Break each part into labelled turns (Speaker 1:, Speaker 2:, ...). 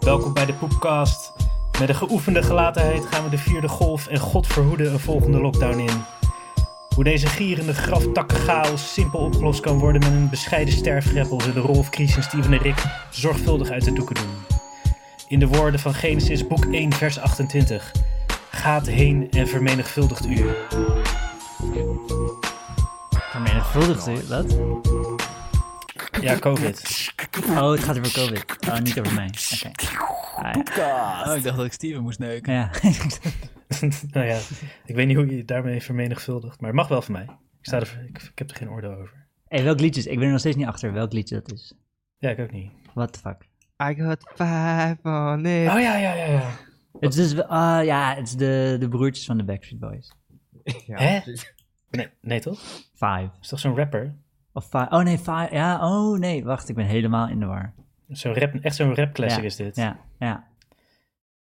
Speaker 1: Welkom bij de Poepcast. Met een geoefende gelatenheid gaan we de vierde golf en godverhoede een volgende lockdown in. Hoe deze gierende graftak chaos simpel opgelost kan worden met een bescheiden sterfgreppel zullen Rolf, Kries en Steven en Rick zorgvuldig uit de doeken doen. In de woorden van Genesis boek 1 vers 28. Gaat heen en vermenigvuldigt u.
Speaker 2: Vermenigvuldigt u wat?
Speaker 1: Ja, COVID.
Speaker 2: Oh, het gaat over COVID. Oh, niet over mij. Oké. Ah, ja.
Speaker 3: Oh, ik dacht dat ik Steven moest neuken.
Speaker 2: ja.
Speaker 1: nou ja, ik weet niet hoe je het daarmee vermenigvuldigt, maar het mag wel van mij. Ik, sta er, ik, ik heb er geen oordeel over.
Speaker 2: hey, welk liedje is? Ik ben er nog steeds niet achter welk liedje dat is.
Speaker 1: Ja, ik ook niet.
Speaker 2: What the fuck?
Speaker 4: I got five on it.
Speaker 1: Oh ja, ja, ja, ja.
Speaker 2: Het is dus, ah, ja, het is de, de broertjes van de Backstreet Boys.
Speaker 4: Ja,
Speaker 1: Hè?
Speaker 4: precies.
Speaker 1: Nee, nee toch?
Speaker 2: Five.
Speaker 1: Is toch zo'n rapper?
Speaker 2: Of five. Oh nee, five. Ja, oh nee, wacht, ik ben helemaal in de war.
Speaker 1: Zo'n rap, echt zo'n rap classic
Speaker 2: Ja,
Speaker 1: is dit.
Speaker 2: Ja, ja.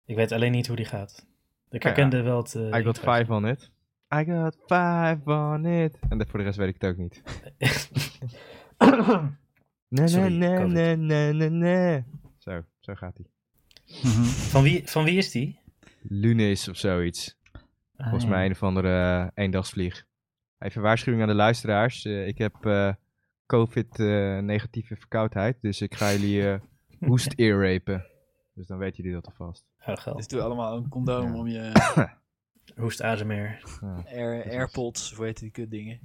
Speaker 1: Ik weet alleen niet hoe die gaat. Ik
Speaker 4: Ja, ja.
Speaker 1: herkende wel het... eh,
Speaker 4: I got
Speaker 1: intro.
Speaker 4: five on it. I got five on it. En dat- voor de rest weet ik het ook niet. Nee, nee,
Speaker 1: Sorry,
Speaker 4: nee,
Speaker 1: COVID.
Speaker 4: nee, nee, nee, nee. Zo, zo gaat hij.
Speaker 2: Mhm.
Speaker 1: van, wie, van wie is die?
Speaker 4: Lunis of zoiets.
Speaker 2: Ah,
Speaker 4: Volgens
Speaker 2: ja.
Speaker 4: mij een of andere eh, eendagsvlieg. Even waarschuwing aan de luisteraars. Eh, ik heb eh, COVID-negatieve verkoudheid. Dus ik ga jullie eh hoest earrapen. Dus dan weten jullie dat alvast.
Speaker 1: Oh, geld.
Speaker 3: Dus doe allemaal een condoom
Speaker 4: Ja.
Speaker 3: om je
Speaker 1: Hoest ASMR.
Speaker 4: Ja.
Speaker 3: Air, AirPods, of hoe heet die kutdingen.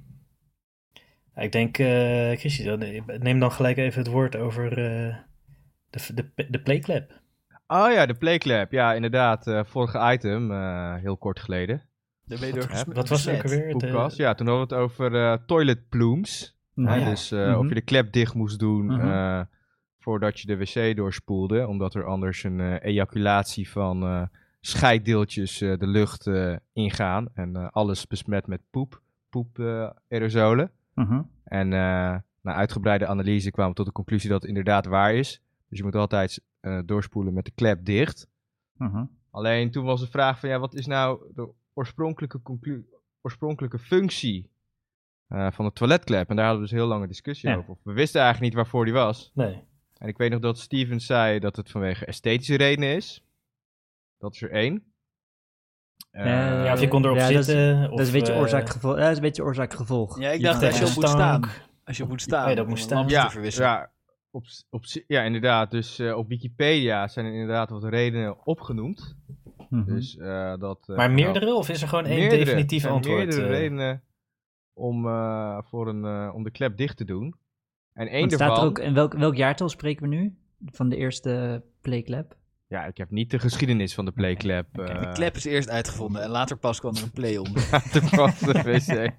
Speaker 1: Ja, ik denk, eh Christian, neem dan gelijk even het woord over eh, de, de, de playclap.
Speaker 4: Oh ja, de playclap. Ja, inderdaad. eh, vorige item, eh, heel kort geleden.
Speaker 3: Daar ben je door gesmet-
Speaker 1: Wat was het ook
Speaker 3: besmet.
Speaker 1: alweer? De-
Speaker 4: Poepkast. Ja, toen hadden we het over eh, toilet plumes.
Speaker 2: Mhm.
Speaker 4: Hè,
Speaker 1: ja.
Speaker 4: Dus eh,
Speaker 2: Mhm.
Speaker 4: of je de klep dicht moest doen
Speaker 2: Mhm.
Speaker 4: eh, voordat je de wc doorspoelde. Omdat er anders een eh, ejaculatie van eh, scheiddeeltjes eh, de lucht eh, ingaan. En eh, alles besmet met poep, poep eh, aerosolen.
Speaker 2: Mhm.
Speaker 4: En eh, na uitgebreide analyse kwamen we tot de conclusie dat het inderdaad waar is. Dus je moet altijd eh, doorspoelen met de klep dicht.
Speaker 2: Mhm.
Speaker 4: Alleen toen was de vraag van ja, wat is nou de oorspronkelijke, conclu- oorspronkelijke functie eh, van de toiletklep? En daar hadden we dus heel lange discussie
Speaker 2: Ja.
Speaker 4: over. We wisten eigenlijk niet waarvoor die was.
Speaker 1: Nee.
Speaker 4: En ik weet nog dat Stevens zei dat het vanwege esthetische redenen is. Dat is er één. Eh,
Speaker 2: Eh,
Speaker 1: Ja, of je kon erop
Speaker 2: Ja, dat is-
Speaker 1: zitten. eh,
Speaker 2: Dat is een beetje
Speaker 3: eh,
Speaker 2: oorzaak-gevolg. Ja, dat is een beetje oorzaak-gevolg.
Speaker 3: Ja, ik
Speaker 2: Je
Speaker 3: dacht
Speaker 2: kan-
Speaker 3: echt
Speaker 2: ja.
Speaker 3: zo moet staan. Als je moet staan.
Speaker 1: Nee, dat
Speaker 3: om
Speaker 1: moet
Speaker 3: een
Speaker 1: staan.
Speaker 3: lamp te
Speaker 4: ja,
Speaker 3: verwisselen.
Speaker 4: ja, op, s- op, s- ja, inderdaad. Dus eh, op Wikipedia zijn er inderdaad wat redenen opgenoemd.
Speaker 2: Mhm.
Speaker 4: Dus, eh, dat, eh,
Speaker 1: Maar
Speaker 4: nou,
Speaker 1: meerdere of is er gewoon één
Speaker 4: meerdere,
Speaker 1: definitief
Speaker 4: er zijn
Speaker 1: antwoord?
Speaker 4: meerdere
Speaker 1: eh?
Speaker 4: redenen om, eh, voor een, eh, om de klep dicht te doen. En één
Speaker 2: Want
Speaker 4: daarvan...
Speaker 2: staat er ook, in welk, welk jaartal spreken we nu? Van de eerste Playclap?
Speaker 4: Ja, ik heb niet de geschiedenis van de playklep.
Speaker 2: oké.
Speaker 4: eh,
Speaker 3: De klep is eerst uitgevonden en later pas kwam er een play om.
Speaker 4: te passen, wc.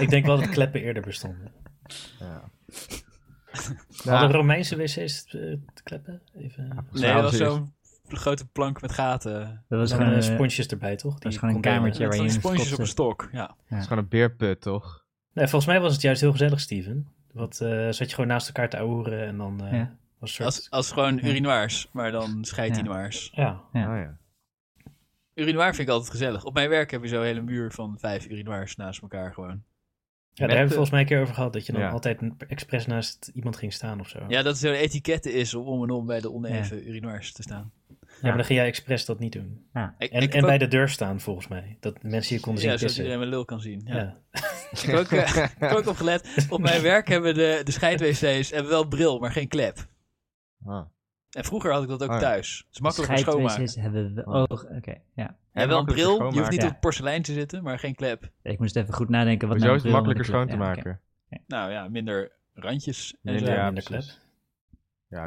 Speaker 1: Ik denk wel dat kleppen eerder bestonden.
Speaker 4: Ja.
Speaker 1: Hadden
Speaker 2: Ah.
Speaker 4: Nou,
Speaker 1: Romeinse wc's eh, kleppen? Even... eh,
Speaker 3: Nee, dat was
Speaker 4: is-
Speaker 3: zo'n grote plank met gaten.
Speaker 2: Dat was
Speaker 1: Dan
Speaker 2: gewoon
Speaker 1: eh,
Speaker 2: een
Speaker 1: sponsjes erbij, toch? Die eh,
Speaker 2: is gewoon een
Speaker 1: condomen.
Speaker 2: kamertje. Ja,
Speaker 3: met
Speaker 2: waar
Speaker 3: van die
Speaker 2: je in
Speaker 3: sponsjes op een
Speaker 2: verstopt
Speaker 3: stok. Ja.
Speaker 4: het is gewoon een beerput, toch?
Speaker 1: Nee, volgens mij was het juist heel gezellig, Steven. Want eh, zat je gewoon naast elkaar te ouren en dan eh,
Speaker 2: Ja.
Speaker 1: was een soort...
Speaker 3: Als, als gewoon urinoirs, maar dan
Speaker 2: Ja.
Speaker 3: scheidinoirs.
Speaker 1: Ja,
Speaker 2: Ja.
Speaker 4: Oh, ja.
Speaker 3: Urinoir vind ik altijd gezellig. Op mijn werk heb je zo'n hele muur van vijf urinoirs naast elkaar gewoon.
Speaker 1: ja daar hebben
Speaker 4: Met,
Speaker 1: we
Speaker 4: eh,
Speaker 1: volgens mij een keer over gehad. Dat je dan
Speaker 4: ja.
Speaker 1: altijd een- expres naast iemand ging staan of zo. Ja,
Speaker 3: Ja, dat het zo'n etiketten is om om en om bij de oneven urinoirs te staan.
Speaker 1: maar dan ging jij expres dat niet doen.
Speaker 3: Ik,
Speaker 1: En,
Speaker 3: ik
Speaker 1: en
Speaker 3: heb
Speaker 1: bij
Speaker 3: ook-
Speaker 1: de deur staan, volgens mij. Dat mensen je konden
Speaker 3: Ja,
Speaker 1: zien
Speaker 3: zodat
Speaker 1: pissen. Ja,
Speaker 3: iedereen mijn lul kan zien. Ja.
Speaker 1: ja.
Speaker 3: Ik heb ook, eh, ik heb ook op gelet. Op mijn werk hebben de, de scheidwc's hebben wel bril, maar geen klep.
Speaker 4: Ah.
Speaker 3: En vroeger had ik dat ook
Speaker 4: Oh ja.
Speaker 3: thuis. Het is makkelijker schoonmaken.
Speaker 2: Scheidwc's hebben we... Oh, oké, ja.
Speaker 3: En wel een
Speaker 4: Makkelijker
Speaker 3: bril, je hoeft niet
Speaker 4: schoonmaken.
Speaker 3: op porselein te zitten, maar geen klep.
Speaker 2: Ik moest even goed nadenken. Wat
Speaker 4: Hoezo
Speaker 2: nou
Speaker 4: is
Speaker 2: een
Speaker 4: het makkelijker
Speaker 2: bril
Speaker 4: schoon
Speaker 2: met
Speaker 4: te
Speaker 2: een klep-
Speaker 4: maken?
Speaker 3: Nou ja, minder randjes. En
Speaker 4: Minder-
Speaker 3: zo.
Speaker 4: Ja,
Speaker 1: in de
Speaker 4: precies.
Speaker 1: klep.
Speaker 4: Ja,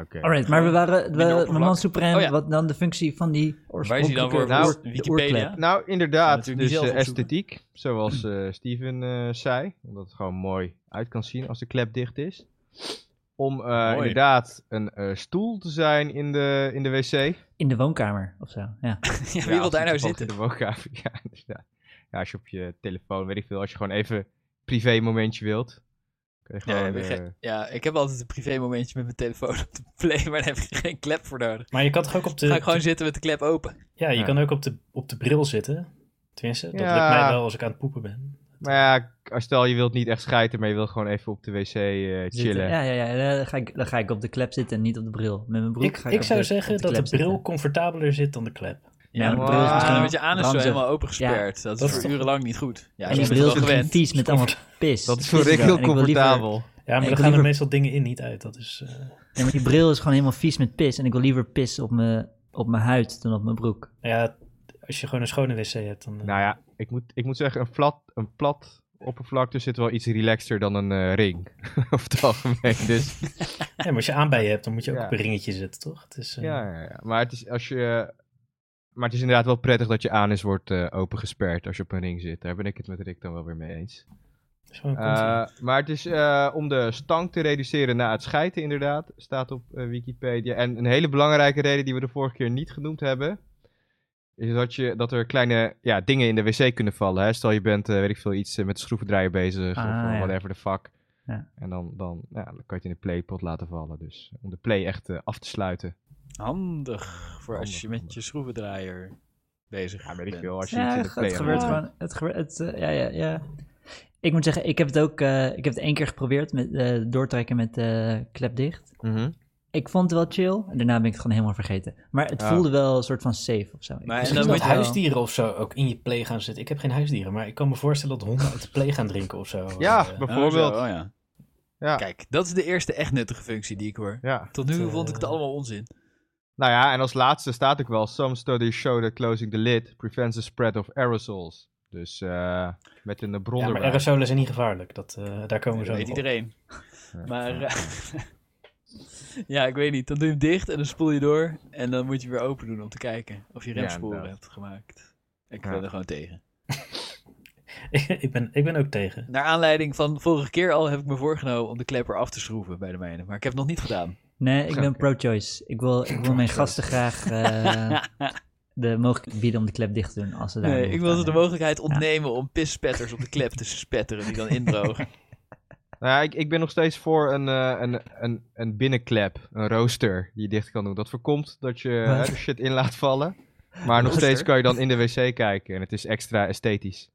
Speaker 2: Ja,
Speaker 4: oké.
Speaker 2: oké. Alright, maar we waren...
Speaker 3: Minder
Speaker 2: We,
Speaker 3: oppervlak.
Speaker 2: Moment Supreme,
Speaker 3: Oh ja.
Speaker 2: wat dan de functie van die
Speaker 3: Waar is die dan
Speaker 2: oorspronkelijke...
Speaker 3: voor?
Speaker 4: Nou,
Speaker 2: oor- de
Speaker 3: Wikipedia?
Speaker 2: oorklep?
Speaker 4: Nou,
Speaker 3: Ja,
Speaker 4: inderdaad.
Speaker 3: natuurlijk
Speaker 4: Dus
Speaker 3: zelf
Speaker 4: eh,
Speaker 3: opzoeken.
Speaker 4: esthetiek, zoals eh, Steven eh, zei. Omdat het gewoon mooi uit kan zien als de klep dicht is. Om eh, inderdaad een eh, stoel te zijn in de, in de wc.
Speaker 2: In de woonkamer of zo, ja. Dus
Speaker 3: Ja,
Speaker 4: Ja,
Speaker 3: wie wil
Speaker 4: als
Speaker 3: daar
Speaker 4: je
Speaker 3: nou
Speaker 4: toevallig
Speaker 3: zitten?
Speaker 4: dus In de woonkamer, ja, inderdaad. Ja, als je op je telefoon, weet ik veel, als je gewoon even privé momentje wilt. Kun je
Speaker 3: Ja,
Speaker 4: gewoon,
Speaker 3: heb je
Speaker 4: eh,
Speaker 3: geen- ja, ik heb altijd een privé momentje met mijn telefoon op de play, maar daar heb ik geen klep voor nodig.
Speaker 1: Maar je kan toch ook op de...
Speaker 3: ga ik gewoon zitten met de klep open.
Speaker 1: Ja, je
Speaker 4: Ja.
Speaker 1: kan ook op de, op de bril zitten. Tenminste, dat
Speaker 4: Ja.
Speaker 1: lukt mij wel als ik aan het poepen ben.
Speaker 4: maar ja, als stel je wilt niet echt scheiden, maar je wilt gewoon even op de wc eh, chillen.
Speaker 2: Zitten. Ja, ja, ja. Dan ga, ik, dan ga ik op de klep zitten en niet op de bril. Met mijn broek
Speaker 1: Ik,
Speaker 2: ga
Speaker 1: ik
Speaker 2: op
Speaker 1: zou
Speaker 2: de-
Speaker 1: zeggen
Speaker 2: op
Speaker 1: dat de bril
Speaker 2: klep zitten.
Speaker 1: comfortabeler zit dan de klep.
Speaker 2: Ja,
Speaker 3: maar
Speaker 2: maar
Speaker 4: de bril is
Speaker 3: dan
Speaker 4: misschien
Speaker 3: met je anus zo
Speaker 2: ranzig.
Speaker 3: helemaal open gesperd. dat
Speaker 1: dat
Speaker 3: is
Speaker 1: is
Speaker 3: voor
Speaker 1: toch-
Speaker 3: urenlang niet goed. Ja,
Speaker 2: en die
Speaker 3: je bent het
Speaker 2: bril
Speaker 3: wel
Speaker 2: is gewoon
Speaker 3: gewend.
Speaker 2: vies met allemaal pis.
Speaker 4: Dat is voor
Speaker 2: Vies
Speaker 4: ik
Speaker 2: wel.
Speaker 4: heel
Speaker 2: En wil liever-
Speaker 1: Ja,
Speaker 4: comfortabel.
Speaker 1: maar
Speaker 2: ik
Speaker 1: dan
Speaker 2: wil
Speaker 1: gaan er
Speaker 2: liever-
Speaker 1: meestal dingen in niet uit. Dat is... eh,
Speaker 2: Nee, maar die bril is gewoon helemaal vies met pis. En ik wil liever pis op mijn, op mijn huid dan op mijn broek.
Speaker 1: Nou Ja, als je gewoon een schone wc hebt, dan... eh,
Speaker 4: Nou ja, ik moet, ik moet zeggen, een plat, een plat oppervlakte zit wel iets relaxter dan een eh, ring. Over het algemeen. Dus
Speaker 1: ja, maar als je aanbijen hebt, dan moet je ook
Speaker 4: Ja.
Speaker 1: op een ringetje zitten, toch? Het is, eh,
Speaker 4: ja, ja, ja. Maar, het is, als je, maar het is inderdaad wel prettig dat je anus wordt eh opengesperd als je op een ring zit. Daar ben ik het met Rick dan wel weer mee eens.
Speaker 1: het is gewoon een comfort.
Speaker 4: Eh, maar het is eh, om de stank te reduceren na het scheiden, inderdaad. Staat op eh, Wikipedia. En een hele belangrijke reden die we de vorige keer niet genoemd hebben. Is dat, je, dat er kleine ja, dingen in de wc kunnen vallen. Hè? Stel je bent, eh, weet ik veel, iets eh, met de schroevendraaier bezig. of
Speaker 2: Ah,
Speaker 4: eh,
Speaker 2: ja.
Speaker 4: whatever the fuck.
Speaker 2: Ja.
Speaker 4: En dan, dan, ja, dan kan je het in de playpot laten vallen. Dus om de play echt eh, af te sluiten.
Speaker 3: Handig voor als
Speaker 4: Handig,
Speaker 3: je met
Speaker 4: handig.
Speaker 3: je schroevendraaier bezig
Speaker 4: Ja, weet
Speaker 3: bent.
Speaker 4: ik veel. Als je iets
Speaker 2: Ja,
Speaker 4: in de
Speaker 2: het,
Speaker 4: play
Speaker 2: gebeurt
Speaker 4: aan-
Speaker 2: gewoon. Het gebeurt, het, eh, ja, ja, ja. Ik moet zeggen, ik heb het ook eh, ik heb het één keer geprobeerd met eh, doortrekken met eh klep dicht.
Speaker 4: Mhm.
Speaker 2: Ik vond het wel chill. En daarna ben ik het gewoon helemaal vergeten. Maar het
Speaker 4: Ah.
Speaker 2: voelde wel een soort van safe of zo.
Speaker 3: Maar-
Speaker 2: Ik-
Speaker 3: en
Speaker 1: Misschien
Speaker 3: dan
Speaker 1: dat
Speaker 3: moet je wel-
Speaker 1: huisdieren of zo ook in je play gaan zitten. Ik heb geen huisdieren, maar ik kan me voorstellen dat honden uit de play gaan drinken of zo.
Speaker 4: Ja,
Speaker 1: Eh,
Speaker 4: bijvoorbeeld.
Speaker 3: Oh, zo, oh ja.
Speaker 4: Ja.
Speaker 3: Kijk, dat is de eerste echt nuttige functie die ik hoor.
Speaker 4: ja.
Speaker 3: Tot nu
Speaker 1: Dat, eh,
Speaker 3: vond ik het allemaal onzin.
Speaker 4: Nou ja, en als laatste staat ook wel: Some studies show that closing the lid prevents the spread of aerosols. Dus eh, met een bron
Speaker 1: ja, maar
Speaker 4: erbij.
Speaker 1: aerosolen zijn niet gevaarlijk. Dat, eh, daar komen
Speaker 3: Dat
Speaker 1: we zo
Speaker 3: weet
Speaker 1: nog op.
Speaker 3: iedereen.
Speaker 4: Ja.
Speaker 3: Maar eh, ja, ik weet niet. Dan doe je hem dicht en dan spoel je door. En dan moet je weer open doen om te kijken of je
Speaker 4: Ja,
Speaker 3: remsporen
Speaker 4: inderdaad.
Speaker 3: hebt gemaakt. Ik
Speaker 4: Ja.
Speaker 3: ben er gewoon tegen.
Speaker 1: ik, ben, ik ben ook tegen.
Speaker 3: Naar aanleiding van vorige keer al heb ik me voorgenomen om de klepper af te schroeven bij de mijne. Maar ik heb het nog niet gedaan.
Speaker 2: Nee, ik ben
Speaker 4: Oké.
Speaker 2: pro-choice. Ik wil, ik wil mijn gasten graag eh, de mogelijkheid bieden om de klep dicht te doen als ze daar
Speaker 3: Nee,
Speaker 2: behoefte
Speaker 3: ik wil
Speaker 2: aan
Speaker 3: ze de
Speaker 2: hebben.
Speaker 3: mogelijkheid ontnemen om pisspetters op de klep te spetteren die dan indrogen.
Speaker 4: Nou ja, ik, ik ben nog steeds voor een, eh, een, een, een binnenklep, een rooster die je dicht kan doen. Dat voorkomt dat je
Speaker 2: Wat?
Speaker 4: hè, de shit in laat vallen. Maar nog steeds kan je dan in de wc kijken en het is extra esthetisch.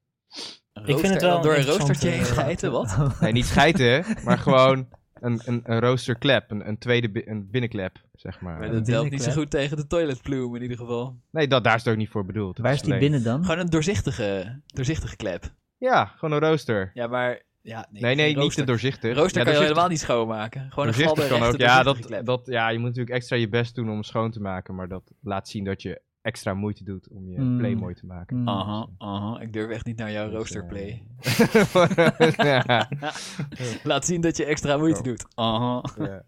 Speaker 1: vind het
Speaker 3: Rooster-
Speaker 1: wel eh,
Speaker 3: door een
Speaker 1: een
Speaker 3: roostertje heen
Speaker 1: interessante-
Speaker 3: geiten, wat?
Speaker 4: Nee, niet scheiden, maar gewoon een, een, een roosterklep, een, een tweede bi- een binnenklep, zeg maar.
Speaker 3: Maar
Speaker 2: Een
Speaker 3: dat helpt niet zo
Speaker 2: binnenklep.
Speaker 3: goed tegen de toilet plume in ieder geval.
Speaker 4: Nee, dat, daar is het ook niet voor bedoeld. Het
Speaker 2: Waar is die
Speaker 4: alleen-
Speaker 2: binnen dan?
Speaker 3: Gewoon een doorzichtige, doorzichtige klep.
Speaker 4: Ja, gewoon een rooster.
Speaker 3: Ja, maar... Ja,
Speaker 4: Nee, nee, niet te doorzichtig.
Speaker 3: Een rooster
Speaker 4: Ja,
Speaker 3: kan je
Speaker 4: doorzichtig-
Speaker 3: helemaal niet schoonmaken. Gewoon een gladde
Speaker 4: Voorzichtig kan
Speaker 3: rechte
Speaker 4: ook. Ja,
Speaker 3: doorzichtige
Speaker 4: dat,
Speaker 3: klep.
Speaker 4: dat, ja, je moet natuurlijk extra je best doen om het schoon te maken. Maar dat laat zien dat je extra moeite doet om je
Speaker 2: Mm.
Speaker 4: play mooi te maken.
Speaker 2: Mm.
Speaker 3: Aha, aha. Ik durf echt niet naar jouw
Speaker 4: Dus,
Speaker 3: roosterplay.
Speaker 4: ja,
Speaker 3: Laat zien dat je extra moeite
Speaker 4: Oh.
Speaker 3: doet. Aha.
Speaker 4: ja.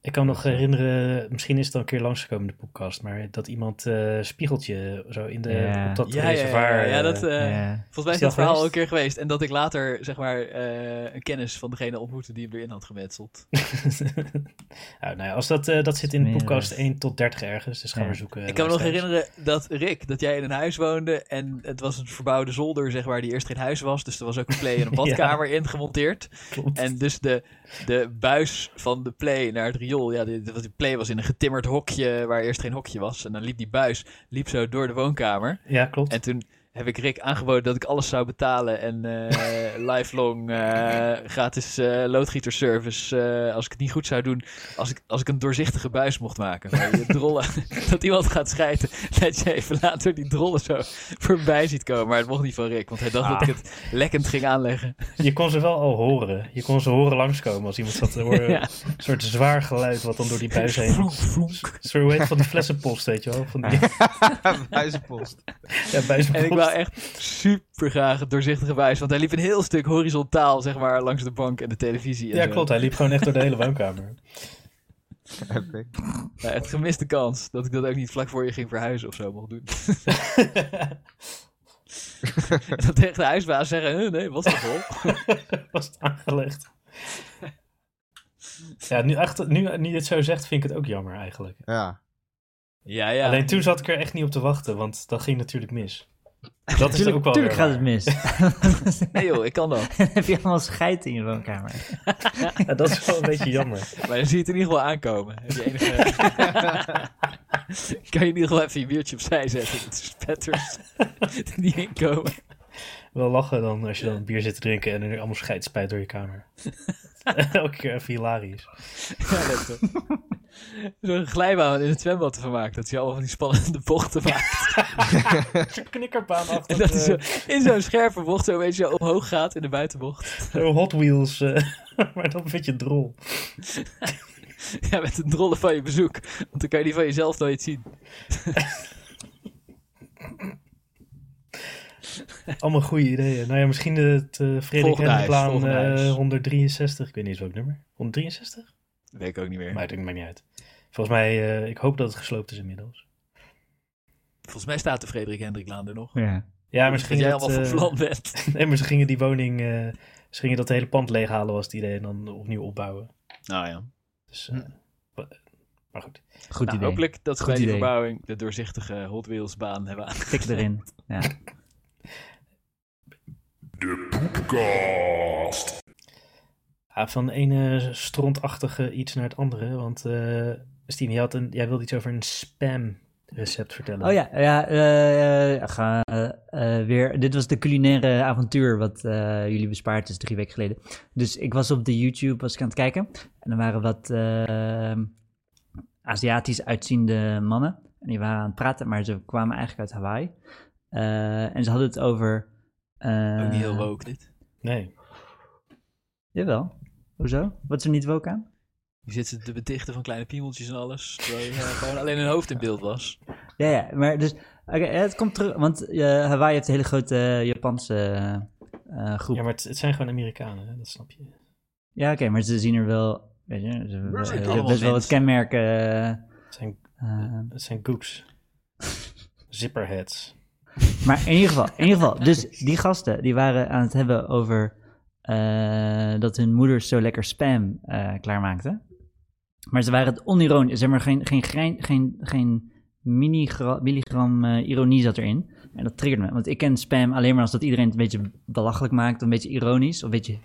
Speaker 1: Ik kan me nog herinneren, misschien is het al een keer langsgekomen in de podcast, maar dat iemand eh, spiegeltje zo in de,
Speaker 2: Ja.
Speaker 1: op dat
Speaker 3: Ja, ja, ja,
Speaker 1: reservoir...
Speaker 3: ja, ja,
Speaker 1: eh,
Speaker 3: dat... eh,
Speaker 2: Ja.
Speaker 3: Volgens mij is
Speaker 1: Is dat
Speaker 3: dat verhaal
Speaker 1: geweest?
Speaker 3: al een keer geweest. En dat ik later, zeg maar, eh, een kennis van degene ontmoette die hem erin had gemetseld.
Speaker 1: nou, nou ja, als dat, eh, dat zit in
Speaker 2: Meer, eh,
Speaker 1: podcast 1 tot 30 ergens, dus gaan
Speaker 2: ja.
Speaker 1: we zoeken.
Speaker 3: ik kan me nog
Speaker 1: luisteraars.
Speaker 3: herinneren dat Rick, dat jij in een huis woonde. En het was een verbouwde zolder, zeg maar, die eerst geen huis was. Dus er was ook een play en een
Speaker 1: Ja.
Speaker 3: badkamer in gemonteerd.
Speaker 1: Klopt.
Speaker 3: En dus de, de buis van de play naar het riool. Ja, de, de, de play was in een getimmerd hokje waar eerst geen hokje was. En dan liep die buis liep zo door de woonkamer.
Speaker 1: Ja, klopt.
Speaker 3: En toen heb ik Rick aangeboden dat ik alles zou betalen. En eh, lifelong eh, gratis eh, loodgieterservice. eh, als ik het niet goed zou doen. Als ik, als ik een doorzichtige buis mocht maken. Waar je drollen, dat iemand gaat schijten. Dat je even later die drollen zo voorbij ziet komen. Maar het mocht niet van Rick. Want hij dacht dat ik
Speaker 1: Ah.
Speaker 3: het lekkend ging aanleggen.
Speaker 1: Je kon ze wel al horen. Je kon ze horen langskomen als iemand zat te horen.
Speaker 3: Ja.
Speaker 1: Een soort zwaar geluid wat dan door die buis heen...
Speaker 3: Vloek, vloek.
Speaker 1: Zo hoe heet het, van die flessenpost, weet je wel? Van die,
Speaker 4: Buizenpost.
Speaker 1: ja, buizenpost.
Speaker 3: En ik wou echt super graag het doorzichtige buis. Want hij liep een heel stuk horizontaal, zeg maar, langs de bank en de televisie. En
Speaker 1: Ja,
Speaker 3: zo.
Speaker 1: klopt. Hij liep gewoon echt door de hele woonkamer.
Speaker 4: Epic.
Speaker 3: Ja, het gemiste kans dat ik dat ook niet vlak voor je ging verhuizen of zo mocht doen. En dan tegen de huisbaas zeggen: "Huh, nee, wat is dat
Speaker 1: Was het aangelegd. Ja, nu, achter, nu, nu je het zo zegt, vind ik het ook jammer eigenlijk.
Speaker 4: Ja.
Speaker 3: Ja, ja.
Speaker 1: Alleen toen zat ik er echt niet op te wachten, want dat ging natuurlijk mis. Dat is
Speaker 2: Tuurlijk,
Speaker 1: ook wel
Speaker 2: tuurlijk
Speaker 1: weer
Speaker 2: gaat het
Speaker 1: waar.
Speaker 2: mis.
Speaker 3: Nee joh, ik kan dat.
Speaker 2: Dan heb je allemaal scheid in je woonkamer.
Speaker 1: Ja, dat is wel een beetje jammer.
Speaker 3: Maar dan zie je het in ieder geval aankomen. Heb je enige... kan je in ieder geval even je biertje opzij zetten. Het is petters. Die inkomen.
Speaker 1: Wel lachen dan als je dan bier zit te drinken en er allemaal scheid spijt door je kamer. Elke keer even hilarisch.
Speaker 3: Ja, dat toch. Zo'n glijbaan in het zwembad ervan maken. Dat hij allemaal van die spannende bochten maakt.
Speaker 1: Zo'n knikkerbaan achter. eh,
Speaker 3: En dat hij
Speaker 1: de-
Speaker 3: zo, in zo'n scherpe bocht zo een beetje omhoog gaat in de buitenbocht.
Speaker 1: Zo'n Hot Wheels, eh, maar dan een beetje drol.
Speaker 3: Ja, met het drollen van je bezoek. Want dan kan je die van jezelf nooit zien.
Speaker 1: Allemaal goede ideeën. Nou ja, misschien het eh Frederik
Speaker 3: Volgende huis,
Speaker 1: Hendriklaan
Speaker 3: volgende
Speaker 1: eh,
Speaker 3: huis.
Speaker 1: 163. Ik weet niet eens welk nummer. 163?
Speaker 3: Weet ik ook niet meer.
Speaker 1: Maar het maakt niet uit. Volgens mij, eh, ik hoop dat het gesloopt is inmiddels.
Speaker 3: Volgens mij staat de Frederik Hendriklaan er nog.
Speaker 2: Ja.
Speaker 1: Ja, misschien
Speaker 3: dat jij
Speaker 1: dat,
Speaker 3: allemaal
Speaker 1: eh,
Speaker 3: van plan bent.
Speaker 1: Nee, maar ze gingen die woning, eh, ze gingen dat hele pand leeghalen was het idee en dan opnieuw opbouwen.
Speaker 3: Nou ja.
Speaker 1: Dus, eh, wa- maar goed.
Speaker 2: Goed
Speaker 3: Nou,
Speaker 2: idee.
Speaker 3: hopelijk dat we
Speaker 2: Goed
Speaker 3: bij die
Speaker 2: idee.
Speaker 3: verbouwing de doorzichtige Hot Wheels baan hebben aan.
Speaker 2: Tik erin. Ja.
Speaker 1: Ja, van de ene strontachtige iets naar het andere, want eh Steven, jij, had een, jij wilde iets over een spam recept vertellen.
Speaker 2: Oh ja, ja eh, ga, eh, eh, weer. Dit was de culinaire avontuur wat eh, jullie bespaard is drie weken geleden. Dus ik was op de YouTube was ik aan het kijken. En er waren wat eh, Aziatisch uitziende mannen. En die waren aan het praten, maar ze kwamen eigenlijk uit Hawaii. Eh, en ze hadden het over... eh,
Speaker 3: Ook niet heel woke dit.
Speaker 1: Nee,
Speaker 2: Jawel. Hoezo? Wat is er niet woke aan?
Speaker 3: Je zit ze te betichten van kleine piemeltjes en alles. Terwijl je, eh, gewoon alleen hun hoofd in beeld was.
Speaker 2: Ja, ja, maar dus... Oké, ja, het komt terug, want eh, Hawaii heeft een hele grote eh, Japanse eh, groep.
Speaker 1: ja, maar het, het zijn gewoon Amerikanen, hè, dat snap je.
Speaker 2: Ja, oké, maar ze zien er wel. Weet je, ze hebben best,
Speaker 3: zijn
Speaker 2: wel-
Speaker 3: allemaal
Speaker 2: best wel wat
Speaker 3: mensen.
Speaker 2: kenmerken. eh,
Speaker 1: Het zijn,
Speaker 2: eh,
Speaker 1: het zijn gooks. Zipperheads.
Speaker 2: maar in ieder, geval, in ieder geval, dus die gasten die waren aan het hebben over eh, dat hun moeders zo lekker spam eh klaarmaakten. Maar ze waren het onironisch, zeg maar geen, geen, grein- geen, geen minigra- milligram eh, ironie zat erin. En dat triggerde me, want ik ken spam alleen maar als dat iedereen het een beetje belachelijk maakt, een beetje ironisch. Of een beetje,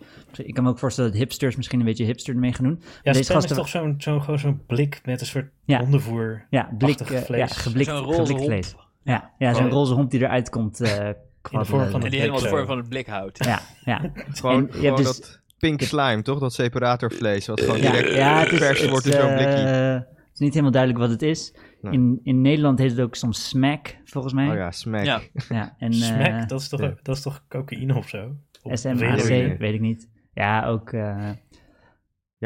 Speaker 2: ik kan me ook voorstellen dat hipsters misschien een beetje hipster ermee gaan doen.
Speaker 1: Ja,
Speaker 2: Deze
Speaker 1: spam is
Speaker 2: gasten-
Speaker 1: toch zo'n zo'n gewoon zo'n blik met een soort
Speaker 2: Ja.
Speaker 1: hondenvoer.
Speaker 2: Ja, blik,
Speaker 1: Achtig
Speaker 2: eh, ja,
Speaker 1: vlees.
Speaker 2: geblikt,
Speaker 3: Zo'n roze
Speaker 2: geblikt
Speaker 3: hond.
Speaker 2: vlees. Ja, ja
Speaker 1: Oh,
Speaker 2: zo'n
Speaker 1: ja.
Speaker 2: roze hond die eruit komt. eh kwabbelen.
Speaker 1: vorm van
Speaker 3: En die helemaal de vorm van het blik houdt.
Speaker 2: Ja, ja.
Speaker 4: Gewoon,
Speaker 2: En je hebt
Speaker 4: gewoon
Speaker 2: dus-
Speaker 4: dat pink slime, toch? Dat separatorvlees, wat gewoon
Speaker 2: ja,
Speaker 4: direct
Speaker 2: ja, het is,
Speaker 4: vers
Speaker 2: het,
Speaker 4: wordt in zo'n blikje.
Speaker 2: eh, het is niet helemaal duidelijk wat het is.
Speaker 4: Nee.
Speaker 2: In, in Nederland heet het ook soms smack, volgens mij.
Speaker 4: Oh ja, smack.
Speaker 3: Ja.
Speaker 2: Ja, en, eh,
Speaker 1: Smack, dat is toch,
Speaker 4: ja.
Speaker 1: dat is toch cocaïne of zo? Of
Speaker 2: SMAC,
Speaker 1: heroïne.
Speaker 2: weet ik niet. Ja, ook eh,
Speaker 4: Ja,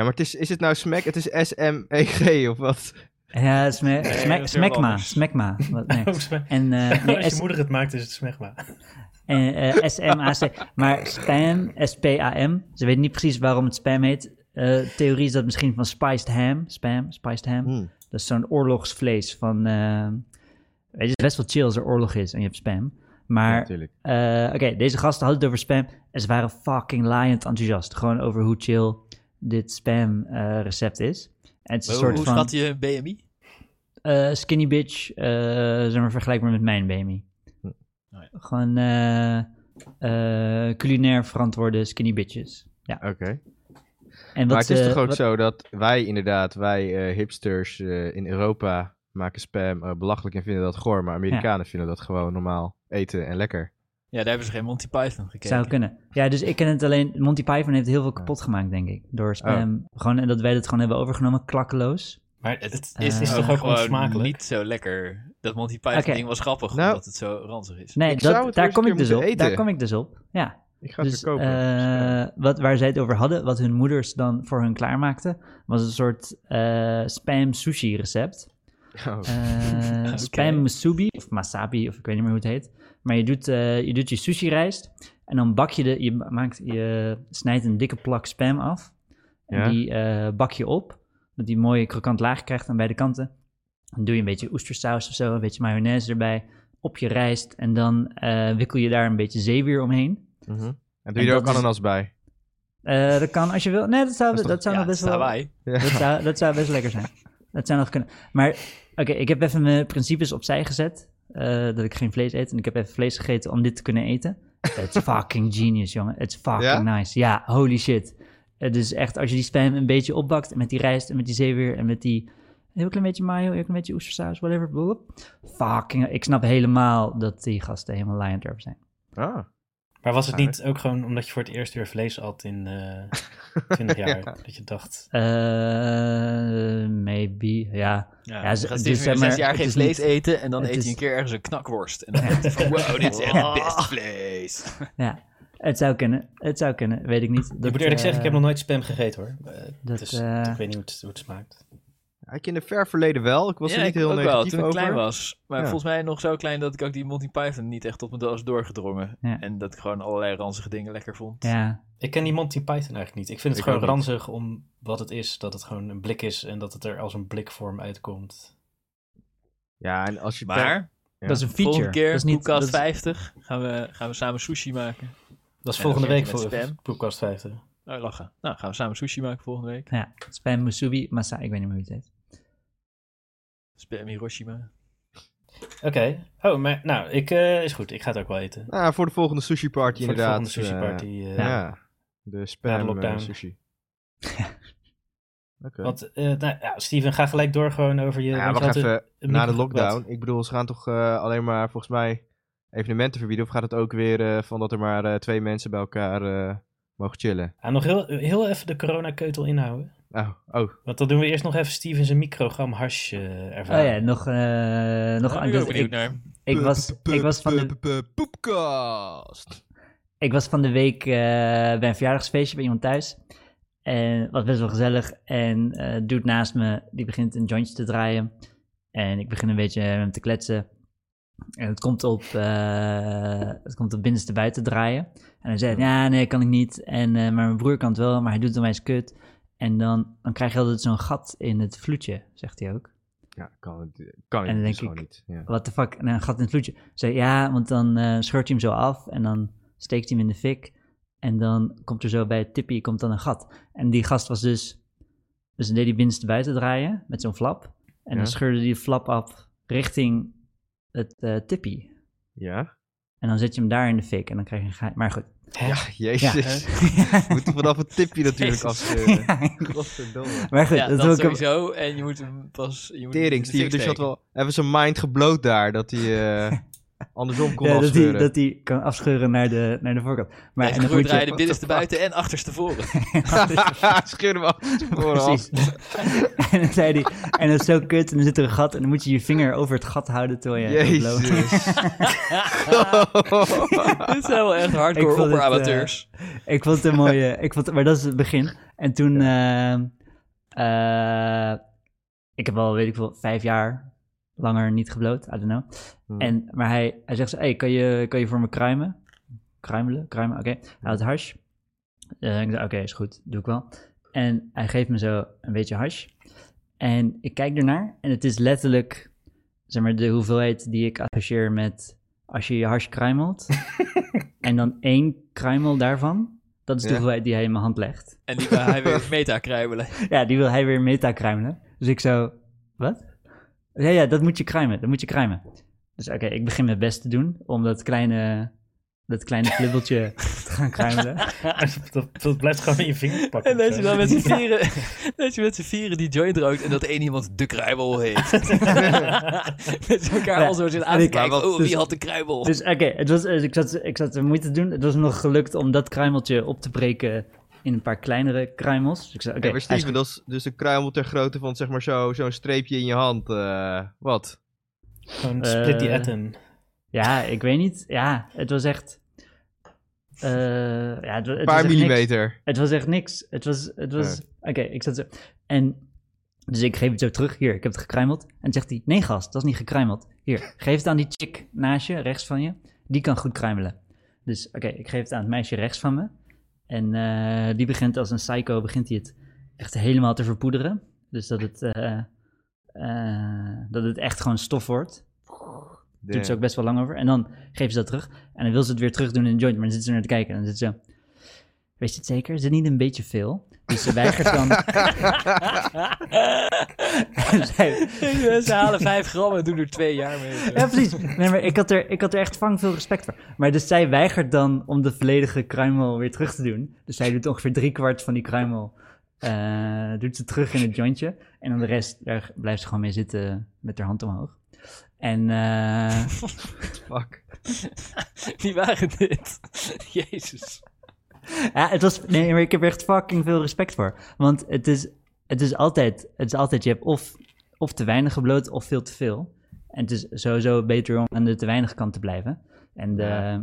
Speaker 4: maar het is, is het nou smack? Het is S-M-E-G of wat?
Speaker 2: ja, sma
Speaker 3: dat is
Speaker 2: smack-
Speaker 3: heel
Speaker 2: smegma,
Speaker 3: anders.
Speaker 2: smegma. Wat- nee.
Speaker 1: Oh, smack.
Speaker 2: En eh, nee,
Speaker 1: Als je
Speaker 2: S-
Speaker 1: moeder het maakt, is het smegma.
Speaker 2: En, eh, SMAC. Maar spam, S-P-A-M. Ze weten niet precies waarom het spam heet. Eh, theorie is dat misschien van spiced ham. Spam, spiced ham.
Speaker 4: Hmm.
Speaker 2: Dat is zo'n oorlogsvlees van... eh, weet je, het is best wel chill als er oorlog is en je hebt spam. Maar
Speaker 4: natuurlijk.
Speaker 2: eh, oké, deze gasten hadden het over spam. En ze waren fucking liant enthousiast. Gewoon over hoe chill dit spam eh, recept is. En het is een
Speaker 3: Hoe,
Speaker 2: soort
Speaker 3: hoe
Speaker 2: van
Speaker 3: schat je hun BMI?
Speaker 2: eh, skinny bitch, eh zeg maar vergelijkbaar met mijn baby.
Speaker 4: Hm.
Speaker 3: Oh ja.
Speaker 2: Gewoon eh, eh, culinair verantwoorde skinny bitches. Ja.
Speaker 4: Oké.
Speaker 2: En wat
Speaker 4: Maar het is
Speaker 2: ze-
Speaker 4: toch ook
Speaker 2: eh, wat-
Speaker 4: zo dat wij inderdaad, wij eh, hipsters eh, in Europa maken spam eh, belachelijk en vinden dat goor. Maar Amerikanen vinden dat gewoon normaal eten en lekker.
Speaker 3: Ja, daar hebben ze geen Monty Python gekeken.
Speaker 2: zou kunnen. Ja, dus ik ken het alleen. Monty Python heeft heel veel kapot gemaakt, denk ik.
Speaker 4: Oh.
Speaker 2: Door spam. Gewoon, en dat wij dat gewoon hebben overgenomen, klakkeloos.
Speaker 1: Maar
Speaker 3: Het,
Speaker 1: het
Speaker 2: Eh. is
Speaker 1: is,
Speaker 2: is
Speaker 1: toch ook onsmakelijk?
Speaker 3: niet zo lekker. Dat Monty Python
Speaker 2: Oké.
Speaker 3: ding was grappig,
Speaker 4: Nou.
Speaker 3: omdat het zo ranzig is.
Speaker 2: Nee,
Speaker 4: Ik
Speaker 2: dat,
Speaker 4: zou het
Speaker 2: daar
Speaker 4: weer eens
Speaker 2: kom
Speaker 4: een
Speaker 2: ik
Speaker 4: keer
Speaker 2: dus op.
Speaker 4: moeten
Speaker 2: Daar
Speaker 4: eten.
Speaker 2: kom ik dus op. Ja.
Speaker 4: Ik ga
Speaker 2: dus,
Speaker 4: het verkopen.
Speaker 2: eh, wat, waar zij het over hadden, wat hun moeders dan voor hun klaarmaakten, was een soort eh, spam sushi recept.
Speaker 4: Spam. Oh.
Speaker 2: eh
Speaker 3: Oké.
Speaker 2: Spam musubi of masabi of ik weet niet meer hoe het heet. Maar je doet, eh, je, doet je sushi rijst en dan bak je de, je, maakt, je snijdt een dikke plak spam af. En
Speaker 4: Ja.
Speaker 2: die eh, bak je op, dat die een mooie krokant laag krijgt aan beide kanten. Dan doe je een beetje oestersaus of zo, een beetje mayonaise erbij op je rijst. En dan eh, wikkel je daar een beetje zeewier omheen.
Speaker 4: Mhm. En doe je
Speaker 2: En
Speaker 4: er
Speaker 2: dat
Speaker 4: ook
Speaker 2: is-
Speaker 4: ananas bij?
Speaker 2: Eh, dat kan als je wil. Nee, dat zou,
Speaker 4: Dat is
Speaker 2: dat
Speaker 4: toch-
Speaker 2: zou
Speaker 3: ja,
Speaker 2: nog best
Speaker 3: het is
Speaker 2: wel...
Speaker 3: Hawaii.
Speaker 4: Ja.
Speaker 2: Dat zou, dat zou best lekker zijn. Dat zou nog kunnen. Maar oké, ik heb even mijn principes opzij gezet. eh, dat ik geen vlees eet. En ik heb even vlees gegeten om dit te kunnen eten. It's fucking genius, jongen. It's fucking
Speaker 4: Ja?
Speaker 2: nice. Ja, holy shit. Het is echt, als je die spam een beetje opbakt... en met die rijst en met die zeewier en met die... een heel klein beetje mayo, een heel klein beetje oestersaus, whatever. blub. Fucking, ik snap helemaal dat die gasten helemaal lion erop zijn.
Speaker 4: Ah,
Speaker 1: Maar was het niet ook gewoon omdat je voor het eerst weer vlees at in eh 20 jaar? Dat je dacht,
Speaker 2: Eh, maybe, ja.
Speaker 3: Ja,
Speaker 2: Ja,
Speaker 3: je
Speaker 2: ze-
Speaker 3: gaat
Speaker 2: dus
Speaker 3: steeds
Speaker 2: zeg
Speaker 3: meer zes
Speaker 2: maar,
Speaker 3: jaar
Speaker 2: het
Speaker 3: geen
Speaker 2: is niet-
Speaker 3: vlees eten en dan
Speaker 2: het
Speaker 3: eet
Speaker 2: is-
Speaker 3: je een keer ergens een knakworst. En dan denk je van, wow, dit is echt best vlees.
Speaker 2: Ja, het zou kunnen. Het zou kunnen, weet ik niet. eh,
Speaker 1: ik moet eerlijk zeggen, ik heb nog nooit spam gegeten hoor. Eh,
Speaker 2: dat,
Speaker 1: dus
Speaker 2: eh,
Speaker 1: ik weet niet hoe het, hoe het smaakt.
Speaker 4: ik in het ver verleden wel. Ik was
Speaker 3: Ja,
Speaker 4: er niet
Speaker 3: ik
Speaker 4: heel
Speaker 3: ook wel,
Speaker 4: negatief
Speaker 3: toen ik
Speaker 4: over.
Speaker 3: klein was. Maar
Speaker 4: Ja.
Speaker 3: volgens mij nog zo klein dat ik ook die Monty Python niet echt op mijn doos doorgedrongen.
Speaker 2: Ja.
Speaker 3: En dat ik gewoon allerlei ranzige dingen lekker vond.
Speaker 2: Ja,
Speaker 1: Ik ken die Monty Python eigenlijk niet. Ik vind het
Speaker 4: Ik
Speaker 1: gewoon
Speaker 4: ook niet.
Speaker 1: ranzig om wat het is. Dat het gewoon een blik is en dat het er als een blikvorm uitkomt.
Speaker 4: Ja, en als je
Speaker 3: Maar,
Speaker 4: Ja.
Speaker 2: dat is een feature.
Speaker 3: volgende keer,
Speaker 2: dat is niet,
Speaker 3: Koelkast
Speaker 2: dat is-
Speaker 3: 50, gaan we, gaan we samen sushi maken.
Speaker 1: Dat is
Speaker 3: En
Speaker 1: volgende
Speaker 3: dan
Speaker 1: week
Speaker 3: werk je
Speaker 1: voor
Speaker 3: met spam.
Speaker 1: Poepkast 50.
Speaker 3: Oh, lachen. Nou, gaan we samen sushi maken volgende week.
Speaker 2: Ja, spam musubi masa, ik weet niet meer hoe het heet.
Speaker 3: Spam Hiroshima.
Speaker 1: Oké. Oh, maar nou, ik, eh, is goed. Ik ga het ook wel eten.
Speaker 4: Nou, voor de volgende sushi party
Speaker 1: voor de
Speaker 4: inderdaad.
Speaker 1: volgende sushi
Speaker 4: eh,
Speaker 1: party. eh,
Speaker 4: ja. de
Speaker 1: Na de
Speaker 4: spam
Speaker 1: lockdown.
Speaker 4: eh, sushi. Oké.
Speaker 1: Want, eh, nou, ja, Steven, ga gelijk door gewoon over je...
Speaker 4: Ja,
Speaker 1: eh, want je
Speaker 4: wacht
Speaker 1: had een-
Speaker 4: even.
Speaker 1: een
Speaker 4: Na de
Speaker 1: micro-
Speaker 4: lockdown.
Speaker 1: wat?
Speaker 4: Ik bedoel, ze gaan toch eh, alleen maar volgens mij evenementen verbieden? Of gaat het ook weer eh, van dat er maar eh, twee mensen bij elkaar eh, mogen chillen?
Speaker 1: Ah, nog heel, heel even de coronakeutel inhouden.
Speaker 4: Oh, oh.
Speaker 1: Want dan doen we eerst nog even Steven zijn microgram hash eh
Speaker 2: Oh
Speaker 1: ervaren.
Speaker 2: ja, nog... eh, nog
Speaker 3: Nou,
Speaker 2: aan
Speaker 3: ben ik ook
Speaker 2: dat,
Speaker 3: benieuwd
Speaker 2: ik,
Speaker 3: naar.
Speaker 2: ik, was, ik, was van de,
Speaker 4: Poepcast!
Speaker 2: ik was van de week eh, bij een verjaardagsfeestje bij iemand thuis. En was best wel gezellig. En eh dude naast me, die begint een jointje te draaien. En ik begin een beetje met hem te kletsen. En het komt op, eh, het komt op binnenste buiten draaien. En hij zei, ja, nee, kan ik niet. En, eh, maar mijn broer kan het wel, maar hij doet het eens kut. En dan, dan krijg je altijd zo'n gat in het vloedje, zegt hij ook.
Speaker 4: Ja, kan, het, kan
Speaker 2: En dan
Speaker 4: het dus
Speaker 2: denk
Speaker 4: gewoon niet. Ja.
Speaker 2: What the fuck? En een gat in het vloedje. Zei ja, want dan eh scheurt hij hem zo af en dan steekt hij hem in de fik. En dan komt er zo bij het tippie komt dan een gat. En die gast was dus. Dus dan deed hij binnenste buiten draaien met zo'n flap. En
Speaker 4: Ja.
Speaker 2: dan scheurde hij de flap af richting het eh tippie.
Speaker 4: ja?
Speaker 2: En dan zet je hem daar in de fik en dan krijg je een ga- Maar goed.
Speaker 4: Ja, jezus. We moeten vanaf het tipje natuurlijk af. Godverdomme.
Speaker 2: maar goed,
Speaker 3: Ja,
Speaker 2: dat
Speaker 3: dat,
Speaker 2: wil ik hem-
Speaker 3: sowieso. En je moet hem pas... Je moet hem in
Speaker 4: Tering,
Speaker 3: de
Speaker 4: Steven.
Speaker 3: fik
Speaker 4: Dus je had
Speaker 3: steken.
Speaker 4: wel even zijn mind gebloot daar. Dat hij eh, andersom kon
Speaker 2: Ja, dat, hij,
Speaker 4: afscheuren.
Speaker 2: dat hij kan afscheuren naar de, naar de voorkant. Maar
Speaker 3: Hij
Speaker 2: en dan
Speaker 3: groeit
Speaker 2: moet je-
Speaker 3: draaien binnenste buiten en achterste voren.
Speaker 4: Scheur hem af.
Speaker 2: Precies. en dan zei hij, en dat is zo kut, en dan zit er een gat, en dan moet je je vinger over het gat houden terwijl je aan het blowen bent.
Speaker 4: Jezus.
Speaker 3: Dit zijn wel echt
Speaker 2: Ik
Speaker 3: hardcore
Speaker 2: vond het,
Speaker 3: operamateurs.
Speaker 2: Ik vond het een mooie, ik vond, het- maar dat is het begin. En toen, ehm, eh, eh, ik heb al, weet ik veel, vijf jaar langer niet gebloot, I don't know.
Speaker 4: Hmm.
Speaker 2: En, maar hij, hij zegt zo, hey, kan je, kan je voor me kruimen? Kruimelen? Kruimen, oké. Hij had hash. Eh, ik zei, oké, is goed, doe ik wel. En hij geeft me zo een beetje hash. En ik kijk ernaar en het is letterlijk, zeg maar, de hoeveelheid die ik associeer met als je je hash kruimelt. en dan één kruimel daarvan, dat is de
Speaker 4: Ja.
Speaker 2: hoeveelheid die hij in mijn hand legt.
Speaker 3: En die wil hij weer meta kruimelen.
Speaker 2: Ja, die wil hij weer meta kruimelen. Dus ik zo, wat? Ja, ja, dat moet je kruimen, dat moet je kruimen. Dus oké, ik begin mijn best te doen om dat kleine, dat kleine flibbeltje te gaan kruimelen. nou.
Speaker 1: dat, dat blijft gewoon in je vinger plakken.
Speaker 3: En dat je dan met z'n vieren, dat je met z'n vieren die joint rookt en dat één iemand de kruimel heet. dat ze elkaar
Speaker 2: Ja,
Speaker 3: al zo zitten
Speaker 2: en
Speaker 3: aan te
Speaker 2: ik-
Speaker 3: kijken,
Speaker 4: maar wat-
Speaker 3: oh,
Speaker 2: dus-
Speaker 3: wie had de kruimel?
Speaker 2: Dus oké, het was- eh, ik, zat, ik zat de moeite te doen. Het was me nog gelukt om dat kruimeltje op te breken in een paar kleinere kruimels. Dus ik zei, oké,
Speaker 4: Ja, maar
Speaker 2: hij is
Speaker 4: Steven, dat is dus een kruimel ter grootte van zeg maar zo- zo'n streepje in je hand. eh, wat?
Speaker 1: Gewoon split die
Speaker 2: Eh,
Speaker 1: atom.
Speaker 2: goed. ja, ik weet niet. Ja, het was echt... eh, ja, het, wa- het
Speaker 4: Een
Speaker 2: was
Speaker 4: paar
Speaker 2: echt niks.
Speaker 4: millimeter.
Speaker 2: Het was echt niks. Het was... Het was Oké, ik zat zo... En dus ik geef het zo terug. Hier, ik heb het gekruimeld. En zegt hij, nee gast, dat is niet gekruimeld. Hier, geef het aan die chick naast je, rechts van je. Die kan goed kruimelen. Dus oké, ik geef het aan het meisje rechts van me. En eh, die begint als een psycho, begint hij het echt helemaal te verpoederen. Dus dat het, eh, eh, dat het echt gewoon stof wordt. Doet ze ook best wel lang over. En dan geeft ze dat terug. En dan wil ze het weer terug doen in een joint. Maar dan zit ze naar te kijken. En dan zit ze... Weet je het zeker? Is het niet een beetje veel? Dus ze weigert dan. En zij-
Speaker 3: Ze halen 5 gram en doen er twee jaar mee. Dus
Speaker 2: ja, precies. Nee, maar ik had, er, ik had er echt vang veel respect voor. Maar dus zij weigert dan om de volledige kruimel weer terug te doen. Dus zij doet ongeveer drie kwart van die kruimel. eh, doet ze terug in het jointje. En dan de rest, daar blijft ze gewoon mee zitten met haar hand omhoog. En eh,
Speaker 4: Fuck.
Speaker 3: Die waren dit. Jezus.
Speaker 2: ja, het was, nee, maar ik heb er echt fucking veel respect voor. Want het is, het is, altijd, het is altijd, je hebt of, of te weinig gebloot of veel te veel. En het is sowieso beter om aan de te weinig kant te blijven. En de,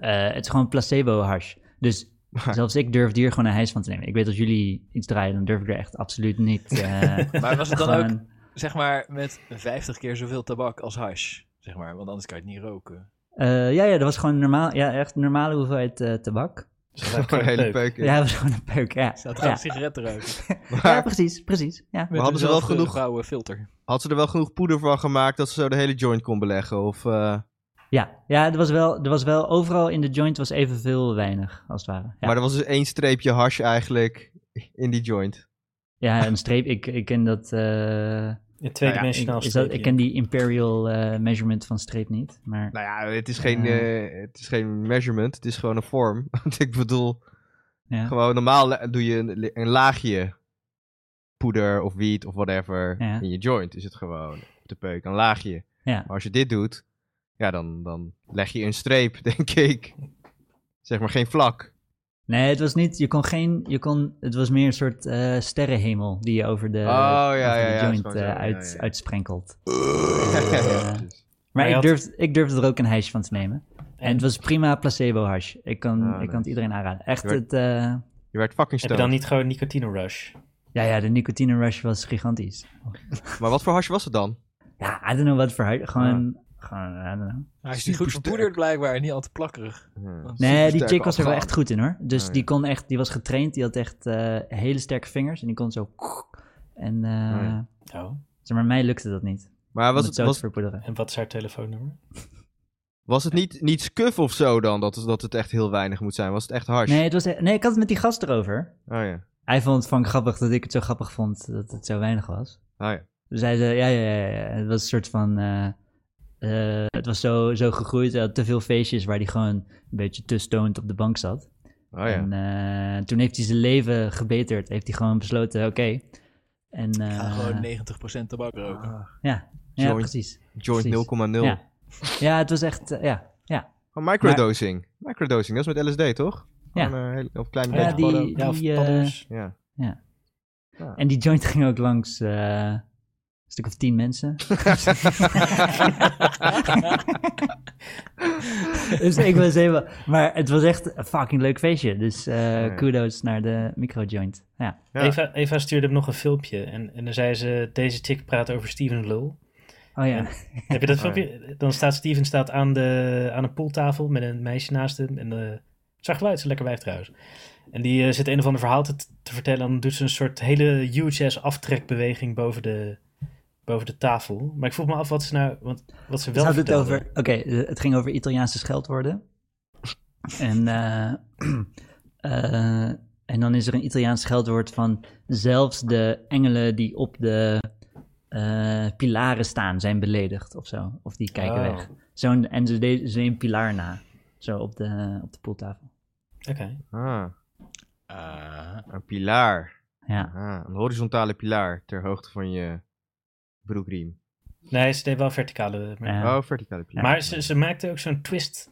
Speaker 2: eh, het is gewoon placebo-hash. Dus zelfs ik durfde hier gewoon een hijs van te nemen. Ik weet als jullie iets draaien, dan durf ik er echt absoluut niet. eh,
Speaker 3: Maar was het dan ook,
Speaker 2: gewoon-
Speaker 3: zeg maar, met 50 keer zoveel tabak als hash? Zeg maar, want anders kan je het niet roken.
Speaker 2: Eh, ja, ja, dat was gewoon normaal, ja, echt een normale hoeveelheid eh, tabak.
Speaker 4: Gewoon een hele peuk. in.
Speaker 2: Ja, dat was gewoon een peuk, ja.
Speaker 3: Staat
Speaker 2: Ja,
Speaker 3: gewoon sigaretten roken.
Speaker 2: ja,
Speaker 4: Maar
Speaker 2: precies, precies. Ja.
Speaker 3: Met
Speaker 4: hadden ze wel genoeg-
Speaker 3: gouden filter.
Speaker 4: had ze er wel genoeg poeder van gemaakt dat ze zo de hele joint kon beleggen? Of, eh,
Speaker 2: Ja, ja er, was wel, er was wel overal in de joint was evenveel weinig, als het ware. Ja,
Speaker 4: Maar er was dus één streepje hash eigenlijk in die joint.
Speaker 2: ja een streep, ik, ik ken dat... eh,
Speaker 1: Een tweedimensionaal
Speaker 2: ik, is dat ik ken die imperial eh, measurement van streep niet, maar...
Speaker 4: Nou ja, het is geen,
Speaker 2: Ja.
Speaker 4: eh, het is geen measurement, het is gewoon een vorm. Want ik bedoel,
Speaker 2: Ja.
Speaker 4: gewoon normaal le- doe je een, een laagje poeder of wiet of whatever
Speaker 2: Ja.
Speaker 4: in je joint. Is het gewoon op de peuk, een laagje.
Speaker 2: Ja.
Speaker 4: Maar als je dit doet, ja, dan, dan leg je een streep, denk ik. Zeg maar geen vlak.
Speaker 2: Nee, het was niet, je kon geen, je kon, het was meer een soort eh, sterrenhemel die je over de,
Speaker 4: Oh, ja,
Speaker 2: over
Speaker 4: ja,
Speaker 2: de
Speaker 4: ja, het is
Speaker 2: joint
Speaker 4: gewoon zo,
Speaker 2: eh,
Speaker 4: ja,
Speaker 2: uit,
Speaker 4: ja.
Speaker 2: uitsprenkelt.
Speaker 4: Ja, precies.
Speaker 2: Maar
Speaker 1: je
Speaker 2: ik
Speaker 1: had-
Speaker 2: durfde, ik durfde er ook een hijsje van te nemen. En het was prima placebo hash. Ik kan,
Speaker 4: Ah,
Speaker 2: ik
Speaker 4: nice.
Speaker 2: kan het iedereen aanraden. Echt
Speaker 4: Je werd-
Speaker 2: het, eh,
Speaker 4: je werd
Speaker 1: Heb
Speaker 4: fucking
Speaker 1: je dan
Speaker 4: stoned.
Speaker 1: niet gewoon nicotine rush?
Speaker 2: ja, ja, de nicotine rush was gigantisch.
Speaker 4: Maar wat voor hash was het dan?
Speaker 2: Ja, I don't know wat voor huid. Gewoon, gewoon, I don't know.
Speaker 3: Hij is niet goed
Speaker 4: Supersterk.
Speaker 3: verpoederd blijkbaar en niet al te plakkerig.
Speaker 4: Hm.
Speaker 2: Nee, die
Speaker 4: Supersterke
Speaker 2: chick was er wel
Speaker 4: afgaan.
Speaker 2: echt goed in hoor. Dus
Speaker 4: Oh, ja.
Speaker 2: die kon echt, die was getraind. Die had echt eh, hele sterke vingers. En die kon zo. En eh,
Speaker 4: Oh, ja.
Speaker 1: Oh.
Speaker 2: zeg maar, mij lukte dat niet. Was
Speaker 4: Maar was
Speaker 2: het
Speaker 4: het,
Speaker 2: zo te
Speaker 4: was,
Speaker 2: verpoederen.
Speaker 1: En wat is haar telefoonnummer?
Speaker 4: was het niet, niet scuff of zo dan? Dat, dat het echt heel weinig moet zijn? Was het echt hash?
Speaker 2: Nee, het was, nee, ik had het met die gast erover.
Speaker 4: Oh ja.
Speaker 2: Hij vond het van grappig dat ik het zo grappig vond dat het zo weinig was.
Speaker 4: Oh ja.
Speaker 2: Dus hij zei, ja, ja, ja, ja. Het was een soort van. eh, eh, het was zo, zo gegroeid. Hij had te veel feestjes waar hij gewoon een beetje te stoned op de bank zat.
Speaker 4: Oh ja.
Speaker 2: En eh, toen heeft hij zijn leven gebeterd. Heeft hij gewoon besloten, oké. En eh,
Speaker 3: Ga gewoon 90% tabak roken.
Speaker 1: Ah.
Speaker 2: ja, ja,
Speaker 4: Joint.
Speaker 2: precies.
Speaker 4: Joint
Speaker 2: Precies.
Speaker 4: 0,0.
Speaker 2: Ja. ja, het was echt, eh, ja, ja.
Speaker 4: Oh, microdosing. Microdosing, dat is met LSD toch?
Speaker 2: Ja.
Speaker 4: Gewoon een hele- of kleine
Speaker 2: Ja,
Speaker 4: beetje
Speaker 2: die-
Speaker 4: padden.
Speaker 1: ja, of
Speaker 2: die, eh,
Speaker 1: padders?
Speaker 4: Ja.
Speaker 2: En die joint ging ook langs eh, een stuk of tien mensen. dus ik was helemaal... Maar het was echt een fucking leuk feestje. Dus eh,
Speaker 4: Ja.
Speaker 2: kudos naar de microjoint. Ja.
Speaker 4: Ja.
Speaker 1: Eva, Eva stuurde hem nog een filmpje. En, en dan zei ze, deze chick praat over Steven Lul.
Speaker 2: Oh ja.
Speaker 1: Heb je dat
Speaker 4: Oh, ja.
Speaker 1: filmpje? Dan staat Steven staat aan, de, aan een poeltafel met een meisje naast hem. En eh, zag geluid, ze lekker wijf trouwens. En die eh, zit een of ander verhaal te, te vertellen. En dan doet ze een soort hele huge ass aftrekbeweging boven de, boven de tafel. Maar ik vroeg me af wat ze nou, want, wat ze
Speaker 2: Ze
Speaker 1: wel
Speaker 2: hadden Dus het
Speaker 1: vertelde.
Speaker 2: over. Oké, eh, het ging over Italiaanse scheldwoorden. En, eh, eh, en dan is er een Italiaans scheldwoord van. Zelfs de engelen die op de eh, pilaren staan zijn beledigd of zo. Of die kijken
Speaker 1: Oh.
Speaker 2: weg. Zo'n, en ze deden ze een pilaar na. Zo op de, op de poeltafel.
Speaker 1: Oké.
Speaker 4: Ah,
Speaker 3: Ah.
Speaker 4: een pilaar.
Speaker 2: Ja.
Speaker 4: Ah, een horizontale pilaar ter hoogte van je broekriem.
Speaker 1: Nee, ze deed wel verticale. Maar,
Speaker 2: Ja.
Speaker 4: Oh, verticale pilaar.
Speaker 1: maar ze, ze maakte ook zo'n twist,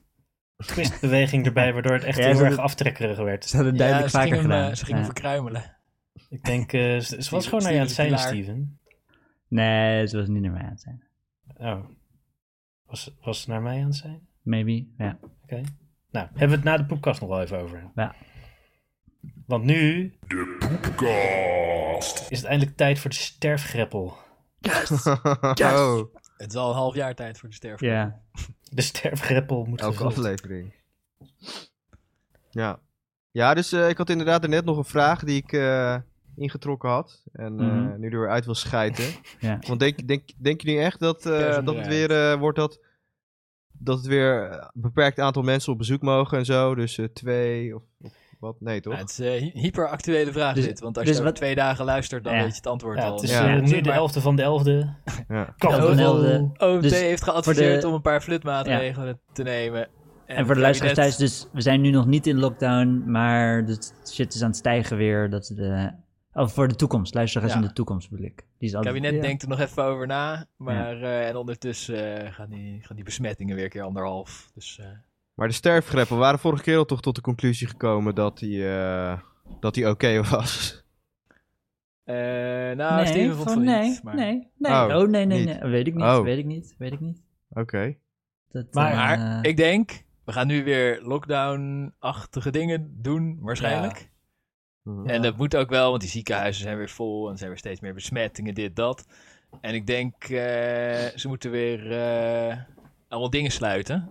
Speaker 1: twistbeweging erbij, waardoor het echt
Speaker 2: Ja,
Speaker 1: heel
Speaker 2: ze-
Speaker 1: erg aftrekkerig werd.
Speaker 2: Ze hadden duidelijk
Speaker 3: Ja, ze
Speaker 2: vaker
Speaker 3: gingen hem,
Speaker 2: gedaan.
Speaker 3: eh, Ze gingen
Speaker 2: Ja.
Speaker 3: verkruimelen.
Speaker 1: Ik denk, eh, ze, ze was
Speaker 3: Steven-
Speaker 1: gewoon naar je aan het
Speaker 3: Steven
Speaker 1: zijn,
Speaker 3: Pilaar.
Speaker 1: Steven.
Speaker 2: Nee, ze was niet naar mij aan het zijn.
Speaker 1: Oh. Was, was ze naar mij aan het zijn?
Speaker 2: Maybe. Ja.
Speaker 1: Oké. Nou, hebben we het na de podcast nog wel even over.
Speaker 2: Ja.
Speaker 1: Want nu... De poepkast. Is het eindelijk tijd voor de sterfgreppel.
Speaker 4: oh,
Speaker 3: Het is al een half jaar tijd voor de sterven.
Speaker 2: ja.
Speaker 1: De sterfgreppel moet
Speaker 4: elke
Speaker 1: gevuld.
Speaker 4: aflevering. Ja. Ja, dus eh, ik had inderdaad net nog een vraag die ik eh, ingetrokken had. En eh,
Speaker 2: Mhm.
Speaker 4: nu er weer uit wil schijten.
Speaker 2: ja.
Speaker 4: Want denk, denk, denk je nu echt dat, eh,
Speaker 3: Pers en
Speaker 4: dat het
Speaker 3: draait.
Speaker 4: weer eh, wordt dat, dat het weer eh, een beperkt aantal mensen op bezoek mogen en zo? Dus eh, twee of, of Wat? Nee, toch?
Speaker 3: Ja, het is eh, hy- hyperactuele vraag
Speaker 2: Dus-
Speaker 3: dit, want als
Speaker 2: dus
Speaker 3: je over
Speaker 2: wat-
Speaker 3: twee dagen luistert, dan
Speaker 2: Ja.
Speaker 3: weet je het antwoord
Speaker 1: Ja,
Speaker 3: al.
Speaker 1: het is
Speaker 4: Ja.
Speaker 1: eh, nu de
Speaker 3: Maar-
Speaker 1: elfde van de elfde.
Speaker 4: Ja.
Speaker 1: Kan
Speaker 2: Ja,
Speaker 1: wel.
Speaker 2: van de elfde.
Speaker 3: OMT
Speaker 2: Dus
Speaker 3: heeft geadviseerd
Speaker 2: de-
Speaker 3: om een paar flutmaatregelen te nemen.
Speaker 2: En voor de
Speaker 3: het
Speaker 2: luisteraars thuis,
Speaker 3: kabinet-
Speaker 2: dus we zijn nu nog niet in lockdown, maar de shit is aan het stijgen weer. Dat is de, oh, voor de toekomst, luisteraars
Speaker 3: Ja.
Speaker 2: in de toekomst bedoel ik. Die is
Speaker 3: Het
Speaker 2: altijd,
Speaker 3: kabinet
Speaker 2: ja.
Speaker 3: denkt er nog even over na, maar eh, en ondertussen eh, gaan, die, gaan die besmettingen weer een keer anderhalf. Dus eh,
Speaker 4: Maar de sterfgrep, we waren vorige keer al toch tot de conclusie gekomen dat die, eh, dat die oké was.
Speaker 3: eh, nou, Steven vond
Speaker 2: van
Speaker 3: van niet.
Speaker 2: nee,
Speaker 3: maar-
Speaker 2: nee, nee.
Speaker 4: Oh,
Speaker 2: Oh, nee, nee,
Speaker 4: niet.
Speaker 2: nee. Weet ik niet,
Speaker 4: Oh.
Speaker 2: weet ik niet, weet ik niet.
Speaker 4: Oké.
Speaker 2: Dat,
Speaker 1: Maar-
Speaker 2: eh,
Speaker 3: Maar ik denk, we gaan nu weer lockdown-achtige dingen doen, waarschijnlijk.
Speaker 4: Mhm.
Speaker 3: En dat moet ook wel, want die ziekenhuizen zijn weer vol en er zijn weer steeds meer besmettingen, dit, dat. En ik denk, eh, ze moeten weer eh, allemaal dingen sluiten.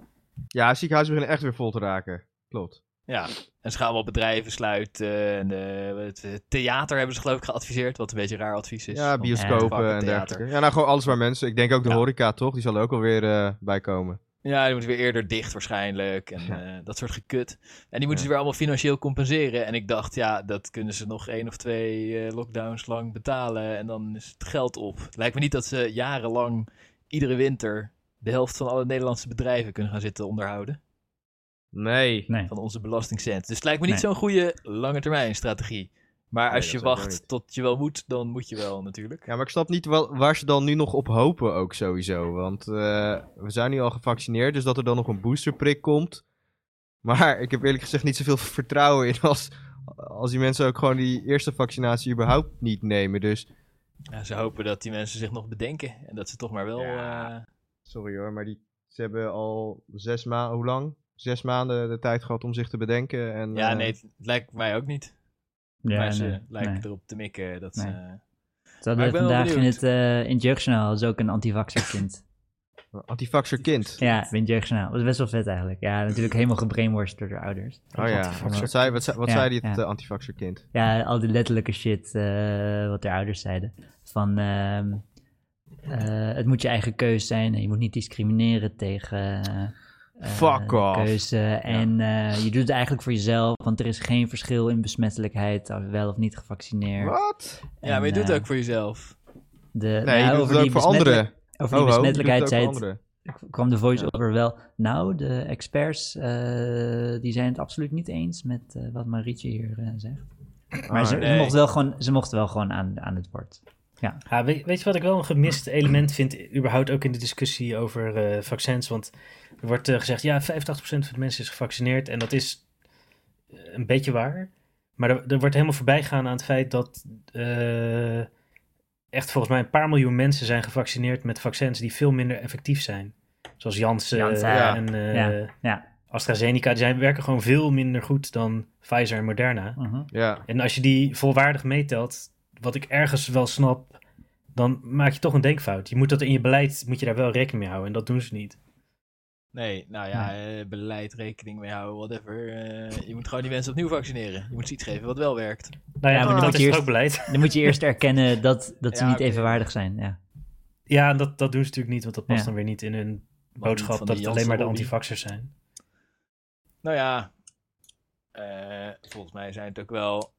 Speaker 4: Ja, ziekenhuizen beginnen echt weer vol te raken. Klopt.
Speaker 3: Ja, en ze gaan allemaal bedrijven sluiten. En eh, het eh, theater hebben ze geloof ik geadviseerd, wat een beetje een raar advies is.
Speaker 4: Dus Ja,
Speaker 3: Want-
Speaker 4: bioscopen
Speaker 3: fucking
Speaker 4: en
Speaker 3: theater.
Speaker 4: dergelijke. Ja, nou gewoon alles waar mensen... Ik denk ook de
Speaker 3: Ja.
Speaker 4: horeca, toch? Die zal er ook alweer eh bij komen.
Speaker 3: Ja, die moeten weer eerder dicht waarschijnlijk. En
Speaker 4: Ja.
Speaker 3: eh, dat soort gekut. En die moeten ze weer allemaal financieel compenseren. En ik dacht, ja, dat kunnen ze nog één of twee eh, lockdowns lang betalen. En dan is het geld op. Het lijkt me niet dat ze jarenlang iedere winter de helft van alle Nederlandse bedrijven kunnen gaan zitten onderhouden.
Speaker 4: Nee.
Speaker 2: nee.
Speaker 3: Van onze belastingcent. Dus het lijkt me niet
Speaker 2: Nee.
Speaker 3: zo'n goede lange termijn strategie. Maar
Speaker 4: Nee,
Speaker 3: als
Speaker 4: dat
Speaker 3: je
Speaker 4: zeker
Speaker 3: wacht
Speaker 4: niet.
Speaker 3: tot je wel moet, dan moet je wel natuurlijk.
Speaker 4: Ja, maar ik snap niet wel, waar ze dan nu nog op hopen ook sowieso. Want eh, we zijn nu al gevaccineerd, dus dat er dan nog een boosterprik komt. Maar ik heb eerlijk gezegd niet zoveel vertrouwen in als, als die mensen ook gewoon die eerste vaccinatie überhaupt niet nemen. Dus
Speaker 3: Ja, ze hopen dat die mensen zich nog bedenken. En dat ze toch maar wel...
Speaker 4: Ja.
Speaker 3: eh,
Speaker 4: sorry hoor, maar die, ze hebben al zes maanden, hoe lang? Zes maanden de tijd gehad om zich te bedenken. En,
Speaker 3: ja
Speaker 4: eh,
Speaker 3: nee, het lijkt mij ook niet.
Speaker 2: Ja,
Speaker 3: maar ze
Speaker 2: nee,
Speaker 3: lijken
Speaker 2: nee.
Speaker 3: erop te mikken. Dat
Speaker 2: Nee.
Speaker 3: ze- eh,
Speaker 2: Ze hadden
Speaker 3: ik ben wel
Speaker 2: vandaag in
Speaker 3: benieuwd.
Speaker 2: het, eh, in het jeugdjournaal hadden ze ook een antivaxerkind.
Speaker 4: een Antivaxer kind.
Speaker 2: ja, in het jeugdjournaal. Dat was best wel vet eigenlijk. Ja, natuurlijk helemaal gebrainwashed door de ouders.
Speaker 4: Oh ja,
Speaker 2: Antivaxer.
Speaker 4: wat zei, wat zei, wat
Speaker 2: Ja,
Speaker 4: zei die het
Speaker 2: ja.
Speaker 4: eh, antivaxer kind?
Speaker 2: Ja, al die letterlijke shit eh, wat de ouders zeiden. Van ehm, eh, het moet je eigen keus zijn en je moet niet discrimineren tegen eh,
Speaker 4: Fuck
Speaker 2: de
Speaker 4: off.
Speaker 2: keuze. En eh, je doet het eigenlijk voor jezelf, want er is geen verschil in besmettelijkheid, als wel of niet gevaccineerd.
Speaker 4: Wat?
Speaker 3: Ja, maar je
Speaker 2: En,
Speaker 3: doet
Speaker 2: eh,
Speaker 3: het ook voor jezelf.
Speaker 2: De, nou
Speaker 4: Nee,
Speaker 2: ja,
Speaker 4: je doet
Speaker 2: over
Speaker 4: het ook
Speaker 2: die
Speaker 4: voor
Speaker 2: besmettelijk-
Speaker 4: anderen. Oh,
Speaker 2: Over die
Speaker 4: Hallo, je doet het
Speaker 2: besmettelijkheid
Speaker 4: ook
Speaker 2: zei
Speaker 4: voor
Speaker 2: het-
Speaker 4: anderen.
Speaker 2: kwam de voice-over wel. Nou, de experts eh, die zijn het absoluut niet eens met eh, wat Marietje hier eh, zegt. Maar
Speaker 4: Ah,
Speaker 2: ze,
Speaker 3: nee.
Speaker 2: mochten wel gewoon, ze mochten wel gewoon aan, aan het woord.
Speaker 1: Ja, weet, weet je wat ik wel een gemist element vind, überhaupt ook in de discussie over eh, vaccins? Want er wordt eh, gezegd, ja, 85% van de mensen is gevaccineerd en dat is eh, een beetje waar. Maar er, er wordt helemaal voorbij gegaan aan het feit dat eh, echt volgens mij een paar miljoen mensen zijn gevaccineerd met vaccins die veel minder effectief zijn. Zoals Janssen
Speaker 2: Janssen,
Speaker 4: ja.
Speaker 1: en eh,
Speaker 2: Ja, ja.
Speaker 1: AstraZeneca, die zijn, werken gewoon veel minder goed dan Pfizer en Moderna.
Speaker 2: Mhm.
Speaker 4: Ja.
Speaker 1: En als je die volwaardig meetelt, wat ik ergens wel snap, dan maak je toch een denkfout. Je moet dat in je beleid, moet je daar wel rekening mee houden. En dat doen ze niet.
Speaker 3: Nee, nou ja, eh, beleid, rekening mee houden, whatever. Eh, je moet gewoon die mensen opnieuw vaccineren. Je moet ze iets geven wat wel werkt.
Speaker 1: Nou ja,
Speaker 2: Ja,
Speaker 1: maar
Speaker 2: dan
Speaker 1: dat
Speaker 2: moet
Speaker 1: is
Speaker 2: je
Speaker 1: toch
Speaker 2: eerst-
Speaker 1: ook beleid.
Speaker 2: Dan moet je eerst erkennen dat, dat ze
Speaker 3: Ja,
Speaker 2: niet
Speaker 3: oké.
Speaker 2: evenwaardig zijn. Ja.
Speaker 1: Ja, en dat, dat doen ze natuurlijk niet, want dat past
Speaker 2: Ja.
Speaker 1: dan weer niet in hun
Speaker 3: niet
Speaker 1: boodschap
Speaker 3: van
Speaker 1: dat
Speaker 3: die
Speaker 1: het alleen maar de
Speaker 3: Janssen-lobby.
Speaker 1: antivaxers zijn.
Speaker 3: Nou ja, eh, volgens mij zijn het ook wel...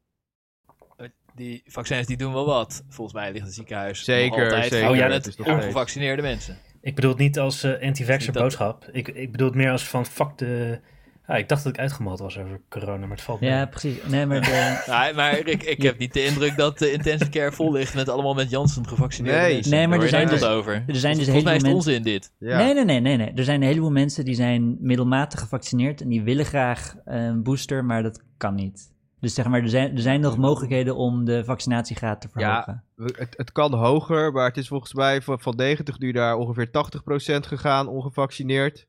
Speaker 3: eh, Die vaccins die doen wel wat. Volgens mij ligt het ziekenhuis nog
Speaker 4: Zeker,
Speaker 3: altijd
Speaker 4: zeker.
Speaker 3: gewoon
Speaker 1: Oh ja,
Speaker 3: met
Speaker 4: dat is nog steeds.
Speaker 3: ongevaccineerde mensen.
Speaker 1: Ik bedoel het niet als eh, anti-vaxxer
Speaker 3: Niet dat-
Speaker 1: boodschap. Ik, ik bedoel het meer als van fuck de... Ah, ik dacht dat ik uitgemald was over corona, maar het valt mee.
Speaker 2: ja, precies. Nee, maar de,
Speaker 3: Ja, Nou, maar ik, ik heb niet de indruk dat de intensive care vol ligt met allemaal met Janssen gevaccineerde
Speaker 4: Nee.
Speaker 3: mensen.
Speaker 2: Nee, maar
Speaker 3: Daar
Speaker 2: er
Speaker 3: hoor je
Speaker 4: zijn
Speaker 3: nooit wat over.
Speaker 2: er zijn dus
Speaker 3: Volgens mij
Speaker 2: helemaal
Speaker 3: is het
Speaker 2: mensen...
Speaker 3: onzin dit.
Speaker 4: Ja.
Speaker 2: Nee, nee, nee, nee, nee. Er zijn een heleboel mensen die zijn middelmatig gevaccineerd en die willen graag eh, een booster, maar dat kan niet. Dus zeg maar, er zijn, er zijn nog mogelijkheden om de vaccinatiegraad te verhogen.
Speaker 4: We- Het, het kan hoger, maar het is volgens mij van, van 90 nu daar ongeveer 80% gegaan, ongevaccineerd.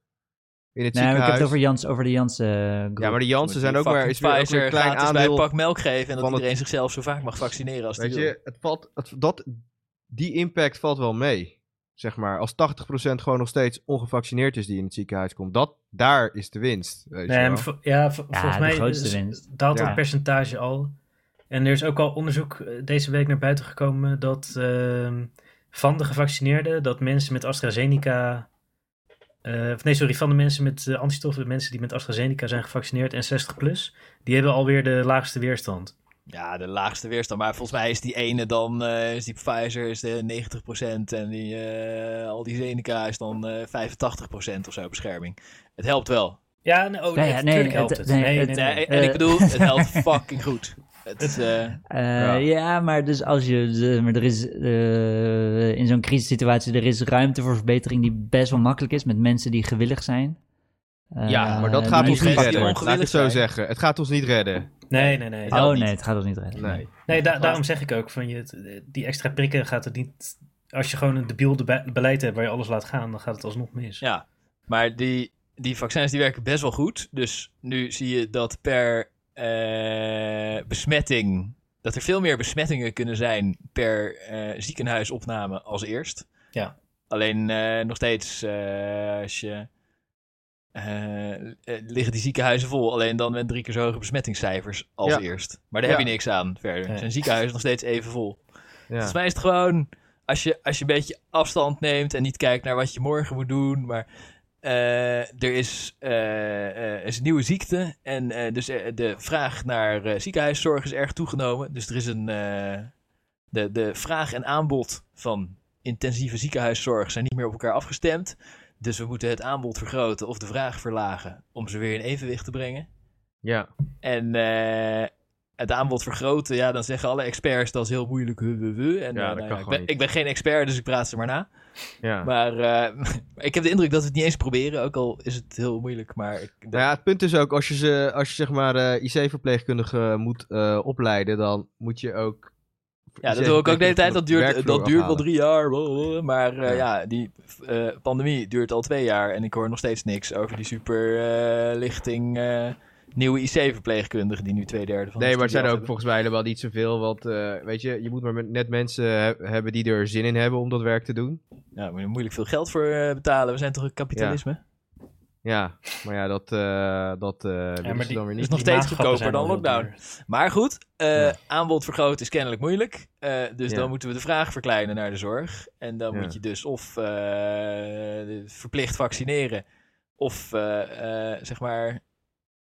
Speaker 4: In het
Speaker 2: nee, maar Nou, ik heb
Speaker 4: ziekenhuis.
Speaker 2: het over, Jans, over de Janssen eh, groep.
Speaker 4: Ja, maar de Jansen zijn ook maar, is weer ook
Speaker 3: Pfizer
Speaker 4: weer een klein
Speaker 3: gratis bij een
Speaker 4: aandeel.
Speaker 3: pak melk geven en dat
Speaker 4: van het-
Speaker 3: iedereen zichzelf zo vaak mag vaccineren als die
Speaker 4: Weet
Speaker 3: wil.
Speaker 4: je, het valt, het, dat, die impact valt wel mee. Zeg maar, als 80% gewoon nog steeds ongevaccineerd is die in het ziekenhuis komt, dat, daar is de winst. Weet
Speaker 1: Nee, maar
Speaker 4: je wel.
Speaker 1: vo- ja, vo-
Speaker 2: Ja,
Speaker 1: volgens
Speaker 2: de
Speaker 1: mij
Speaker 2: grootste
Speaker 1: is-
Speaker 2: winst.
Speaker 1: daalt
Speaker 4: Ja.
Speaker 1: dat percentage al. En er is ook al onderzoek eh, deze week naar buiten gekomen dat ehm, van de gevaccineerden, dat mensen met AstraZeneca eh, of nee, sorry, van de mensen met eh, antistoffen, de mensen die met AstraZeneca zijn gevaccineerd en 60 plus, die hebben alweer de laagste weerstand.
Speaker 3: Ja, de laagste weerstand. Maar volgens mij is die ene dan, eh, is die Pfizer is de 90% en die, eh, al die Zeneca is dan eh 85% of zo bescherming. Het helpt wel.
Speaker 1: Ja, nee, oh,
Speaker 2: Ja,
Speaker 1: nee,
Speaker 2: ja, nee,
Speaker 1: natuurlijk helpt
Speaker 2: het-
Speaker 1: het.
Speaker 2: nee,
Speaker 1: Nee, nee,
Speaker 2: het-
Speaker 1: nee.
Speaker 3: En- en ik
Speaker 2: Eh.
Speaker 3: bedoel, het helpt fucking goed. Het, eh,
Speaker 2: Eh,
Speaker 4: Ja.
Speaker 2: ja. maar dus als je. de- Maar er is eh, in zo'n crisissituatie er is ruimte voor verbetering die best wel makkelijk is met mensen die gewillig zijn. Eh,
Speaker 4: ja, maar dat
Speaker 2: die
Speaker 4: gaat
Speaker 3: die
Speaker 4: ons niet
Speaker 3: mensen die
Speaker 4: redden. Laat ik
Speaker 3: ongewillig
Speaker 4: het zo
Speaker 3: zijn.
Speaker 4: zeggen. Het gaat ons niet redden.
Speaker 1: Nee, nee, nee.
Speaker 2: Oh
Speaker 3: niet.
Speaker 2: nee, Oh. het gaat ons niet redden.
Speaker 4: Nee.
Speaker 1: Nee, da- daarom zeg ik ook, van je, het- die extra prikken gaat het niet... Als je gewoon een debiel debe- beleid hebt waar je alles laat gaan, dan gaat het alsnog mis.
Speaker 3: ja, maar die, die vaccins die werken best wel goed. Dus nu zie je dat per eh, besmetting, dat er veel meer besmettingen kunnen zijn per eh, ziekenhuisopname als eerst.
Speaker 1: Ja.
Speaker 3: Alleen eh, nog steeds, eh, als je, eh, eh, liggen die ziekenhuizen vol. Alleen dan met drie keer zo hoge besmettingscijfers als
Speaker 4: Ja.
Speaker 3: eerst. Maar daar heb
Speaker 4: Ja.
Speaker 3: je niks aan verder.
Speaker 1: Nee.
Speaker 3: Zijn ziekenhuizen nog steeds even vol.
Speaker 4: Ja.
Speaker 3: Volgens mij is het gewoon, als je, als je een beetje afstand neemt en niet kijkt naar wat je morgen moet doen, maar eh, er is, eh, eh, er is een nieuwe ziekte en eh, dus eh, de vraag naar eh, ziekenhuiszorg is erg toegenomen. Dus er is een, eh, de, de vraag en aanbod van intensieve ziekenhuiszorg zijn niet meer op elkaar afgestemd. Dus we moeten het aanbod vergroten of de vraag verlagen om ze weer in evenwicht te brengen.
Speaker 4: Ja.
Speaker 3: En eh, het aanbod vergroten, ja, dan zeggen alle experts dat is heel moeilijk. huh, huh, huh. En,
Speaker 4: Ja,
Speaker 3: eh, nou
Speaker 4: dat kan
Speaker 3: ik,
Speaker 4: gewoon
Speaker 3: ben,
Speaker 4: niet.
Speaker 3: ik ben geen expert, dus ik praat ze maar na.
Speaker 4: ja.
Speaker 3: Maar eh, ik heb de indruk dat we het niet eens proberen, ook al is het heel moeilijk. Maar ik,
Speaker 4: Nou ja, het punt is ook, als je, ze, als je zeg maar eh, IC-verpleegkundige moet eh, opleiden, dan moet je ook...
Speaker 3: ja, dat doe ik ook de hele tijd. Dat duurt,
Speaker 4: werkvloer
Speaker 3: dat duurt wel
Speaker 4: afhalen.
Speaker 3: drie jaar. blablabla. Maar eh,
Speaker 4: Ja.
Speaker 3: ja. die eh, pandemie duurt al twee jaar en ik hoor nog steeds niks over die superlichting eh, nieuwe IC-verpleegkundigen die nu twee derde van de
Speaker 4: Nee, maar het
Speaker 3: studie
Speaker 4: zijn
Speaker 3: af
Speaker 4: er ook
Speaker 3: hebben.
Speaker 4: volgens mij helemaal niet zoveel, want eh, weet je, je moet maar met- net mensen he- hebben die er zin in hebben om dat werk te doen.
Speaker 3: Ja, moet je er moeilijk veel geld voor eh, betalen. We zijn toch een kapitalisme?
Speaker 4: Ja, maar ja, dat, eh dat eh willen
Speaker 1: maar
Speaker 4: ze dan weer
Speaker 3: is
Speaker 4: niet.
Speaker 3: nog
Speaker 1: Die maatgappen
Speaker 3: steeds goedkoper
Speaker 4: dus
Speaker 1: zijn
Speaker 3: dan
Speaker 1: al heel
Speaker 3: lockdown.
Speaker 1: duur.
Speaker 3: Maar goed, eh,
Speaker 4: Ja.
Speaker 3: aanbod vergroten is kennelijk moeilijk. Eh, dus
Speaker 4: Ja.
Speaker 3: dan moeten we de vraag verkleinen naar de zorg. En dan
Speaker 4: Ja.
Speaker 3: moet je dus of eh, verplicht vaccineren, of eh, eh, zeg maar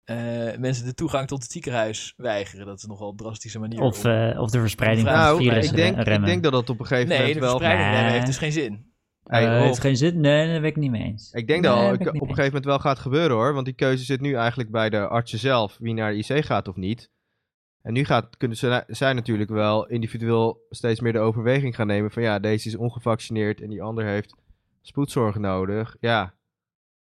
Speaker 3: eh, mensen de toegang tot het ziekenhuis weigeren. Dat is nogal een drastische manier.
Speaker 2: Of,
Speaker 3: om-
Speaker 2: eh, of de verspreiding van het
Speaker 4: Nou,
Speaker 2: virus
Speaker 4: ik denk,
Speaker 2: re- remmen.
Speaker 4: ik denk dat dat op een gegeven
Speaker 3: nee,
Speaker 4: moment
Speaker 3: de
Speaker 4: wel...
Speaker 3: verspreiding
Speaker 2: Nee.
Speaker 3: nee, heeft dus geen zin.
Speaker 4: Hey, oh.
Speaker 2: Eh,
Speaker 4: Rolf,
Speaker 2: heeft geen zin? Nee, daar ben ik niet mee eens.
Speaker 4: Ik denk
Speaker 2: Nee,
Speaker 4: dat al-
Speaker 2: daar
Speaker 4: ik-
Speaker 2: ben ik
Speaker 4: op een
Speaker 2: niet mee
Speaker 4: gegeven moment wel gaat gebeuren hoor. Want die keuze zit nu eigenlijk bij de artsen zelf, wie naar de IC gaat of niet. En nu gaat, kunnen ze, zij natuurlijk wel individueel steeds meer de overweging gaan nemen van ja, deze is ongevaccineerd en die ander heeft spoedzorg nodig. Ja,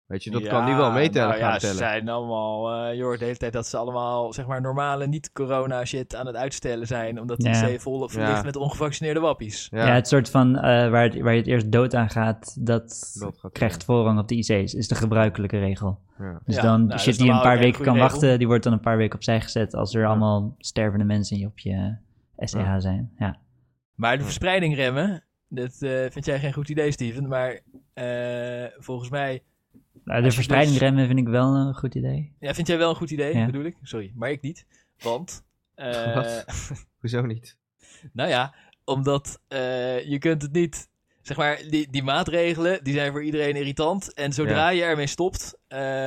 Speaker 4: weet je, dat kan nu wel meetellen
Speaker 3: nou
Speaker 4: gaan
Speaker 3: ja, ze
Speaker 4: tellen.
Speaker 3: zijn allemaal, eh je hoort de hele tijd dat ze allemaal, zeg maar, normale niet-corona shit aan het uitstellen zijn. Omdat de
Speaker 2: Ja.
Speaker 3: IC vol, vol ligt met ongevaccineerde wappies.
Speaker 2: Ja, het soort van eh, waar, het- waar je het eerst dood aan gaat, dat,
Speaker 4: dat gaat
Speaker 2: krijgt voorrang op de IC's, is de gebruikelijke regel.
Speaker 4: Ja.
Speaker 2: Dus
Speaker 3: Ja,
Speaker 2: dan
Speaker 3: nou,
Speaker 2: de
Speaker 3: dat
Speaker 2: shit
Speaker 3: is
Speaker 2: die je een
Speaker 3: normaal
Speaker 2: paar
Speaker 3: ook een
Speaker 2: weken kan
Speaker 3: goede regel.
Speaker 2: wachten, die wordt dan een paar weken opzij gezet als er allemaal stervende mensen op je SCH
Speaker 4: Ja.
Speaker 2: zijn. Ja.
Speaker 3: Maar de verspreiding remmen, dat eh, vind jij geen goed idee, Steven. Maar eh, volgens mij,
Speaker 2: Nou, de
Speaker 3: dus-
Speaker 2: verspreiding remmen vind ik wel een goed idee.
Speaker 3: ja, vind jij wel een goed idee,
Speaker 2: Ja.
Speaker 3: bedoel ik. Sorry, maar ik niet. Want, eh,
Speaker 4: Wat? Hoezo niet?
Speaker 3: nou ja, omdat eh, je kunt het niet... Zeg maar, die, die maatregelen, die zijn voor iedereen irritant. En zodra je ermee stopt,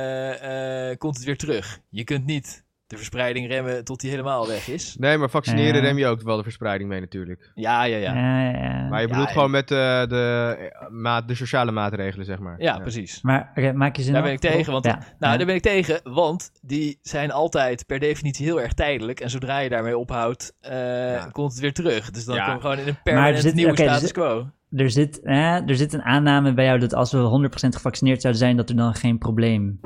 Speaker 3: eh, eh, komt het weer terug. Je kunt niet de verspreiding remmen tot die helemaal weg is.
Speaker 4: Nee, maar vaccineren
Speaker 2: Eh.
Speaker 4: rem je ook wel de verspreiding mee natuurlijk.
Speaker 3: Ja, ja, ja. Ja,
Speaker 2: Ja, ja.
Speaker 4: Maar
Speaker 2: Maar,
Speaker 4: je
Speaker 3: Ja,
Speaker 4: bedoelt
Speaker 3: en-
Speaker 4: gewoon met eh, de, eh, maat, de sociale maatregelen, zeg maar.
Speaker 3: precies.
Speaker 2: oké, maak je zin
Speaker 3: Daar
Speaker 2: op?
Speaker 3: ben ik tegen, want-
Speaker 2: Ja.
Speaker 3: Nou,
Speaker 2: Ja.
Speaker 3: daar ben ik tegen, want die zijn altijd per definitie heel erg tijdelijk. En zodra je daarmee ophoudt, eh,
Speaker 4: Ja.
Speaker 3: komt het weer terug. Dus dan
Speaker 4: Ja.
Speaker 3: komen we gewoon in een
Speaker 2: er
Speaker 3: permanent
Speaker 2: zit-
Speaker 3: nieuwe
Speaker 2: oké, er
Speaker 3: status
Speaker 2: zit-
Speaker 3: quo.
Speaker 2: Er zit, eh, er zit een aanname bij jou dat als we 100% gevaccineerd zouden zijn, dat er dan geen probleem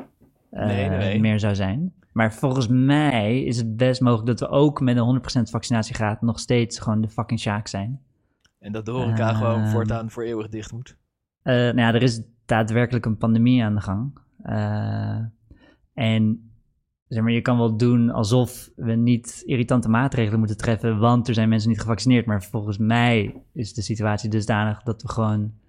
Speaker 2: eh,
Speaker 3: Nee, nee, nee.
Speaker 2: meer zou zijn. Maar volgens mij is het best mogelijk dat we ook met een 100% vaccinatiegraad nog steeds gewoon de fucking sjaak zijn.
Speaker 3: En dat de horeca gewoon
Speaker 2: Ehm.
Speaker 3: voortaan voor eeuwig dicht moet.
Speaker 2: Eh, nou ja, er is daadwerkelijk een pandemie aan de gang. Eh, en zeg maar, je kan wel doen alsof we niet irritante maatregelen moeten treffen, want er zijn mensen niet gevaccineerd. Maar volgens mij is de situatie dusdanig dat we gewoon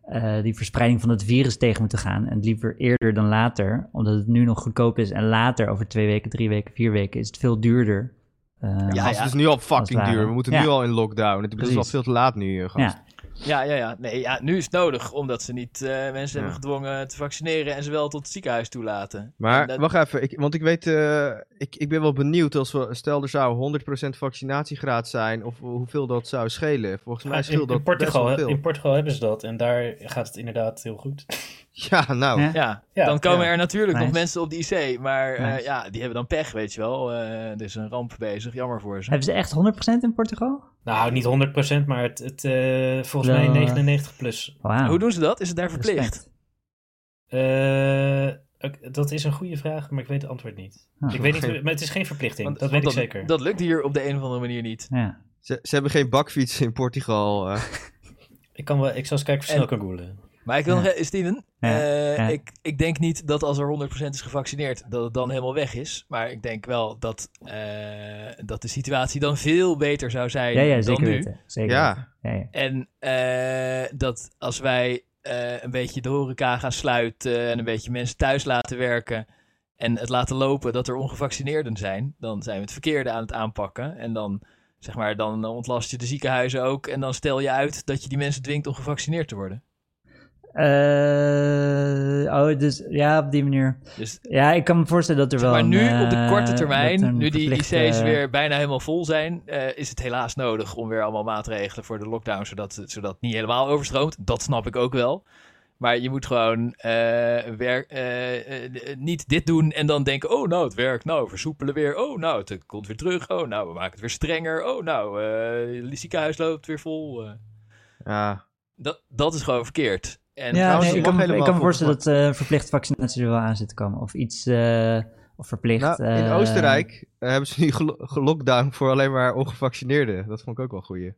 Speaker 2: eh, die verspreiding van het virus tegen moeten gaan. En liever eerder dan later, omdat het nu nog goedkoop is. En later, over twee weken, drie weken, vier weken, is het veel duurder. Eh,
Speaker 4: Ja,
Speaker 3: Ja,
Speaker 4: gast,
Speaker 3: ja.
Speaker 4: het is nu al
Speaker 2: het
Speaker 4: fucking
Speaker 2: ware.
Speaker 4: duur. We moeten
Speaker 2: Ja.
Speaker 4: nu al in lockdown. Het is al
Speaker 2: Precies.
Speaker 4: veel te laat nu, eh, gast.
Speaker 2: Ja.
Speaker 3: Ja, ja, ja. Nee, ja, nu is het nodig, omdat ze niet eh, mensen hebben gedwongen te vaccineren en ze wel tot het ziekenhuis toelaten.
Speaker 4: Maar
Speaker 3: En dat-
Speaker 4: wacht even, ik, want ik weet, eh, ik, ik ben wel benieuwd als we, stel er zou 100% vaccinatiegraad zijn, of hoeveel dat zou schelen. Volgens mij
Speaker 1: in-
Speaker 4: scheelt
Speaker 1: in,
Speaker 4: dat
Speaker 1: Portugal,
Speaker 4: best
Speaker 1: hè,
Speaker 4: wel veel.
Speaker 1: in Portugal hebben ze dat en daar gaat het inderdaad heel goed.
Speaker 4: Ja, nou.
Speaker 2: Ja.
Speaker 3: Ja,
Speaker 1: Ja,
Speaker 3: dan komen
Speaker 4: ja.
Speaker 3: er natuurlijk nog
Speaker 2: Nice.
Speaker 3: mensen op de IC, maar eh,
Speaker 2: Nice.
Speaker 3: ja, die hebben dan pech, weet je wel. Eh, er is een ramp bezig, jammer voor ze.
Speaker 2: Hebben ze echt 100% in Portugal?
Speaker 1: Nou, niet 100%, maar het, het, eh, volgens
Speaker 2: Wel,
Speaker 1: mij
Speaker 2: eh,
Speaker 1: 99 plus.
Speaker 2: Wauw.
Speaker 3: Hoe doen ze dat? Is het daar
Speaker 2: Respect.
Speaker 3: verplicht?
Speaker 1: Eh, ook- dat is een goede vraag, maar ik weet het antwoord niet.
Speaker 2: Ah.
Speaker 1: ik weet niet, hoe- maar het is geen verplichting,
Speaker 3: Want-
Speaker 1: dat weet
Speaker 3: want
Speaker 1: ik zeker.
Speaker 3: Dat lukt hier op de een of andere manier niet.
Speaker 2: Ja.
Speaker 4: Ze, ze hebben geen bakfietsen in Portugal. eh.
Speaker 1: Ik, kan wel, ik zal eens kijken of ik
Speaker 3: En-
Speaker 1: snel kan googlen.
Speaker 3: Maar ik wil
Speaker 2: Ja.
Speaker 3: nog even, Steven,
Speaker 2: Ja,
Speaker 3: eh,
Speaker 2: ja.
Speaker 3: Ik, ik denk niet dat als er 100% is gevaccineerd, dat het dan helemaal weg is. Maar ik denk wel dat, eh, dat de situatie dan veel beter zou zijn
Speaker 2: Ja, ja,
Speaker 3: dan
Speaker 2: zeker
Speaker 3: nu.
Speaker 2: weten. Zeker weten.
Speaker 4: ja,
Speaker 2: Ja, ja.
Speaker 3: En eh, dat als wij eh, een beetje de horeca gaan sluiten en een beetje mensen thuis laten werken en het laten lopen dat er ongevaccineerden zijn, dan zijn we het verkeerde aan het aanpakken. En dan, zeg maar, dan ontlast je de ziekenhuizen ook en dan stel je uit dat je die mensen dwingt om gevaccineerd te worden.
Speaker 2: Eh, oh, dus ja, op die manier.
Speaker 3: Dus
Speaker 2: Ja, ik kan me voorstellen dat er wel.
Speaker 3: maar nu
Speaker 2: een,
Speaker 3: op de korte
Speaker 2: eh,
Speaker 3: termijn,
Speaker 2: dat een
Speaker 3: nu die IC's
Speaker 2: verplichte- eh,
Speaker 3: weer bijna helemaal vol zijn, eh, is het helaas nodig om weer allemaal maatregelen voor de lockdown, zodat, zodat het niet helemaal overstroomt. Dat snap ik ook wel. Maar je moet gewoon eh, werk, eh, eh, eh, niet dit doen en dan denken, oh nou het werkt, nou we versoepelen weer, oh nou het eh, komt weer terug, oh nou we maken het weer strenger, oh nou eh, het ziekenhuis loopt weer vol. eh.
Speaker 4: ja.
Speaker 3: dat, dat is gewoon verkeerd. En
Speaker 2: Ja,
Speaker 4: trouwens,
Speaker 2: nee,
Speaker 4: je
Speaker 2: ik kan,
Speaker 4: mag
Speaker 2: me- ik
Speaker 4: helemaal
Speaker 2: kan me
Speaker 4: volgens
Speaker 2: voorstellen dat eh verplicht vaccinatie er wel aan zit te komen. Of iets. eh, of verplicht.
Speaker 4: Nou, in
Speaker 2: eh,
Speaker 4: Oostenrijk eh, hebben ze nu gelo- gelockdown voor alleen maar ongevaccineerden. Dat vond ik ook wel een goeie.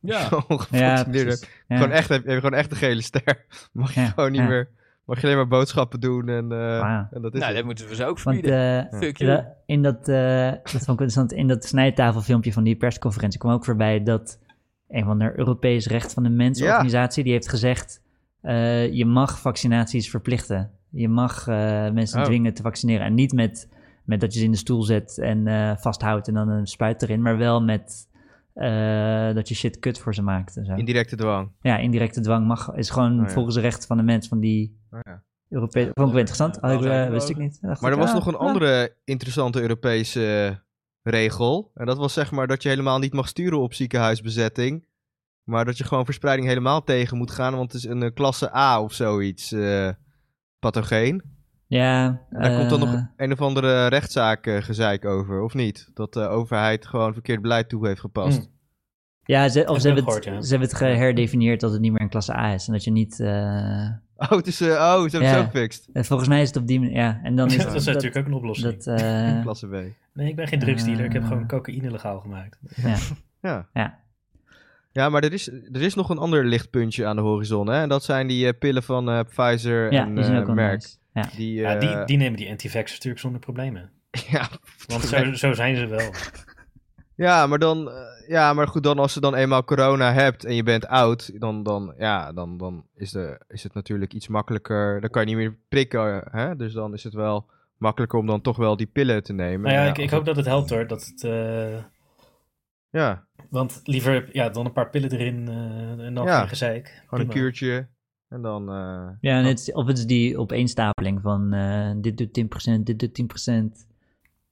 Speaker 3: ja.
Speaker 2: Ja,
Speaker 4: ongevaccineerden.
Speaker 2: precies. Ja.
Speaker 4: Gewoon echt, heb je hebt gewoon echt de gele ster. Mag je
Speaker 2: Ja,
Speaker 4: gewoon niet
Speaker 2: ja.
Speaker 4: meer, mag je alleen maar boodschappen doen en, eh,
Speaker 2: Wauw.
Speaker 4: en dat is
Speaker 3: nou
Speaker 4: het.
Speaker 3: dat moeten we ze ook
Speaker 2: Ah, Want
Speaker 3: verbieden.
Speaker 2: eh,
Speaker 3: Fuck
Speaker 2: Ja,
Speaker 3: you.
Speaker 2: in dat, eh, dat vond ik interessant, in dat snijtafelfilmpje van die persconferentie kwam ook voorbij dat een van de Europees Recht van de Mensenorganisatie, die heeft gezegd, eh, je mag vaccinaties verplichten. Je mag eh, mensen
Speaker 4: Oh.
Speaker 2: dwingen te vaccineren. En niet met, met dat je ze in de stoel zet en eh, vasthoudt en dan een spuit erin, maar wel met eh, dat je shit kut voor ze maakt. En zo.
Speaker 4: Indirecte dwang.
Speaker 2: Ja, indirecte dwang mag, is gewoon
Speaker 4: Oh ja.
Speaker 2: volgens de recht van de mens van die
Speaker 4: Oh ja.
Speaker 2: Europese... Vond ik wel interessant, Had ik,
Speaker 3: Ja,
Speaker 2: eh, wist ik niet. Dacht
Speaker 4: Maar er
Speaker 2: ik,
Speaker 4: was
Speaker 2: ah,
Speaker 4: nog een
Speaker 2: ah.
Speaker 4: andere interessante Europese eh, regel. En dat was zeg maar dat je helemaal niet mag sturen op ziekenhuisbezetting. Maar dat je gewoon verspreiding helemaal tegen moet gaan. Want het is een eh, klasse A of zoiets. eh, pathogeen.
Speaker 2: Ja.
Speaker 4: En daar komt dan nog
Speaker 2: eh,
Speaker 4: een of andere rechtszaak eh, gezeik over, of niet? Dat de overheid gewoon verkeerd beleid toe heeft gepast.
Speaker 1: Hm.
Speaker 2: Ja, ze, of
Speaker 1: ik
Speaker 2: ze hebben,
Speaker 1: gehoord,
Speaker 2: het,
Speaker 1: ja.
Speaker 2: ze hebben het geherdefinieerd dat het niet meer een klasse A is. En dat je niet... eh,
Speaker 4: Oh, het is, eh, oh, ze hebben
Speaker 2: Ja.
Speaker 4: het zo gefixt.
Speaker 2: eh, volgens mij is het op die manier... Ja, en dan is
Speaker 1: dat is natuurlijk ook een oplossing.
Speaker 2: dat, eh,
Speaker 4: Klasse B.
Speaker 1: nee, ik ben geen drugsdealer, ik heb
Speaker 2: eh,
Speaker 1: gewoon cocaïne legaal gemaakt.
Speaker 4: Ja.
Speaker 2: Ja.
Speaker 4: Ja, maar er is, er is nog een ander lichtpuntje aan de horizon. Hè? En dat zijn die eh, pillen van eh, Pfizer
Speaker 2: ja,
Speaker 4: en
Speaker 2: die zijn
Speaker 4: eh,
Speaker 2: ook wel
Speaker 4: Merck.
Speaker 2: nice. Ja.
Speaker 4: Die,
Speaker 1: ja, Ah, die,
Speaker 4: eh,
Speaker 1: die nemen die anti-vaxxers natuurlijk zonder problemen.
Speaker 4: ja,
Speaker 1: Want zo, zo zijn ze wel.
Speaker 4: ja, maar dan, eh, ja, maar goed, dan als je dan eenmaal corona hebt en je bent oud, dan, dan, ja, dan, dan is, de, is het natuurlijk iets makkelijker. Dan kan je niet meer prikken, hè? dus dan is het wel makkelijker om dan toch wel die pillen te nemen.
Speaker 1: Nou ja,
Speaker 4: Ja,
Speaker 1: ik, ik
Speaker 4: als
Speaker 1: hoop dat het helpt hoor. Dat het, eh,
Speaker 4: het- Ja,
Speaker 1: want liever ja, dan een paar pillen erin eh, en dan
Speaker 4: Ja.
Speaker 1: geen gezeik.
Speaker 4: Gewoon een
Speaker 1: Prima.
Speaker 4: kuurtje. En dan. eh,
Speaker 2: Ja, en het, is- of het is die opeenstapeling van eh, dit doet 10%, dit doet 10%.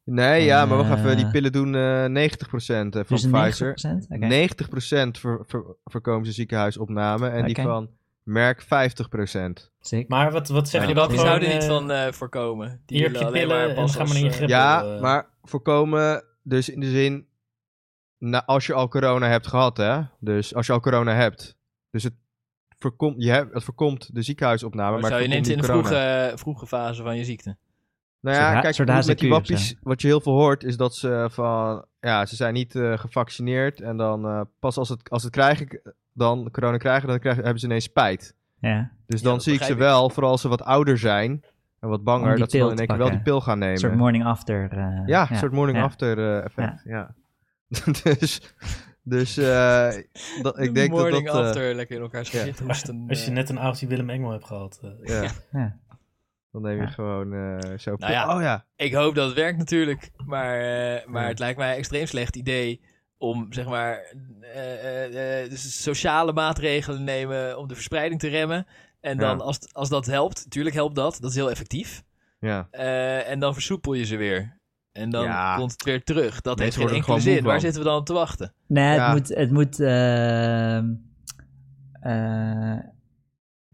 Speaker 4: Nee, ja, maar wacht even. Die
Speaker 2: Eh,
Speaker 4: pillen doen eh 90% van
Speaker 2: Dus een 90%?
Speaker 4: Pfizer.
Speaker 2: Oké.
Speaker 4: 90% ver, ver- voorkomen ze ziekenhuisopname. En die
Speaker 2: Oké.
Speaker 4: van Merck 50%.
Speaker 2: Sick.
Speaker 1: Maar wat, wat zeg
Speaker 4: Ja,
Speaker 1: je
Speaker 3: Die
Speaker 1: dan?
Speaker 2: die
Speaker 1: gewoon,
Speaker 3: zouden
Speaker 1: eh,
Speaker 3: niet van eh, voorkomen. Die
Speaker 1: hier heb
Speaker 3: willen
Speaker 1: je
Speaker 3: alleen
Speaker 1: pillen
Speaker 3: maar
Speaker 1: en
Speaker 3: pas
Speaker 1: ga maar
Speaker 3: als,
Speaker 1: in je
Speaker 3: eh,
Speaker 1: grip.
Speaker 4: Ja,
Speaker 1: eh.
Speaker 4: maar voorkomen dus in de zin. Nou, als je al corona hebt gehad, hè? Dus als je al corona hebt. Dus het voorkomt, je hebt, het voorkomt de ziekenhuisopname. Maar,
Speaker 3: Maar zou je
Speaker 4: het
Speaker 3: neemt
Speaker 4: voorkomt
Speaker 3: in de
Speaker 4: niet corona.
Speaker 3: vroege, eh, vroege fase van je ziekte.
Speaker 4: Nou
Speaker 2: Soort
Speaker 4: ja,
Speaker 2: ha-
Speaker 4: kijk,
Speaker 2: soort
Speaker 4: met die
Speaker 2: HZQ of zo.
Speaker 4: wappies, wat je heel veel hoort, is dat ze eh, van, ja, ze zijn niet eh, gevaccineerd en dan eh, pas als het, als het krijgen, dan corona krijgen, dan krijgen, hebben ze ineens spijt.
Speaker 2: Ja,
Speaker 4: Dus
Speaker 3: Ja,
Speaker 4: dan
Speaker 3: dat
Speaker 4: zie ik ze
Speaker 3: begrijp ik.
Speaker 4: wel, vooral als ze wat ouder zijn en wat
Speaker 2: Om
Speaker 4: banger,
Speaker 2: die
Speaker 4: dat ze dan
Speaker 2: pil
Speaker 4: in
Speaker 2: te
Speaker 4: één keer wel die
Speaker 2: pakken.
Speaker 4: pil gaan nemen.
Speaker 2: een soort morning after. eh,
Speaker 4: ja, een soort morning
Speaker 2: ja.
Speaker 4: after eh, effect, ja. dus, dus eh, dat, ik denk dat dat...
Speaker 3: morning
Speaker 4: eh,
Speaker 3: after, lekker in elkaar
Speaker 4: ja.
Speaker 3: shit hoesten.
Speaker 1: Als je
Speaker 3: eh.
Speaker 1: net een avondje Willem Engel hebt gehad. eh,
Speaker 4: ja,
Speaker 2: Ja.
Speaker 4: Dan neem je
Speaker 2: Ja.
Speaker 4: gewoon eh zo...
Speaker 3: Nou ja.
Speaker 4: Oh ja,
Speaker 3: Ik hoop dat het werkt natuurlijk, maar, eh, maar het lijkt mij een extreem slecht idee om zeg maar eh, eh, eh, dus sociale maatregelen nemen om de verspreiding te remmen. En dan
Speaker 4: Ja.
Speaker 3: als, als dat helpt, natuurlijk helpt dat, dat is heel effectief.
Speaker 4: Ja.
Speaker 3: Eh, en dan versoepel je ze weer. En dan
Speaker 4: Ja.
Speaker 3: komt het weer terug. Dat
Speaker 4: Mensen
Speaker 3: heeft geen
Speaker 4: worden er
Speaker 3: enkele
Speaker 4: gewoon moe
Speaker 3: zin. Waar
Speaker 4: van.
Speaker 3: zitten we dan op te wachten?
Speaker 2: Nee, het
Speaker 4: Ja.
Speaker 2: moet. Het moet, ehm, eh,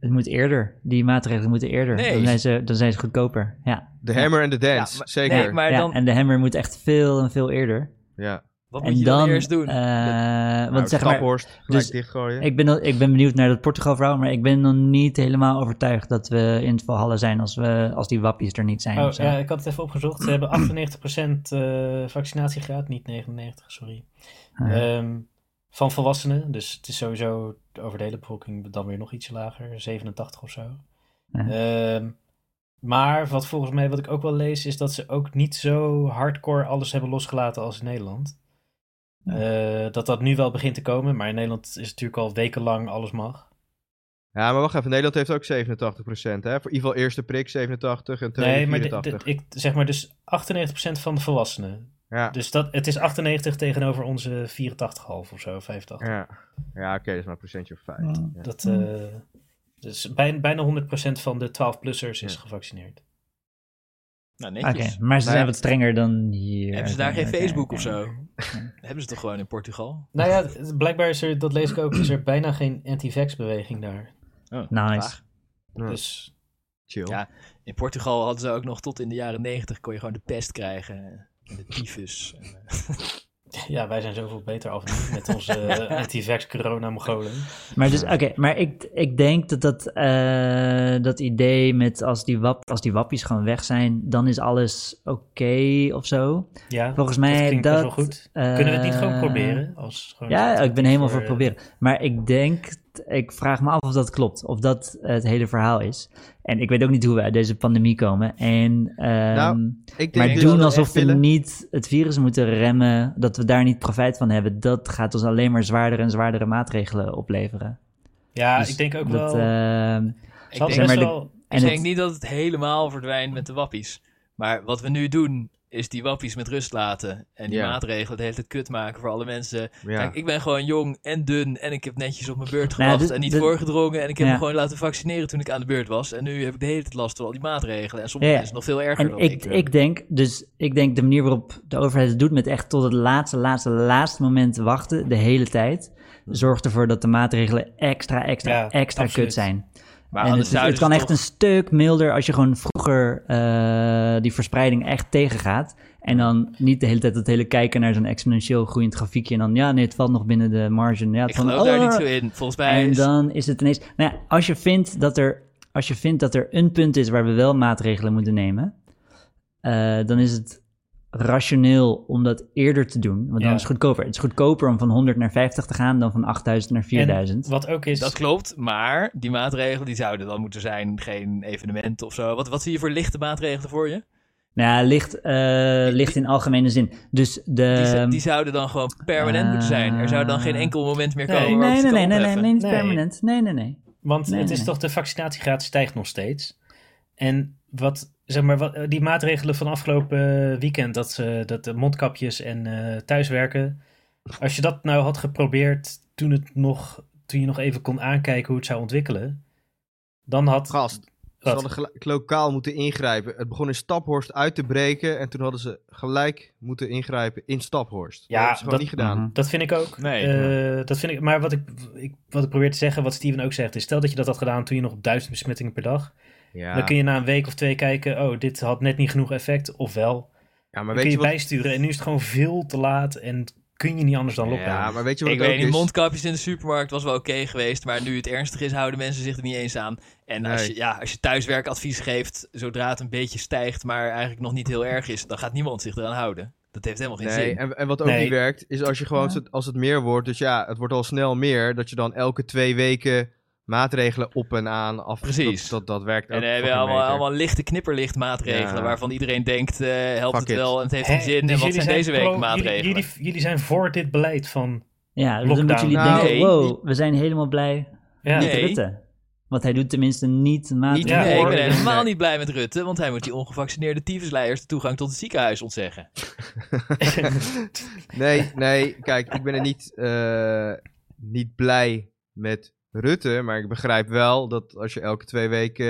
Speaker 2: het moet eerder. Die maatregelen moeten eerder.
Speaker 3: Nee.
Speaker 2: Dan, zijn ze, dan zijn ze goedkoper. Ja.
Speaker 4: The Hammer and the Dance,
Speaker 3: Ja, maar-
Speaker 4: zeker.
Speaker 3: Nee, maar
Speaker 2: ja
Speaker 3: dan,
Speaker 2: En de hammer moet echt veel en veel eerder.
Speaker 4: ja.
Speaker 3: wat
Speaker 2: en
Speaker 3: moet je dan, eerst doen?
Speaker 2: eh,
Speaker 4: Nou,
Speaker 2: want zeg maar,
Speaker 4: Staphorst, gelijk
Speaker 2: dus-
Speaker 4: dichtgooien.
Speaker 2: ik ben, al- ik ben benieuwd naar dat Portugal-verhaal, maar ik ben nog niet helemaal overtuigd dat we in het Valhalla zijn als, we, als die wappies er niet zijn.
Speaker 1: Oh,
Speaker 2: of zo.
Speaker 1: ja, ik had het even opgezocht. Ze hebben 98% eh, vaccinatiegraad, niet 99, sorry.
Speaker 2: Ah.
Speaker 1: Ehm, van volwassenen, dus het is sowieso over de hele bevolking dan weer nog iets lager, 87 of zo.
Speaker 2: Ja.
Speaker 1: Ehm, maar wat volgens mij, wat ik ook wel lees, is dat ze ook niet zo hardcore alles hebben losgelaten als in Nederland. Eh, dat dat nu wel begint te komen, maar in Nederland is natuurlijk al wekenlang alles mag.
Speaker 4: Ja, maar wacht even. Nederland heeft ook 87%, hè? Voor in ieder geval eerste prik 87 en tweede
Speaker 1: Nee, maar de-
Speaker 4: 84.
Speaker 1: de- ik zeg maar dus 98% van de volwassenen.
Speaker 4: ja,
Speaker 1: Dus dat, het is 98 tegenover onze 84,5 of zo, 85.
Speaker 4: ja. ja oké, dat is maar een procentje of 5.
Speaker 2: Mm.
Speaker 4: Ja.
Speaker 1: Dat, eh, dus bijna, bijna 100% van de 12-plussers is
Speaker 4: Ja.
Speaker 1: gevaccineerd.
Speaker 3: Nou,
Speaker 2: Oké,
Speaker 3: netjes.
Speaker 2: maar ze
Speaker 4: Maar-
Speaker 2: zijn wat strenger dan hier.
Speaker 3: Hebben ze daar geen
Speaker 2: Oké,
Speaker 3: Facebook
Speaker 2: oké.
Speaker 3: of zo? Hebben ze toch gewoon in Portugal?
Speaker 1: Nou ja, het- blijkbaar is er, dat lees ik ook, is er bijna geen anti-vax-beweging daar.
Speaker 3: Oh,
Speaker 2: Nice.
Speaker 3: graag.
Speaker 4: Ja.
Speaker 1: Dus
Speaker 4: Chill.
Speaker 3: Ja. In Portugal hadden ze ook nog tot in de jaren negentig kon je gewoon de pest krijgen. En de tyfus.
Speaker 1: ja, wij zijn zoveel beter af met onze eh, anti-vax-corona-mogolen.
Speaker 2: Maar, dus, oké, maar ik, ik denk dat dat, eh, dat idee met als die, wap, als die wappies gewoon weg zijn, dan is alles oké of zo.
Speaker 1: Ja,
Speaker 2: Volgens mij
Speaker 1: dat klinkt
Speaker 2: dat,
Speaker 1: best wel goed. Kunnen we het niet gewoon
Speaker 2: eh,
Speaker 1: proberen? Als gewoon
Speaker 2: Ja, ik ben helemaal voor
Speaker 1: eh,
Speaker 2: proberen. Maar ik denk, ik vraag me af of dat klopt. Of dat het hele verhaal is. En ik weet ook niet hoe we uit deze pandemie komen. En, ehm,
Speaker 4: Nou, Ik
Speaker 2: maar
Speaker 4: dus
Speaker 2: doen
Speaker 4: dat
Speaker 2: alsof
Speaker 4: echt
Speaker 2: we
Speaker 4: willen-
Speaker 2: niet het virus moeten remmen, dat we daar niet profijt van hebben. Dat gaat ons alleen maar zwaardere en zwaardere maatregelen opleveren.
Speaker 1: Ja,
Speaker 2: Dus
Speaker 1: ik denk ook
Speaker 2: dat,
Speaker 1: wel.
Speaker 2: ehm,
Speaker 1: ze
Speaker 3: Ik denk,
Speaker 1: hadden
Speaker 2: zeg maar
Speaker 1: best
Speaker 2: de-
Speaker 1: wel
Speaker 2: en
Speaker 3: ik denk
Speaker 2: het-
Speaker 3: niet dat het helemaal verdwijnt met de wappies. Maar wat we nu doen, is die wappies met rust laten. En die
Speaker 4: Ja.
Speaker 3: maatregelen de hele tijd kut maken voor alle mensen.
Speaker 4: Ja.
Speaker 3: Kijk, ik ben gewoon jong en dun en ik heb netjes op mijn beurt
Speaker 2: Nou ja,
Speaker 3: gewacht
Speaker 2: dit-
Speaker 3: en niet
Speaker 2: dit-
Speaker 3: voorgedrongen. En ik heb
Speaker 2: Ja.
Speaker 3: me gewoon laten vaccineren toen ik aan de beurt was. En nu heb ik de hele tijd last van al die maatregelen. En soms
Speaker 2: Ja, ja.
Speaker 3: is het nog veel erger
Speaker 2: En
Speaker 3: dan
Speaker 2: ik,
Speaker 3: ik.
Speaker 2: ik denk, dus ik denk de manier waarop de overheid het doet met echt tot het laatste, laatste, laatste moment wachten, de hele tijd, zorgt ervoor dat de maatregelen extra, extra,
Speaker 1: Ja,
Speaker 2: extra
Speaker 1: absoluut.
Speaker 2: kut zijn.
Speaker 3: Maar
Speaker 2: en
Speaker 3: anders
Speaker 2: het,
Speaker 3: zouden
Speaker 2: het kan
Speaker 3: ze
Speaker 2: echt
Speaker 3: toch-
Speaker 2: een stuk milder als je gewoon vroeger eh, die verspreiding echt tegengaat. En dan niet de hele tijd dat hele kijken naar zo'n exponentieel groeiend grafiekje. En dan, ja, nee, het valt nog binnen de marge. Ja, het
Speaker 3: Ik
Speaker 2: valt-
Speaker 3: geloof daar
Speaker 2: oh,
Speaker 3: niet zo in. Volgens mij
Speaker 2: en
Speaker 3: is
Speaker 2: dan is het ineens. Nou ja, als je vindt dat er, als je vindt dat er een punt is waar we wel maatregelen moeten nemen, eh, dan is het rationeel om dat eerder te doen. Want
Speaker 1: Ja.
Speaker 2: dan is het goedkoper. Het is goedkoper om van 100 naar 50 te gaan dan van 8000 naar 4000.
Speaker 1: En wat ook is.
Speaker 3: Dat klopt, maar die maatregelen die zouden dan moeten zijn geen evenementen of zo. Wat, wat zie je voor lichte maatregelen voor je?
Speaker 2: Nou, ja, ligt, eh, ligt in algemene zin. Dus de.
Speaker 3: Die, z- die zouden dan gewoon permanent moeten zijn. Er zou dan geen enkel moment meer
Speaker 1: Nee,
Speaker 3: komen waarop
Speaker 2: nee,
Speaker 3: je
Speaker 2: nee,
Speaker 3: kan
Speaker 2: nee, nee, nee,
Speaker 3: opheffen.
Speaker 2: nee, niet
Speaker 1: Nee.
Speaker 2: permanent. Nee, nee, nee.
Speaker 1: Want
Speaker 2: Nee,
Speaker 1: het
Speaker 2: nee,
Speaker 1: is
Speaker 2: nee.
Speaker 1: toch de vaccinatiegraad stijgt nog steeds. En wat, zeg maar, wat, eh, die maatregelen van afgelopen eh, weekend, dat, ze, dat de mondkapjes en eh, thuiswerken. Als je dat nou had geprobeerd toen, het nog, toen je nog even kon aankijken hoe het zou ontwikkelen. Dan had.
Speaker 4: Gast, ze
Speaker 1: Wat?
Speaker 4: hadden gelijk lokaal moeten ingrijpen. Het begon in Staphorst uit te breken en toen hadden ze gelijk moeten ingrijpen in Staphorst.
Speaker 1: Ja,
Speaker 4: dat hebben ze gewoon
Speaker 1: dat-
Speaker 4: niet gedaan.
Speaker 2: Mhm.
Speaker 1: Dat vind ik ook.
Speaker 3: Nee,
Speaker 1: Eh, dat vind ik, maar wat ik, ik, wat ik probeer te zeggen, wat Steven ook zegt, is stel dat je dat had gedaan toen je nog op duizend besmettingen per dag.
Speaker 4: Ja.
Speaker 1: Mhm. Dan kun je na een week of twee kijken, oh, dit had net niet genoeg effect, of wel.
Speaker 4: ja, maar
Speaker 1: Dan
Speaker 4: weet je
Speaker 1: kun je
Speaker 4: wat...
Speaker 1: bijsturen en nu is het gewoon veel te laat en kun je niet anders dan lockdown.
Speaker 4: Ja, maar weet je wat
Speaker 3: Ik
Speaker 4: ook
Speaker 3: weet niet,
Speaker 4: is?
Speaker 3: mondkapjes in de supermarkt was wel oké geweest. Maar nu het ernstig is, houden mensen zich er niet eens aan. En als,
Speaker 4: Nee.
Speaker 3: je, ja, als je thuiswerkadvies geeft, zodra het een beetje stijgt, maar eigenlijk nog niet heel erg is, dan gaat niemand zich eraan houden. Dat heeft helemaal geen
Speaker 4: Nee,
Speaker 3: zin.
Speaker 4: en, en wat ook
Speaker 1: Nee.
Speaker 4: niet werkt, is als je gewoon, zo- als het meer wordt, dus ja, het wordt al snel meer, dat je dan elke twee weken maatregelen op en aan af.
Speaker 3: Precies.
Speaker 4: Dat, dat, dat werkt ook.
Speaker 3: En dan hebben we
Speaker 4: fucking
Speaker 3: allemaal,
Speaker 4: beter.
Speaker 3: allemaal lichte knipperlichtmaatregelen
Speaker 4: Ja.
Speaker 3: waarvan iedereen denkt, eh, helpt
Speaker 4: Fuck
Speaker 3: het
Speaker 4: it.
Speaker 3: wel en het heeft
Speaker 1: Hè,
Speaker 3: geen zin.
Speaker 1: dus
Speaker 3: en wat
Speaker 1: jullie
Speaker 3: zijn deze
Speaker 1: pro-
Speaker 3: week
Speaker 1: jullie-
Speaker 3: maatregelen?
Speaker 1: Jullie, jullie, zijn voor dit beleid van...
Speaker 2: Ja, dus dan
Speaker 1: Lockdown.
Speaker 2: moeten jullie
Speaker 4: Nou,
Speaker 2: denken:
Speaker 3: nee,
Speaker 2: wow,
Speaker 4: niet-
Speaker 2: we zijn helemaal blij
Speaker 1: Ja,
Speaker 2: met
Speaker 3: Nee.
Speaker 2: Rutte. Want hij doet tenminste niet maatregelen.
Speaker 3: Niet,
Speaker 1: Ja,
Speaker 3: nee, ik
Speaker 1: hoor.
Speaker 3: ben helemaal
Speaker 4: Nee.
Speaker 3: niet blij met Rutte, want hij moet die ongevaccineerde tyfusleiers de toegang tot het ziekenhuis ontzeggen.
Speaker 4: Nee, nee, kijk, ik ben er niet, eh, niet blij met Rutte, maar ik begrijp wel dat als je elke twee weken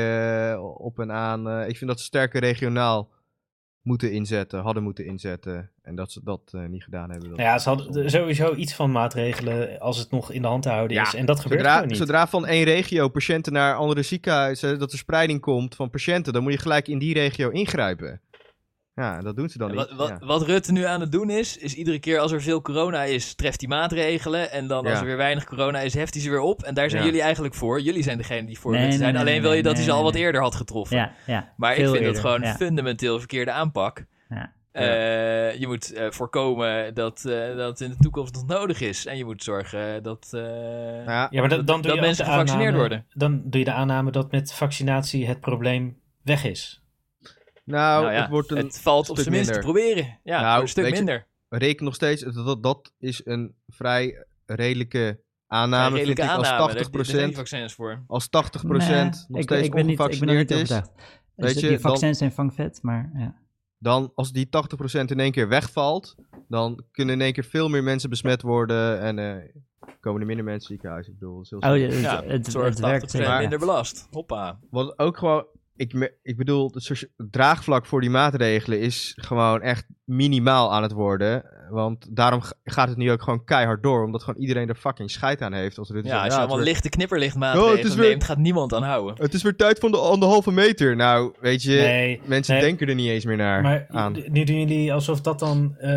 Speaker 4: eh, op en aan, eh, ik vind dat ze sterker regionaal moeten inzetten, hadden moeten inzetten, en dat ze dat eh, niet gedaan hebben. Dat
Speaker 1: Nou ja, ze hadden er sowieso iets van maatregelen als het nog in de hand te houden is.
Speaker 4: Ja,
Speaker 1: En dat gebeurt
Speaker 4: Zodra,
Speaker 1: gewoon niet.
Speaker 4: zodra van één regio patiënten naar andere ziekenhuizen, dat er spreiding komt van patiënten, dan moet je gelijk in die regio ingrijpen. Ja, dat doen ze dan
Speaker 3: Wat,
Speaker 4: niet.
Speaker 3: wat,
Speaker 4: ja.
Speaker 3: wat Rutte nu aan het doen is, is iedere keer als er veel corona is, treft hij maatregelen. En dan als
Speaker 4: Ja.
Speaker 3: er weer weinig corona is, heft hij ze weer op. En daar zijn
Speaker 4: Ja.
Speaker 3: jullie eigenlijk voor. Jullie zijn degene die voor
Speaker 2: Nee,
Speaker 3: Rutte
Speaker 2: nee,
Speaker 3: zijn.
Speaker 2: nee,
Speaker 3: Alleen
Speaker 2: nee,
Speaker 3: wil je
Speaker 2: nee,
Speaker 3: dat
Speaker 2: nee,
Speaker 3: hij ze al
Speaker 2: nee,
Speaker 3: wat
Speaker 2: nee.
Speaker 3: eerder had getroffen.
Speaker 2: Ja, ja.
Speaker 3: Maar ik
Speaker 2: veel
Speaker 3: vind
Speaker 2: eerder,
Speaker 3: dat gewoon
Speaker 2: ja.
Speaker 3: fundamenteel verkeerde aanpak.
Speaker 2: Ja.
Speaker 3: Eh, je moet eh, voorkomen dat, eh, dat het in de toekomst nog nodig is. En je moet zorgen dat, eh,
Speaker 4: Nou ja,
Speaker 1: Ja, maar da- dan
Speaker 3: dat,
Speaker 1: doe je
Speaker 3: dat
Speaker 1: ook
Speaker 3: mensen
Speaker 1: de
Speaker 3: gevaccineerd
Speaker 1: aanname-
Speaker 3: worden.
Speaker 1: Dan doe je de aanname dat met vaccinatie het probleem weg is.
Speaker 4: nou,
Speaker 3: Nou ja,
Speaker 4: het wordt een,
Speaker 3: het valt op
Speaker 4: stuk
Speaker 3: zijn minst te
Speaker 4: minder.
Speaker 3: proberen. Ja,
Speaker 4: Nou,
Speaker 3: een stuk
Speaker 4: weet je,
Speaker 3: minder.
Speaker 4: reken nog steeds, dat, dat is een vrij redelijke aanname,
Speaker 3: Een redelijke
Speaker 4: vind ik,
Speaker 3: aanname.
Speaker 4: als 80%,
Speaker 3: Daar- daar zijn die vaccins voor.
Speaker 4: als 80% nog
Speaker 2: Nee, ik-
Speaker 4: steeds
Speaker 2: ik ben niet- ik ben er
Speaker 4: ongevaccineerd
Speaker 2: niet
Speaker 4: is,
Speaker 2: overtuigd. Dus
Speaker 4: Weet
Speaker 2: de-
Speaker 4: je,
Speaker 2: die
Speaker 4: dan-
Speaker 2: vaccins zijn vangvet, maar ja.
Speaker 4: dan als die 80% in één keer wegvalt, dan kunnen in één keer veel meer mensen besmet worden en eh, komen er minder mensen in het ziekenhuis. Ik bedoel, dat is heel
Speaker 2: Oh,
Speaker 4: simpel.
Speaker 2: het,
Speaker 3: Ja,
Speaker 2: het, het,
Speaker 3: zorgt 80%
Speaker 2: werkt zeker.
Speaker 4: maar-
Speaker 3: minder belast. Hoppa.
Speaker 4: Wat ook gewoon, ik, me- ik bedoel, het socia- het draagvlak voor die maatregelen is gewoon echt minimaal aan het worden. Want daarom g- gaat het nu ook gewoon keihard door, omdat gewoon iedereen er fucking scheid aan heeft. Als Rutte
Speaker 3: Ja, als
Speaker 4: zegt,
Speaker 3: je
Speaker 4: het
Speaker 3: allemaal
Speaker 4: wordt-
Speaker 3: lichte knipperlichtmaatregelen
Speaker 4: Oh, het is weer-
Speaker 3: neemt, gaat niemand aan houden.
Speaker 4: Het is weer tijd van de anderhalve meter. Nou, weet je,
Speaker 1: Nee,
Speaker 4: mensen
Speaker 1: nee.
Speaker 4: denken er niet eens meer naar
Speaker 1: Maar eh,
Speaker 4: aan.
Speaker 1: nu doen jullie alsof dat dan eh,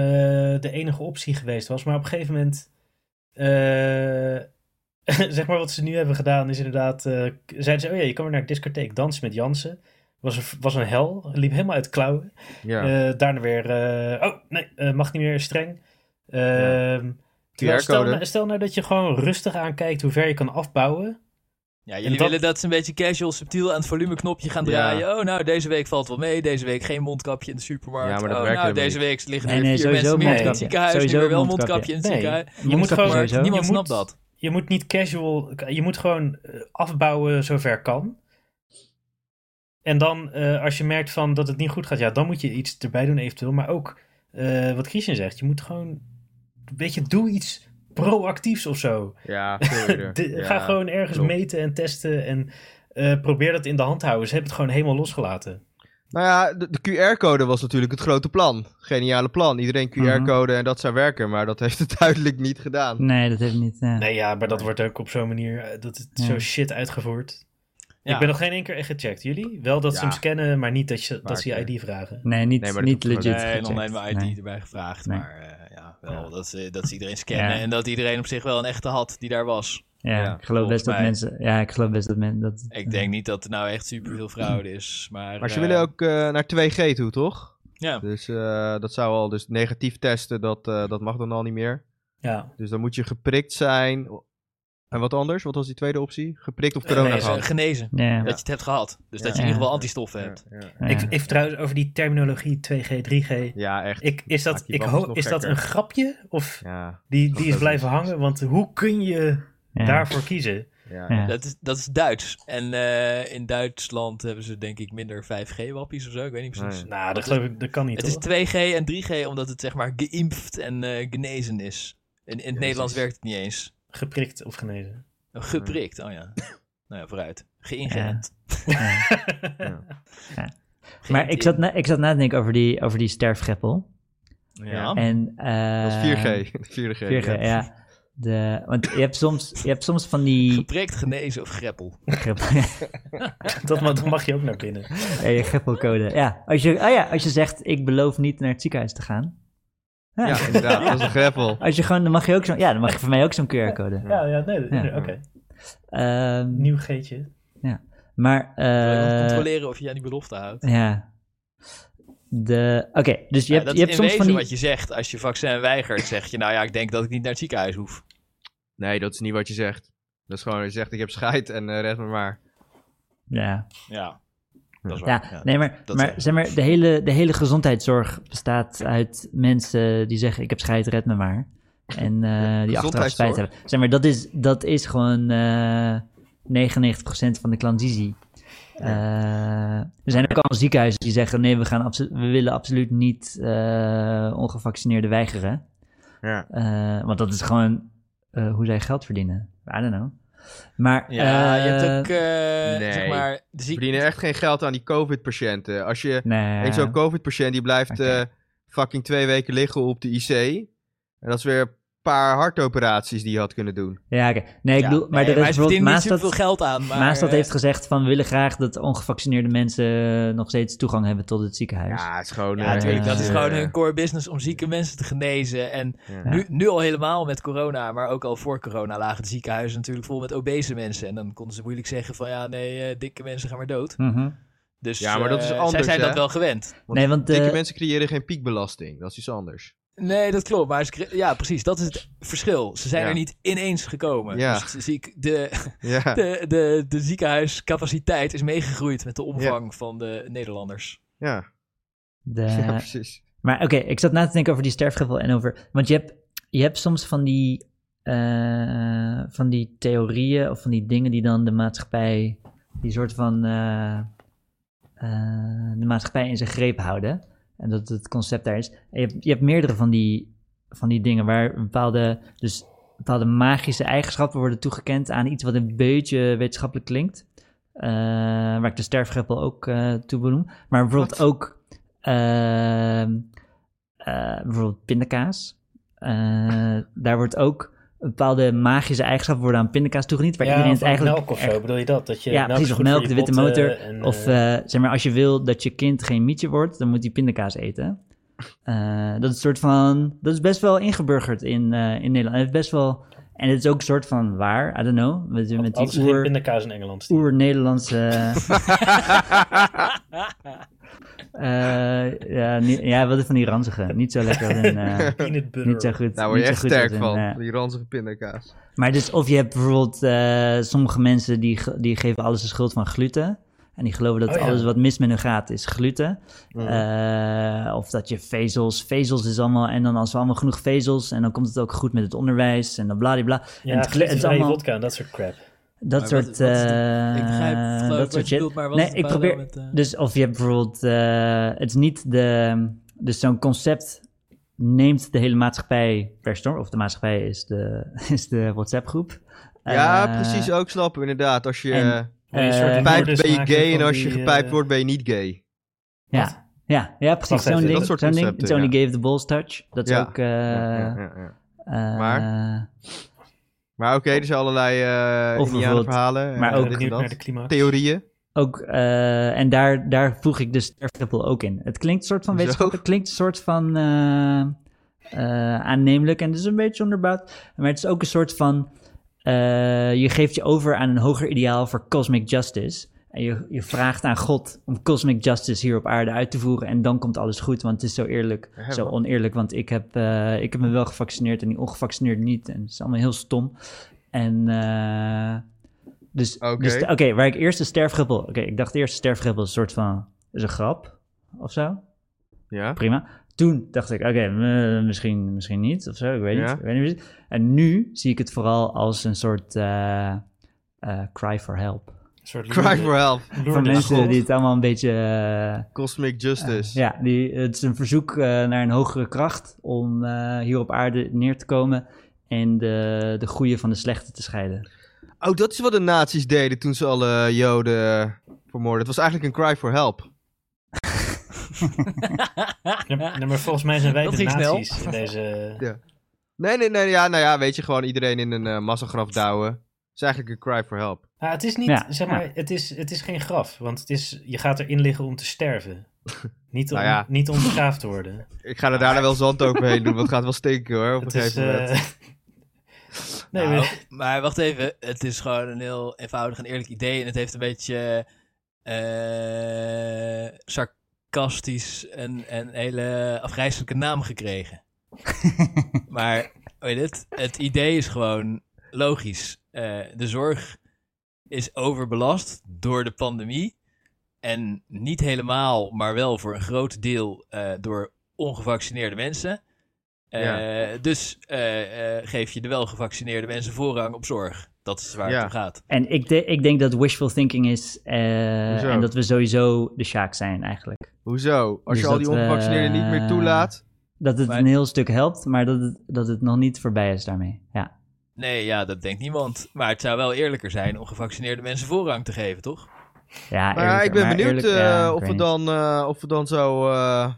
Speaker 1: de enige optie geweest was. Maar op een gegeven moment. eh, zeg maar wat ze nu hebben gedaan is inderdaad. eh, k- zeiden ze: Oh ja, je kan weer naar een discotheek dansen met Jansen. Was een, was een hel. Liep helemaal uit klauwen.
Speaker 4: Ja.
Speaker 1: Eh, daarna weer. eh, oh nee, eh, mag niet meer streng. Ehm, terwijl stel,
Speaker 4: QR-code.
Speaker 1: nou, stel nou dat je gewoon rustig aankijkt hoe ver je kan afbouwen.
Speaker 3: Ja, jullie
Speaker 1: dat-
Speaker 3: willen dat ze een beetje casual, subtiel aan het volumeknopje gaan
Speaker 4: Ja.
Speaker 3: draaien. Oh, nou, deze week valt wel mee. Deze week geen mondkapje in de supermarkt.
Speaker 4: Ja, maar dat
Speaker 3: oh,
Speaker 4: werkt
Speaker 3: nou,
Speaker 4: helemaal
Speaker 3: deze week liggen
Speaker 2: Nee,
Speaker 3: er
Speaker 2: nee,
Speaker 3: vier
Speaker 2: sowieso
Speaker 3: mensen meer in het
Speaker 1: mondkapje.
Speaker 3: ziekenhuis. Nu
Speaker 2: Sowieso
Speaker 3: weer wel
Speaker 2: mondkapje.
Speaker 3: mondkapje in het
Speaker 1: Nee.
Speaker 3: ziekenhuis.
Speaker 1: Je moet
Speaker 2: Mondkapje
Speaker 1: gewoon-
Speaker 3: Maar
Speaker 2: sowieso.
Speaker 1: niemand-
Speaker 3: niemand
Speaker 1: Je moet-
Speaker 3: snapt dat.
Speaker 1: Je moet niet casual. Je moet gewoon eh, afbouwen zover kan. En dan, eh, als je merkt van dat het niet goed gaat, ja, dan moet je iets erbij doen eventueel. Maar ook, eh, wat Christian zegt, je moet gewoon een beetje doe iets proactiefs of zo.
Speaker 4: Ja, veel eerder.
Speaker 1: De-
Speaker 4: Ja.
Speaker 1: Ga gewoon ergens
Speaker 4: klopt.
Speaker 1: meten en testen en eh, probeer dat in de hand te houden. Ze hebben het gewoon helemaal losgelaten.
Speaker 4: Nou ja, de, de QR-code was natuurlijk het grote plan. Geniale plan. Iedereen
Speaker 1: Mhm.
Speaker 4: QR-code en dat zou werken, maar dat heeft het duidelijk niet gedaan.
Speaker 2: Nee, dat heeft niet. eh, ja.
Speaker 1: Nee, ja, maar dat wordt ook op zo'n manier, eh, dat het
Speaker 2: Ja.
Speaker 1: zo shit uitgevoerd.
Speaker 3: Ja.
Speaker 1: Ik ben nog geen één keer echt gecheckt. Jullie? Wel dat ze
Speaker 4: Ja.
Speaker 1: hem scannen, maar niet dat, je, dat
Speaker 4: Maar
Speaker 1: ze je
Speaker 4: oké.
Speaker 1: ID vragen.
Speaker 2: Nee, niet,
Speaker 4: Nee, maar dat
Speaker 2: niet
Speaker 4: hoeft
Speaker 2: legit.
Speaker 4: gewoon
Speaker 3: Nee, en
Speaker 2: gecheckt.
Speaker 3: online mijn ID
Speaker 2: Nee.
Speaker 3: erbij gevraagd.
Speaker 2: Nee.
Speaker 3: Maar eh, ja, wel
Speaker 4: Ja.
Speaker 3: Dat, ze, dat ze iedereen scannen
Speaker 2: Ja.
Speaker 3: en dat iedereen op zich wel een echte had die daar was.
Speaker 2: Ja,
Speaker 4: Ja,
Speaker 2: ik geloof
Speaker 3: volgens
Speaker 2: best dat
Speaker 3: mij.
Speaker 2: mensen. Ja, ik geloof best dat mensen. Dat,
Speaker 3: Ik denk niet dat er nou echt superveel fraude is. Maar,
Speaker 4: Maar ze
Speaker 3: eh,
Speaker 4: willen ook eh, naar 2G toe, toch?
Speaker 3: Ja,
Speaker 4: Dus eh, dat zou al dus negatief testen, dat, eh, dat mag dan al niet meer.
Speaker 1: Ja.
Speaker 4: Dus dan moet je geprikt zijn. En wat anders? Wat was die tweede optie? Geprikt
Speaker 3: Eh,
Speaker 4: of corona
Speaker 3: genezen.
Speaker 4: gehad?
Speaker 3: genezen.
Speaker 2: Ja,
Speaker 3: Dat je het hebt gehad. Dus
Speaker 4: Ja.
Speaker 3: dat je in ieder geval
Speaker 4: Ja.
Speaker 3: antistoffen hebt.
Speaker 4: Ja, ja.
Speaker 2: ja.
Speaker 1: Ik, ik trouwens over die terminologie 2G, 3G.
Speaker 4: Ja, echt.
Speaker 1: Ik, is dat,
Speaker 4: Maak die
Speaker 1: ik
Speaker 4: babbels
Speaker 1: hoop,
Speaker 4: nog
Speaker 1: is dat
Speaker 4: gekker.
Speaker 1: een grapje? Of
Speaker 4: Ja,
Speaker 1: die, die is
Speaker 4: ook
Speaker 1: blijven hangen? Want hoe kun je
Speaker 2: ja.
Speaker 1: daarvoor kiezen?
Speaker 4: ja.
Speaker 2: Ja.
Speaker 3: Dat is, dat is Duits. En eh, in Duitsland hebben ze denk ik minder 5G-wappies of zo. Ik weet niet precies.
Speaker 4: Nee.
Speaker 1: Nou, dat geloof ik, dat kan niet.
Speaker 3: Het is
Speaker 1: hoor.
Speaker 3: 2G en 3G omdat het zeg maar geïmpft en eh, genezen is. In, in het Nederlands werkt het niet eens.
Speaker 1: Geprikt of genezen.
Speaker 3: Geprikt, oh ja. nou ja, vooruit. Geïngeënt.
Speaker 2: Maar ik zat, na, ik zat na te denken over die, over die sterfgeppel.
Speaker 3: Ja.
Speaker 4: Ja.
Speaker 2: En, eh,
Speaker 4: Oh. Dat is 4G. 4G.
Speaker 2: 4G, ja. De, want je hebt, soms, je hebt soms van die...
Speaker 3: Geprikt, genezen of greppel.
Speaker 2: greppel-
Speaker 1: Dat, ma- dan mag je ook naar binnen.
Speaker 2: Hey, greppelcode. Ja. Als je, oh ja, als je zegt, ik beloof niet naar het ziekenhuis te gaan. Ja.
Speaker 4: Ja, inderdaad. Dat is een greppel.
Speaker 2: Als je gewoon, dan mag je ook zo'n... Ja, dan mag je van mij ook zo'n QR-code.
Speaker 1: Ja, ja nee, dat-
Speaker 2: Ja.
Speaker 1: oké.
Speaker 2: Ehm,
Speaker 1: Nieuw geetje.
Speaker 2: maar...
Speaker 3: Wil je
Speaker 2: eh,
Speaker 3: nog controleren of je aan die belofte houdt.
Speaker 2: ja. De, Oké, dus je
Speaker 3: Ja,
Speaker 2: hebt,
Speaker 3: dat
Speaker 2: je hebt
Speaker 3: is in
Speaker 2: soms
Speaker 3: wezen
Speaker 2: van die...
Speaker 3: wat je zegt. Als je vaccin weigert, zeg je nou ja, ik denk dat ik niet naar het ziekenhuis hoef.
Speaker 4: Nee, dat is niet wat je zegt. Dat is gewoon, je zegt ik heb scheid en eh red me maar.
Speaker 2: Ja.
Speaker 3: Ja, dat is
Speaker 2: Ja,
Speaker 3: waar. Ja.
Speaker 2: nee, maar,
Speaker 3: dat
Speaker 2: maar,
Speaker 3: zijn-
Speaker 2: zeg maar de, hele, de hele gezondheidszorg bestaat uit mensen die zeggen: Ik heb scheid, red me maar. En eh, die achteraf spijt
Speaker 4: gezondheidszorg?
Speaker 2: hebben. Zeg maar, dat is, dat is gewoon eh, 99% van de klandizie. Eh, er zijn ook al ziekenhuizen die zeggen: nee, we, gaan abso- we willen absoluut niet eh, ongevaccineerden weigeren.
Speaker 4: Ja.
Speaker 2: Eh, want dat is gewoon eh, hoe zij geld verdienen. I don't know. Maar,
Speaker 3: Ja, je
Speaker 2: eh,
Speaker 3: hebt ook, eh, zeg
Speaker 4: nee.
Speaker 3: maar, de
Speaker 4: Ze
Speaker 3: ziek...
Speaker 4: verdienen echt geen geld aan die covid-patiënten. Als je
Speaker 2: Nee.
Speaker 4: En zo'n COVID-patiënt die blijft
Speaker 2: Oké.
Speaker 4: eh, fucking twee weken liggen op de IC. En dat is weer een paar hartoperaties die je had kunnen doen.
Speaker 2: Ja, oké. Nee, ik
Speaker 3: Ja,
Speaker 2: bedoel, maar
Speaker 3: nee,
Speaker 2: er is
Speaker 3: ze verdienen
Speaker 2: bijvoorbeeld
Speaker 3: niet
Speaker 2: Maastad,
Speaker 3: zoveel geld aan. Maar,
Speaker 2: Maastad
Speaker 3: eh,
Speaker 2: heeft gezegd van we willen graag dat ongevaccineerde mensen eh, nog steeds toegang hebben tot het ziekenhuis.
Speaker 4: Ja, het is gewoon...
Speaker 3: Ja,
Speaker 4: eh,
Speaker 3: natuurlijk.
Speaker 2: eh,
Speaker 3: Dat is
Speaker 4: eh,
Speaker 3: gewoon hun core business om zieke mensen te genezen. En
Speaker 4: ja.
Speaker 3: nu, nu al helemaal met corona, maar ook al voor corona lagen de ziekenhuizen natuurlijk vol met obese mensen. En dan konden ze moeilijk zeggen van ja, nee, eh, dikke mensen gaan maar dood.
Speaker 2: Mhm.
Speaker 3: Dus
Speaker 4: Ja, maar dat is
Speaker 3: eh, Zij
Speaker 4: anders,
Speaker 3: zijn dat
Speaker 4: hè?
Speaker 3: wel gewend.
Speaker 2: Nee, want
Speaker 4: Dikke
Speaker 2: eh,
Speaker 4: mensen creëren geen piekbelasting. Dat is iets anders.
Speaker 3: Nee, dat klopt. Maar ze kre- ja, precies. Dat is het verschil. Ze zijn
Speaker 4: Ja.
Speaker 3: er niet ineens gekomen.
Speaker 4: Ja.
Speaker 3: Dus de, ziek- de,
Speaker 4: Ja.
Speaker 3: de, de, de ziekenhuiscapaciteit is meegegroeid met de omvang van de Nederlanders.
Speaker 4: Ja.
Speaker 2: de-
Speaker 4: ja, precies.
Speaker 2: maar oké, ik zat na te denken over die sterfgeval en over, want je hebt, je hebt soms van die, eh, van die theorieën of van die dingen die dan de maatschappij, die soort van eh, eh, de maatschappij in zijn greep houden. En dat het concept daar is. En je, hebt, je hebt meerdere van die, van die dingen waar bepaalde, dus bepaalde magische eigenschappen worden toegekend aan iets wat een beetje wetenschappelijk klinkt. Eh, waar ik de sterfgeppel ook eh, toe benoem. Maar bijvoorbeeld ook ehm, eh, bijvoorbeeld pindakaas. Eh, daar wordt ook bepaalde magische eigenschappen worden aan pindakaas toegediend. Waar iedereen
Speaker 1: of
Speaker 2: het eigenlijk
Speaker 1: melk of
Speaker 2: erg-
Speaker 1: zo, bedoel je dat? dat je
Speaker 2: ja,
Speaker 1: melk is
Speaker 2: precies. Of
Speaker 1: goed voor
Speaker 2: melk,
Speaker 1: je
Speaker 2: de witte
Speaker 1: botten
Speaker 2: motor.
Speaker 1: en,
Speaker 2: of
Speaker 1: eh,
Speaker 2: eh, zeg maar, als je wil dat je kind geen mietje wordt, dan moet hij pindakaas eten. Eh, dat is een soort van. Dat is best wel ingeburgerd in, eh, in Nederland. En het is best wel. En het is ook een soort van waar, I don't know. Met, met
Speaker 1: Anders
Speaker 2: die
Speaker 1: geen
Speaker 2: oer,
Speaker 1: pindakaas in Engeland. Steve.
Speaker 2: oer-Nederlandse. eh, ja, niet- ja, wat is van die ranzige? Niet zo lekker. En, eh,
Speaker 1: Peanut butter.
Speaker 2: niet zo goed.
Speaker 4: Daar word je
Speaker 2: niet zo goed
Speaker 4: echt
Speaker 2: als
Speaker 4: sterk
Speaker 2: in,
Speaker 4: van.
Speaker 2: eh,
Speaker 4: Die ranzige pindakaas.
Speaker 2: Maar dus of je hebt bijvoorbeeld eh, sommige mensen die, ge- die geven alles de schuld van gluten. En die geloven dat
Speaker 1: Oh ja.
Speaker 2: alles wat mis met hun gaat is gluten. Eh, of dat je vezels, vezels is allemaal. En dan als we allemaal genoeg vezels. En dan komt het ook goed met het onderwijs. En dan bladibla.
Speaker 1: Ja,
Speaker 2: en het, kle-
Speaker 1: het is allemaal... vodka en dat soort crap.
Speaker 4: Eh,
Speaker 2: dat
Speaker 3: Maar wat-
Speaker 2: soort.
Speaker 3: wat is het?
Speaker 2: eh,
Speaker 3: ik begrijp het, geloof ik,
Speaker 2: dat
Speaker 3: wat
Speaker 2: soort
Speaker 3: je
Speaker 2: shit.
Speaker 3: bedoelt, maar wat
Speaker 2: Nee,
Speaker 3: is de
Speaker 2: ik
Speaker 3: parallel
Speaker 2: probeer.
Speaker 3: met, eh,
Speaker 2: Dus of je hebt bijvoorbeeld. eh, het is niet de. Dus zo'n concept neemt de hele maatschappij per storm. Of de maatschappij is de, is de WhatsApp-groep.
Speaker 4: ja,
Speaker 2: Eh,
Speaker 4: precies. Ook snappen, inderdaad. Als je
Speaker 2: en-
Speaker 4: eh,
Speaker 1: Wil je een soort
Speaker 2: Eh,
Speaker 4: pijpt,
Speaker 1: moeders
Speaker 4: ben je
Speaker 1: maken
Speaker 4: gay. En
Speaker 1: van
Speaker 4: als je
Speaker 1: die, eh,
Speaker 4: gepijpt wordt, ben je niet gay.
Speaker 2: Ja, ja, ja precies.
Speaker 1: Wacht even,
Speaker 2: Zo'n ding.
Speaker 4: dat soort
Speaker 2: Zo'n ding.
Speaker 4: concepten,
Speaker 2: It's only
Speaker 4: ja.
Speaker 2: gave the balls touch. Dat is
Speaker 4: Ja.
Speaker 2: ook... eh,
Speaker 4: Ja, ja, ja.
Speaker 2: eh,
Speaker 4: Maar? Maar oké, er zijn allerlei eh
Speaker 2: Of
Speaker 4: Indianen
Speaker 2: bijvoorbeeld-
Speaker 4: verhalen. en
Speaker 1: Ik ben
Speaker 2: maar
Speaker 4: dit
Speaker 2: ook-
Speaker 4: en
Speaker 1: benieuwd
Speaker 4: dat.
Speaker 1: naar de klimaat.
Speaker 4: Theorieën.
Speaker 2: Ook, eh, en daar, daar voeg ik dus sterfgeppel ook in. Het klinkt een soort van
Speaker 4: Zo.
Speaker 2: wetenschap, het klinkt een soort van eh, eh, aannemelijk en dus een beetje onderbouwd. Maar het is ook een soort van, eh, je geeft je over aan een hoger ideaal voor cosmic justice. En je, je vraagt aan God om cosmic justice hier op aarde uit te voeren en dan komt alles goed, want het is zo eerlijk,
Speaker 4: Ja,
Speaker 2: zo
Speaker 4: man.
Speaker 2: oneerlijk. Want ik heb, eh, ik heb me wel gevaccineerd en die ongevaccineerd niet en het is allemaal heel stom. En... eh, dus,
Speaker 4: Oké.
Speaker 2: dus- oké, waar ik eerst de sterfgeppel... Oké, ik dacht eerst de sterfgeppel is een soort van... is een grap of zo.
Speaker 4: Ja.
Speaker 2: Prima. Toen dacht ik, oké, eh, misschien, misschien niet of zo. Ik weet
Speaker 4: Ja.
Speaker 2: niet. Ik weet niet precies. En nu zie ik het vooral als een soort eh, eh, cry for help.
Speaker 1: Een soort
Speaker 4: Cry for help.
Speaker 2: Voor mensen
Speaker 4: God.
Speaker 2: die het allemaal een beetje... eh,
Speaker 4: Cosmic Justice.
Speaker 2: ja, die, het is een verzoek eh, naar een hogere kracht om eh, hier op aarde neer te komen... en de, de goede van de slechte te scheiden.
Speaker 4: Oh, dat is wat de nazi's deden toen ze alle Joden eh, vermoorden. Het was eigenlijk een cry for help.
Speaker 1: Ja, maar- maar volgens mij zijn wij
Speaker 3: Dat
Speaker 1: de
Speaker 3: ging snel.
Speaker 1: nazi's in deze...
Speaker 4: Nee, nee, nee. Ja, nou ja, weet je, gewoon iedereen in een eh, massagraf douwen. Het is eigenlijk een cry for help.
Speaker 1: Ah, het is niet,
Speaker 2: Ja,
Speaker 1: zeg
Speaker 2: ja.
Speaker 1: maar, het is, het is geen graf. Want het is, je gaat erin liggen om te sterven. Niet om,
Speaker 4: Nou ja.
Speaker 1: niet om begraafd te worden.
Speaker 4: Ik ga er daarna wel zand overheen doen, want het gaat wel stinken hoor, op een
Speaker 1: Het is...
Speaker 4: gegeven moment.
Speaker 1: eh, nee,
Speaker 3: Nou,
Speaker 1: maar-
Speaker 3: maar wacht even, het is gewoon een heel eenvoudig en eerlijk idee. En het heeft een beetje eh, sarcastisch en een hele afgrijzelijke naam gekregen. maar weet je het, het idee is gewoon logisch. Eh, de zorg is overbelast door de pandemie. En niet helemaal, maar wel voor een groot deel eh, door ongevaccineerde mensen. Eh,
Speaker 4: Ja.
Speaker 3: Dus eh, eh, geef je de welgevaccineerde mensen voorrang op zorg. Dat is waar
Speaker 4: Ja.
Speaker 3: het om gaat.
Speaker 2: En ik, de- ik denk dat wishful thinking is eh,
Speaker 4: Hoezo?
Speaker 2: en dat we sowieso de Sjaak zijn eigenlijk.
Speaker 4: Hoezo? Als
Speaker 2: Dus
Speaker 4: je al
Speaker 2: dat
Speaker 4: die
Speaker 2: we-
Speaker 4: ongevaccineerden niet meer toelaat.
Speaker 2: Dat het
Speaker 3: Maar-
Speaker 2: een heel stuk helpt, maar dat het, dat het nog niet voorbij is daarmee. Ja,
Speaker 3: Nee, ja, dat denkt niemand. Maar het zou wel eerlijker zijn om gevaccineerde mensen voorrang te geven, toch?
Speaker 2: ja
Speaker 4: Maar ja,
Speaker 2: eerlijker,
Speaker 4: ik ben
Speaker 2: maar
Speaker 4: benieuwd
Speaker 2: eerlijk- ja,
Speaker 4: eh,
Speaker 2: ik
Speaker 4: of, we
Speaker 2: weet
Speaker 4: dan, eh, of we dan zo. eh,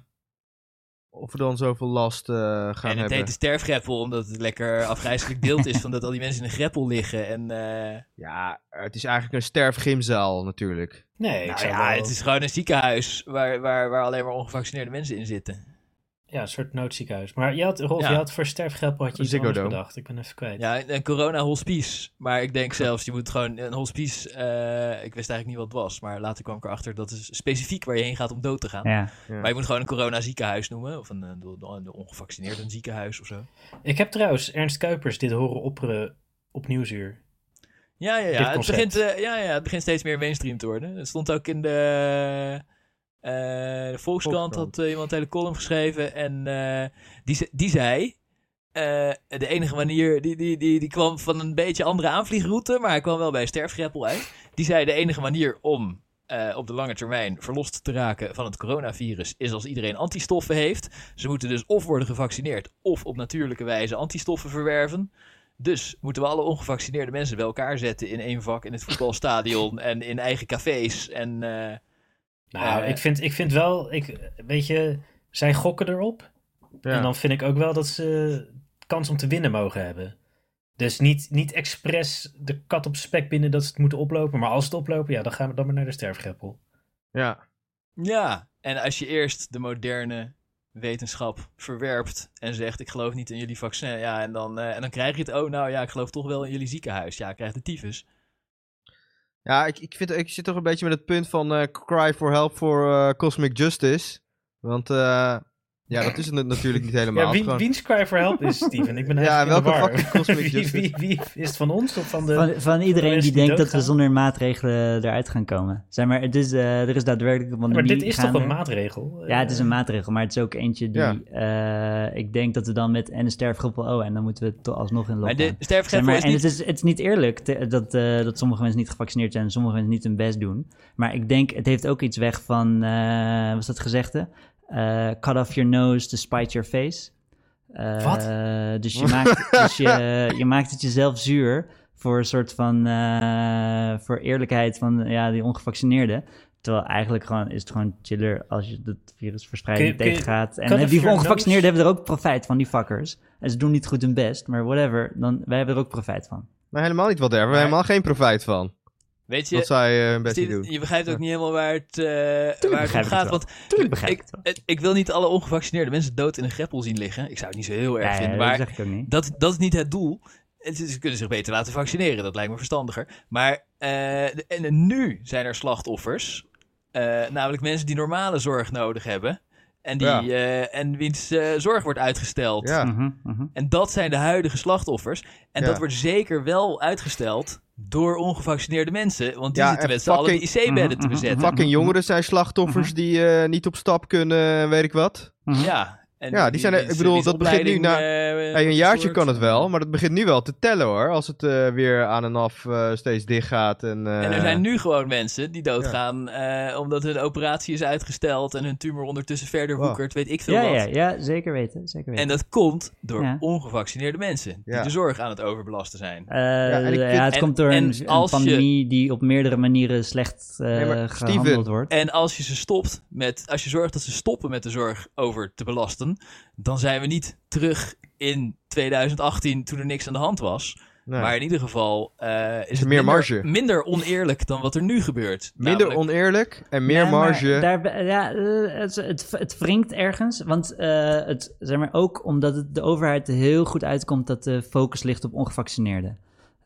Speaker 4: of we dan zoveel last eh, gaan
Speaker 3: en het
Speaker 4: hebben.
Speaker 3: heet de sterfgreppel, omdat het lekker afgrijzelijk beeld is van dat al die mensen in een greppel liggen. En eh,
Speaker 4: Ja, het is eigenlijk een sterfgymzaal natuurlijk.
Speaker 1: Nee, ik
Speaker 3: nou
Speaker 1: zou
Speaker 3: ja,
Speaker 1: wel-
Speaker 3: het is gewoon een ziekenhuis waar, waar, waar alleen maar ongevaccineerde mensen in zitten.
Speaker 1: ja, een soort noodziekenhuis. Maar je had, Rolf,
Speaker 3: Ja.
Speaker 1: je had voor sterfgrappel had je
Speaker 4: Een
Speaker 1: iets anders
Speaker 4: Ziggo Dome.
Speaker 1: bedacht. Ik ben even kwijt.
Speaker 3: Ja, een corona-hospice. Maar ik denk zelfs, je moet gewoon een hospice. eh, ik wist eigenlijk niet wat het was, maar later kwam ik erachter dat is specifiek waar je heen gaat om dood te gaan.
Speaker 2: Ja.
Speaker 4: Ja.
Speaker 3: Maar je moet gewoon een corona-ziekenhuis noemen, of een, eh, de de ongevaccineerden ziekenhuis of zo.
Speaker 1: Ik heb trouwens Ernst Kuipers dit horen opperen op Nieuwsuur.
Speaker 3: Ja, ja,
Speaker 1: Dit
Speaker 3: ja. Het
Speaker 1: concept.
Speaker 3: begint, eh, ja, ja. Het begint steeds meer mainstream te worden. Het stond ook in de, eh, de Volkskrant,
Speaker 4: Volkskrant.
Speaker 3: had eh, iemand een hele column geschreven. En eh, die, ze- die zei, eh, de enige manier, die, die, die, die kwam van een beetje andere aanvliegroute, maar hij kwam wel bij sterfgreppel uit. Die zei, de enige manier om eh, op de lange termijn verlost te raken van het coronavirus is als iedereen antistoffen heeft. Ze moeten dus of worden gevaccineerd of op natuurlijke wijze antistoffen verwerven. Dus moeten we alle ongevaccineerde mensen bij elkaar zetten in één vak in het voetbalstadion en in eigen cafés. En eh,
Speaker 1: Nou,
Speaker 3: Eh.
Speaker 1: ik, vind, ik vind wel, ik, weet je, zij gokken erop.
Speaker 4: Ja.
Speaker 1: En dan vind ik ook wel dat ze kans om te winnen mogen hebben. Dus niet, niet expres de kat op spek binnen dat ze het moeten oplopen. Maar als ze het oplopen, ja, dan gaan we dan maar naar de sterfgrappel.
Speaker 4: ja.
Speaker 3: ja, en als je eerst de moderne wetenschap verwerpt en zegt ik geloof niet in jullie vaccin. Ja, en dan, eh, en dan krijg je het, oh nou ja, ik geloof toch wel in jullie ziekenhuis. Ja, ik krijg de tyfus.
Speaker 4: Ja, ik, ik, vind, ik zit toch een beetje met het punt van eh, cry for help for eh, cosmic justice. Want eh, ja, dat is het natuurlijk niet helemaal.
Speaker 1: Ja,
Speaker 4: Het is
Speaker 1: wie,
Speaker 4: gewoon-
Speaker 1: wiens cry for help is Steven? Ik ben
Speaker 4: Ja,
Speaker 1: eigenlijk in de
Speaker 4: welke
Speaker 1: war.
Speaker 4: fucking
Speaker 1: wie,
Speaker 4: cosmic justice?
Speaker 1: wie, wie is het van ons of van de...
Speaker 2: Van, van iedereen
Speaker 1: mensen die
Speaker 2: die denkt dat we
Speaker 1: doodgaan.
Speaker 2: zonder maatregelen eruit gaan komen. Zeg maar, het is, eh, er is daadwerkelijk een
Speaker 1: Ja, maar
Speaker 2: pandemie
Speaker 1: dit is toch
Speaker 2: gaande.
Speaker 1: een maatregel?
Speaker 2: Ja, het is een maatregel, maar het is ook eentje die... eh, ik denk dat we dan met en de sterfgroepen... Oh, en dan moeten we het toch alsnog in
Speaker 3: Maar
Speaker 2: lockdown.
Speaker 3: de
Speaker 2: Zeg
Speaker 3: sterfgreppel
Speaker 2: maar,
Speaker 3: is
Speaker 2: en
Speaker 3: niet...
Speaker 2: het is, het is niet eerlijk te- dat, eh, dat sommige mensen niet gevaccineerd zijn en sommige mensen niet hun best doen. Maar ik denk, het heeft ook iets weg van, eh, wat was dat gezegde? Eh, cut off your nose to spite your face. Eh,
Speaker 1: Wat?
Speaker 2: Dus, je maakt, dus je, je maakt het jezelf zuur voor een soort van, eh, voor eerlijkheid van ja, die ongevaccineerden. Terwijl eigenlijk gewoon, is het gewoon chiller als je het virus verspreiding
Speaker 1: Kun je- kun je-
Speaker 2: tegengaat. En
Speaker 1: cut
Speaker 2: eh,
Speaker 1: off
Speaker 2: die
Speaker 1: your
Speaker 2: ongevaccineerden
Speaker 1: nose?
Speaker 2: hebben er ook profijt van, die fuckers. En ze doen niet goed hun best, maar whatever. Dan, wij hebben er ook profijt van.
Speaker 4: Maar helemaal niet wat daar hebben we
Speaker 3: Maar-
Speaker 4: helemaal geen profijt van.
Speaker 3: Weet
Speaker 4: Dat
Speaker 3: je,
Speaker 4: zij eh, hun best niet
Speaker 3: Steven,
Speaker 4: doen.
Speaker 3: je begrijpt ook
Speaker 4: Ja.
Speaker 3: niet helemaal waar het, eh, waar het
Speaker 2: begrijp
Speaker 3: om
Speaker 2: ik
Speaker 3: gaat.
Speaker 2: het
Speaker 3: Want
Speaker 2: Tuurlijk begrijp ik
Speaker 3: ik,
Speaker 2: het wel.
Speaker 3: ik wil niet alle ongevaccineerde mensen dood in een greppel zien liggen. Ik zou het niet zo heel erg
Speaker 2: Ja,
Speaker 3: vinden.
Speaker 2: ja,
Speaker 3: Maar
Speaker 2: dat zeg ik ook niet.
Speaker 3: Dat, dat is niet het doel. En Ze ze kunnen zich beter laten vaccineren, dat lijkt me verstandiger. Maar eh, de- en nu zijn er slachtoffers, eh, namelijk mensen die normale zorg nodig hebben en, die,
Speaker 4: Ja.
Speaker 3: eh, en wiens eh, zorg wordt uitgesteld.
Speaker 4: Ja.
Speaker 2: Mhm, mhm.
Speaker 3: En dat zijn de huidige slachtoffers. En
Speaker 4: Ja.
Speaker 3: dat wordt zeker wel uitgesteld door ongevaccineerde mensen, want die
Speaker 4: Ja,
Speaker 3: zitten
Speaker 4: en
Speaker 3: met z'n allen de
Speaker 4: fucking-
Speaker 3: IC-bedden te
Speaker 2: Mhm, mhm,
Speaker 3: bezetten.
Speaker 4: Fucking jongeren zijn
Speaker 3: Mhm.
Speaker 4: slachtoffers die eh, niet op stap kunnen en weet ik wat.
Speaker 3: Ja. En
Speaker 4: Mhm. Ja, die zijn er- ik bedoel,
Speaker 3: wiens
Speaker 4: dat begint nu
Speaker 3: opleiding,
Speaker 4: na-
Speaker 3: eh,
Speaker 4: Hey, een jaartje
Speaker 3: verstoord.
Speaker 4: kan het wel, maar dat begint nu wel te tellen hoor. Als het eh, weer aan en af eh, steeds dicht gaat. En, eh,
Speaker 3: En er zijn nu gewoon mensen die doodgaan eh, omdat hun operatie is uitgesteld en hun tumor ondertussen verder
Speaker 4: Wow.
Speaker 3: woekert, weet ik veel
Speaker 2: Ja,
Speaker 3: wat.
Speaker 2: ja, ja, zeker weten. Zeker weten.
Speaker 3: En dat komt door
Speaker 2: Ja.
Speaker 3: ongevaccineerde mensen die
Speaker 4: Ja.
Speaker 3: de zorg aan het overbelasten zijn.
Speaker 2: Eh,
Speaker 4: en ik
Speaker 2: ja,
Speaker 4: vind-
Speaker 2: het
Speaker 3: en-
Speaker 2: komt door
Speaker 3: en
Speaker 2: een, een
Speaker 3: als je-
Speaker 2: pandemie die op meerdere manieren slecht eh,
Speaker 4: Nee, maar
Speaker 2: gehandeld
Speaker 4: Steven,
Speaker 2: wordt.
Speaker 3: En als je ze stopt met, als je zorgt dat ze stoppen met de zorg over te belasten, dan zijn we niet terug in 2018 toen er niks aan de hand was.
Speaker 4: nee.
Speaker 3: Maar in ieder geval eh, is het
Speaker 4: meer
Speaker 3: minder,
Speaker 4: marge.
Speaker 3: minder oneerlijk dan wat er nu gebeurt.
Speaker 4: Minder
Speaker 3: Namelijk-
Speaker 4: oneerlijk en meer
Speaker 2: Ja, maar
Speaker 4: marge.
Speaker 2: daar be- ja, eh, het, het, het wringt ergens. Want eh, het, zeg maar, ook omdat het de overheid er heel goed uitkomt dat de focus ligt op ongevaccineerden.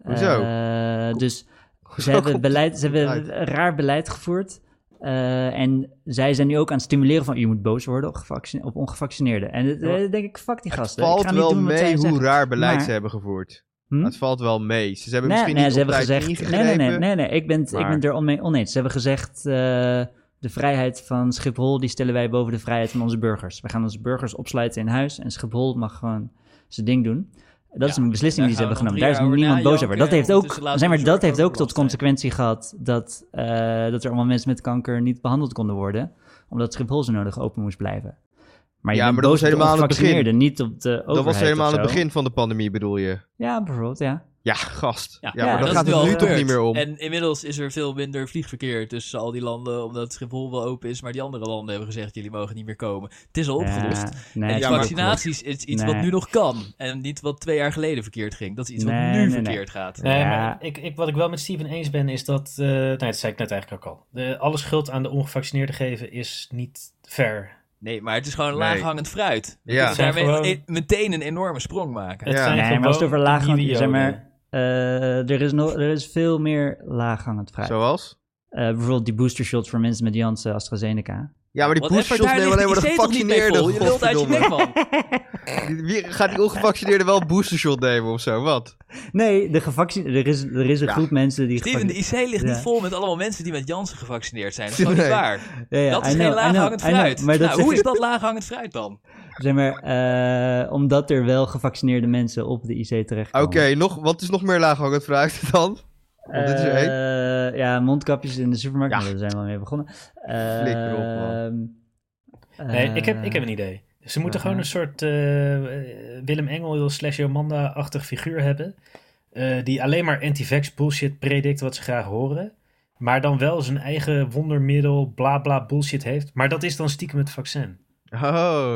Speaker 4: Hoezo?
Speaker 2: Eh, dus
Speaker 4: Hoezo
Speaker 2: Ze hebben,
Speaker 4: komt-
Speaker 2: beleid, ze
Speaker 4: uit.
Speaker 2: hebben raar beleid gevoerd. eh, en zij zijn nu ook aan het stimuleren van... je moet boos worden op, gevaccine- op ongevaccineerden. En dat-
Speaker 4: Ja, maar
Speaker 2: eh, denk ik, fuck die
Speaker 4: Het
Speaker 2: gasten. ik
Speaker 4: valt
Speaker 2: ga niet
Speaker 4: wel
Speaker 2: doen wat zij
Speaker 4: mee hoe
Speaker 2: zeggen.
Speaker 4: raar beleid
Speaker 2: Maar-
Speaker 4: ze hebben gevoerd.
Speaker 2: Hm?
Speaker 4: Het valt wel mee. Ze hebben
Speaker 2: Nee,
Speaker 4: misschien
Speaker 2: nee,
Speaker 4: niet
Speaker 2: ze hebben
Speaker 4: op tijd
Speaker 2: gezegd... Nee,
Speaker 4: ingegrepen.
Speaker 2: nee, nee, nee, nee, ik ben het ik ben
Speaker 4: maar-
Speaker 2: het er onmee oneens. Ze hebben gezegd... eh, de vrijheid van Schiphol, die stellen wij boven de vrijheid van onze burgers. We gaan onze burgers opsluiten in huis en Schiphol mag gewoon zijn ding doen. Dat is
Speaker 3: Ja,
Speaker 2: een beslissing die
Speaker 3: daar
Speaker 2: ze
Speaker 3: gaan
Speaker 2: hebben genomen.
Speaker 3: we nog
Speaker 2: Daar is
Speaker 3: drie jaar
Speaker 2: niemand
Speaker 3: over
Speaker 2: boos over. Dat heeft
Speaker 3: najanken en
Speaker 2: ook,
Speaker 3: ondertussen laten
Speaker 2: zeg
Speaker 3: we
Speaker 2: maar, dat
Speaker 3: zorgen
Speaker 2: heeft
Speaker 3: voor
Speaker 2: ook tot
Speaker 3: overlast, hè.
Speaker 2: consequentie gehad dat, eh, dat er allemaal mensen met kanker niet behandeld konden worden. Omdat Schiphol zo nodig open moest blijven. Maar je
Speaker 4: Ja,
Speaker 2: bent
Speaker 4: maar dat
Speaker 2: boos
Speaker 4: was
Speaker 2: op de
Speaker 4: helemaal aan het begin.
Speaker 2: ongevaccineerden, niet op de overheid.
Speaker 4: Dat was helemaal
Speaker 2: of
Speaker 4: aan het
Speaker 2: zo.
Speaker 4: begin van de pandemie, bedoel je?
Speaker 2: Ja, bijvoorbeeld, ja.
Speaker 4: Ja, gast. Ja,
Speaker 2: Ja,
Speaker 4: maar
Speaker 2: dat
Speaker 4: daar
Speaker 2: is
Speaker 4: gaat
Speaker 2: nu
Speaker 4: het
Speaker 2: al
Speaker 4: nu toch
Speaker 3: gebeurd.
Speaker 4: niet meer om.
Speaker 3: En inmiddels is er veel minder vliegverkeer tussen al die landen, omdat Schiphol wel open is, maar die andere landen hebben gezegd, jullie mogen niet meer komen. Het is al opgelost.
Speaker 2: Ja, Eh, nee, het is
Speaker 3: en die
Speaker 2: ook opgelost.
Speaker 3: vaccinaties is iets wat
Speaker 2: Nee.
Speaker 3: nu nog kan. En niet wat twee jaar geleden verkeerd ging. Dat is iets wat
Speaker 2: Nee,
Speaker 3: nu
Speaker 2: nee, nee.
Speaker 3: verkeerd gaat.
Speaker 2: Ja.
Speaker 3: Ja.
Speaker 2: Nee.
Speaker 1: Nee, maar ik, ik, wat ik wel met Steven eens ben is dat, eh nou, dat zei ik net eigenlijk ook al. De, alle schuld aan de ongevaccineerden geven is niet fair.
Speaker 3: maar het is gewoon
Speaker 4: Nee.
Speaker 3: laaghangend fruit. We
Speaker 4: Ja.
Speaker 3: kunnen
Speaker 1: Zijn
Speaker 3: daarmee
Speaker 1: gewoon-
Speaker 3: e- meteen een enorme sprong maken.
Speaker 1: Het
Speaker 4: Ja.
Speaker 1: zijn
Speaker 2: Nee, maar
Speaker 1: gewoon
Speaker 2: als het over
Speaker 1: de
Speaker 2: laaghangend-
Speaker 1: nieuwe
Speaker 2: zeg maar,
Speaker 1: joden.
Speaker 2: Eh, er, is nog, er is veel meer laaghangend fruit.
Speaker 4: Zoals?
Speaker 2: Eh, bijvoorbeeld die booster shots voor mensen met Janssen, AstraZeneca.
Speaker 4: Ja, maar die
Speaker 3: Want Edward,
Speaker 4: boostershots
Speaker 3: daar
Speaker 4: nemen alleen
Speaker 3: ligt
Speaker 4: maar de
Speaker 3: die zetel niet mee vol.
Speaker 4: gevaccineerden.
Speaker 3: Je lult uit je nek,
Speaker 4: godverdomme.
Speaker 3: man.
Speaker 4: Die- Wie gaat die ongevaccineerden wel een boostershot nemen of zo? Wat?
Speaker 2: Nee, de gevacci- er, is, er is een
Speaker 4: Ja.
Speaker 2: groep mensen die...
Speaker 3: Steven, de
Speaker 2: gevac-
Speaker 3: IC ligt
Speaker 2: Ja.
Speaker 3: niet vol met allemaal mensen die met Janssen gevaccineerd zijn. Dat is gewoon
Speaker 4: Nee.
Speaker 3: niet waar.
Speaker 2: Ja, ja,
Speaker 3: Dat is
Speaker 2: I
Speaker 3: geen
Speaker 2: know, I know,
Speaker 3: laaghangend
Speaker 2: I know.
Speaker 3: fruit.
Speaker 2: Maar dat
Speaker 3: nou, hoe
Speaker 2: zeg-
Speaker 3: is dat laaghangend fruit dan?
Speaker 2: Zeg maar, eh, omdat er wel gevaccineerde mensen op de IC
Speaker 4: Oké,
Speaker 2: terechtkomen.
Speaker 4: nog, wat is nog meer laaghangend fruit dan? want dit is er
Speaker 2: Eh, ja, mondkapjes in de supermarkt,
Speaker 4: Ja.
Speaker 2: nou, daar zijn we al mee begonnen. Eh,
Speaker 4: Flikker op,
Speaker 2: eh,
Speaker 1: Nee, ik heb, ik heb een idee. Ze moeten
Speaker 2: aha.
Speaker 1: gewoon een soort eh, eh, Willem Engel slash Jomanda-achtig figuur hebben. eh, die alleen maar anti-vax bullshit predikt wat ze graag horen. Maar dan wel zijn eigen wondermiddel bla bla bullshit heeft. Maar dat is dan stiekem het vaccin.
Speaker 4: Oh,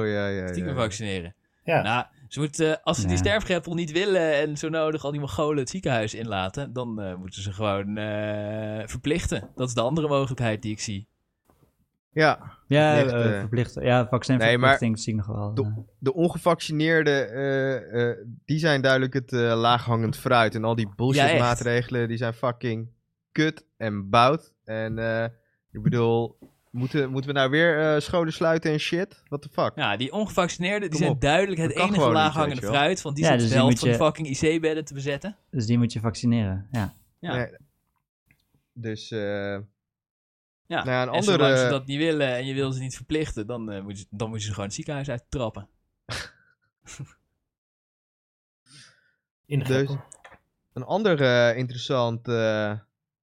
Speaker 4: ja, ja,
Speaker 3: Stiekem
Speaker 4: ja.
Speaker 3: vaccineren.
Speaker 1: Ja,
Speaker 3: Nou, ze moeten, eh, als ze die
Speaker 2: Ja.
Speaker 3: sterfgrempel niet willen en zo nodig al die Mongolen het ziekenhuis inlaten, dan eh, moeten ze gewoon eh, verplichten. Dat is de andere mogelijkheid die ik zie.
Speaker 4: Ja,
Speaker 2: Ja, eh,
Speaker 4: Verplicht,
Speaker 2: verplicht,
Speaker 4: eh.
Speaker 2: Ja, vaccinverplichting zie ik nog wel.
Speaker 4: Do-
Speaker 2: eh.
Speaker 4: de ongevaccineerden, eh, eh, die zijn duidelijk het eh, laaghangend fruit. En al die bullshit
Speaker 3: Ja, echt.
Speaker 4: maatregelen, die zijn fucking kut en bout. En eh, ik bedoel, moeten, moeten we nou weer eh, scholen sluiten en shit? What the fuck?
Speaker 3: Ja, die ongevaccineerden die
Speaker 4: Kom
Speaker 3: zijn
Speaker 4: op.
Speaker 3: duidelijk het
Speaker 4: Dat kan
Speaker 3: enige
Speaker 4: gewoon niet,
Speaker 3: laaghangende
Speaker 4: weet je wel.
Speaker 3: fruit, want die
Speaker 2: Ja,
Speaker 3: zit
Speaker 2: dus
Speaker 3: de
Speaker 2: die
Speaker 3: helft
Speaker 2: moet
Speaker 3: van de fucking IC-bedden te bezetten.
Speaker 2: Dus die moet je vaccineren, ja.
Speaker 3: Ja.
Speaker 4: Nee. Dus, eh,
Speaker 3: Ja,
Speaker 4: nou ja, een
Speaker 3: En zolang ze
Speaker 4: andere...
Speaker 3: dat niet willen en je wil ze niet verplichten, dan, eh, moet, je, dan moet je ze gewoon het ziekenhuis uittrappen.
Speaker 4: Dus
Speaker 1: ingewikkeld.
Speaker 4: Een ander eh, interessant eh,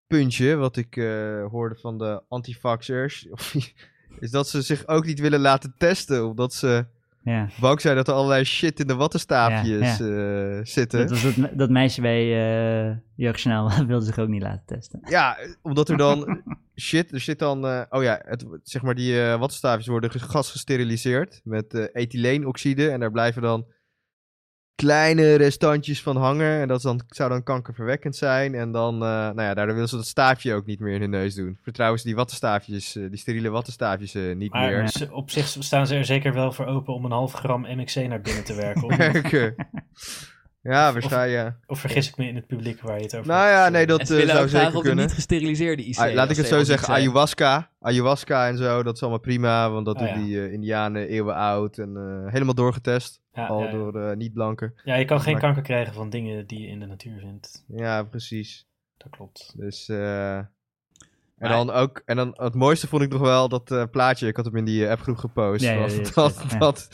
Speaker 4: puntje wat ik eh, hoorde van de antifaxers, is dat ze zich ook niet willen laten testen, omdat ze
Speaker 2: ja.
Speaker 4: bang zijn dat er allerlei shit in de wattenstaafjes eh, zitten.
Speaker 2: Dat was dat, dat meisje bij eh Jeugdjournaal wilde zich ook niet laten testen.
Speaker 4: Ja, eh, omdat er dan shit, er zit dan, eh, oh ja, het, zeg maar die eh wattenstaafjes worden ge- gasgesteriliseerd met eh ethyleenoxide en daar blijven dan kleine restantjes van hangen en dat is dan, zou dan kankerverwekkend zijn en dan, eh, nou ja, daardoor willen ze dat staafje ook niet meer in hun neus doen. Vertrouwen ze die wattenstaafjes, eh, die steriele wattenstaafjes eh, niet
Speaker 1: maar
Speaker 4: meer.
Speaker 1: ze- op zich staan ze er zeker wel voor open om een half gram MXC naar binnen te werken. Of,
Speaker 4: Werken. Ja, waarschijnlijk. ja.
Speaker 1: of vergis ik me in het publiek waar je het over
Speaker 4: Nou ja, nee, dat
Speaker 3: en
Speaker 4: eh,
Speaker 3: ze willen
Speaker 4: zou
Speaker 3: ook graag
Speaker 4: zeker
Speaker 3: op de
Speaker 4: kunnen.
Speaker 3: niet gesteriliseerde IC.
Speaker 4: Ah,
Speaker 3: als
Speaker 4: laat ik het
Speaker 3: ze
Speaker 4: zo
Speaker 3: helemaal
Speaker 4: zeggen,
Speaker 3: niks zijn.
Speaker 4: ayahuasca. Ayahuasca en zo, dat is allemaal prima, want dat
Speaker 1: Ah,
Speaker 4: doen
Speaker 1: ja.
Speaker 4: die eh, indianen eeuwen oud en eh, helemaal doorgetest.
Speaker 1: Ja,
Speaker 4: al
Speaker 1: ja, ja.
Speaker 4: door eh, niet-blanken.
Speaker 1: Ja, je kan geen
Speaker 4: Maar-
Speaker 1: kanker krijgen van dingen die je in de natuur vindt.
Speaker 4: Ja, precies.
Speaker 1: Dat klopt.
Speaker 4: Dus, eh, en
Speaker 3: Maar-
Speaker 4: dan ook, en dan het mooiste vond ik nog wel dat eh, plaatje, ik had hem in die eh, appgroep gepost,
Speaker 2: Ja, ja,
Speaker 4: was
Speaker 2: ja,
Speaker 4: dat,
Speaker 2: zeker, ja.
Speaker 4: Dat,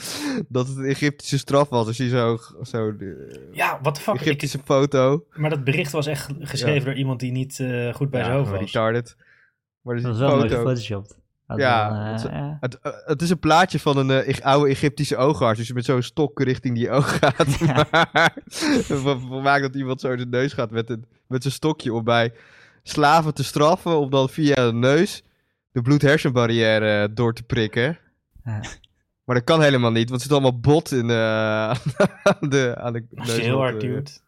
Speaker 4: dat het een Egyptische straf was. Dus die zo, zo de
Speaker 1: Ja, wat de fuck. Ik-
Speaker 4: Egyptische foto.
Speaker 1: Maar dat bericht was echt geschreven door iemand die niet eh, goed bij
Speaker 4: Ja,
Speaker 1: zijn hoofd
Speaker 4: gewoon
Speaker 1: was.
Speaker 4: retarded. Maar dus
Speaker 2: Dat was
Speaker 4: die
Speaker 2: wel mooi
Speaker 4: foto.
Speaker 2: gefotoshopt. Had
Speaker 4: Ja,
Speaker 2: wel, eh,
Speaker 4: dat is-
Speaker 2: ja.
Speaker 4: Het, eh, het is een plaatje van een eh, Eg- oude Egyptische oogarts. Dus met zo'n stok richting die oog gaat.
Speaker 2: Ja.
Speaker 4: Maar wat- wat maakt dat iemand zo in de neus gaat met, een, met zijn stokje om bij slaven te straffen. Om dan via de neus de bloed-hersenbarrière eh, door te prikken.
Speaker 2: Ja.
Speaker 4: Maar dat kan helemaal niet, want er zit allemaal bot in, eh, aan de, aan de
Speaker 1: Als je heel
Speaker 4: neuswand,
Speaker 1: hard
Speaker 4: eh,
Speaker 1: duwt.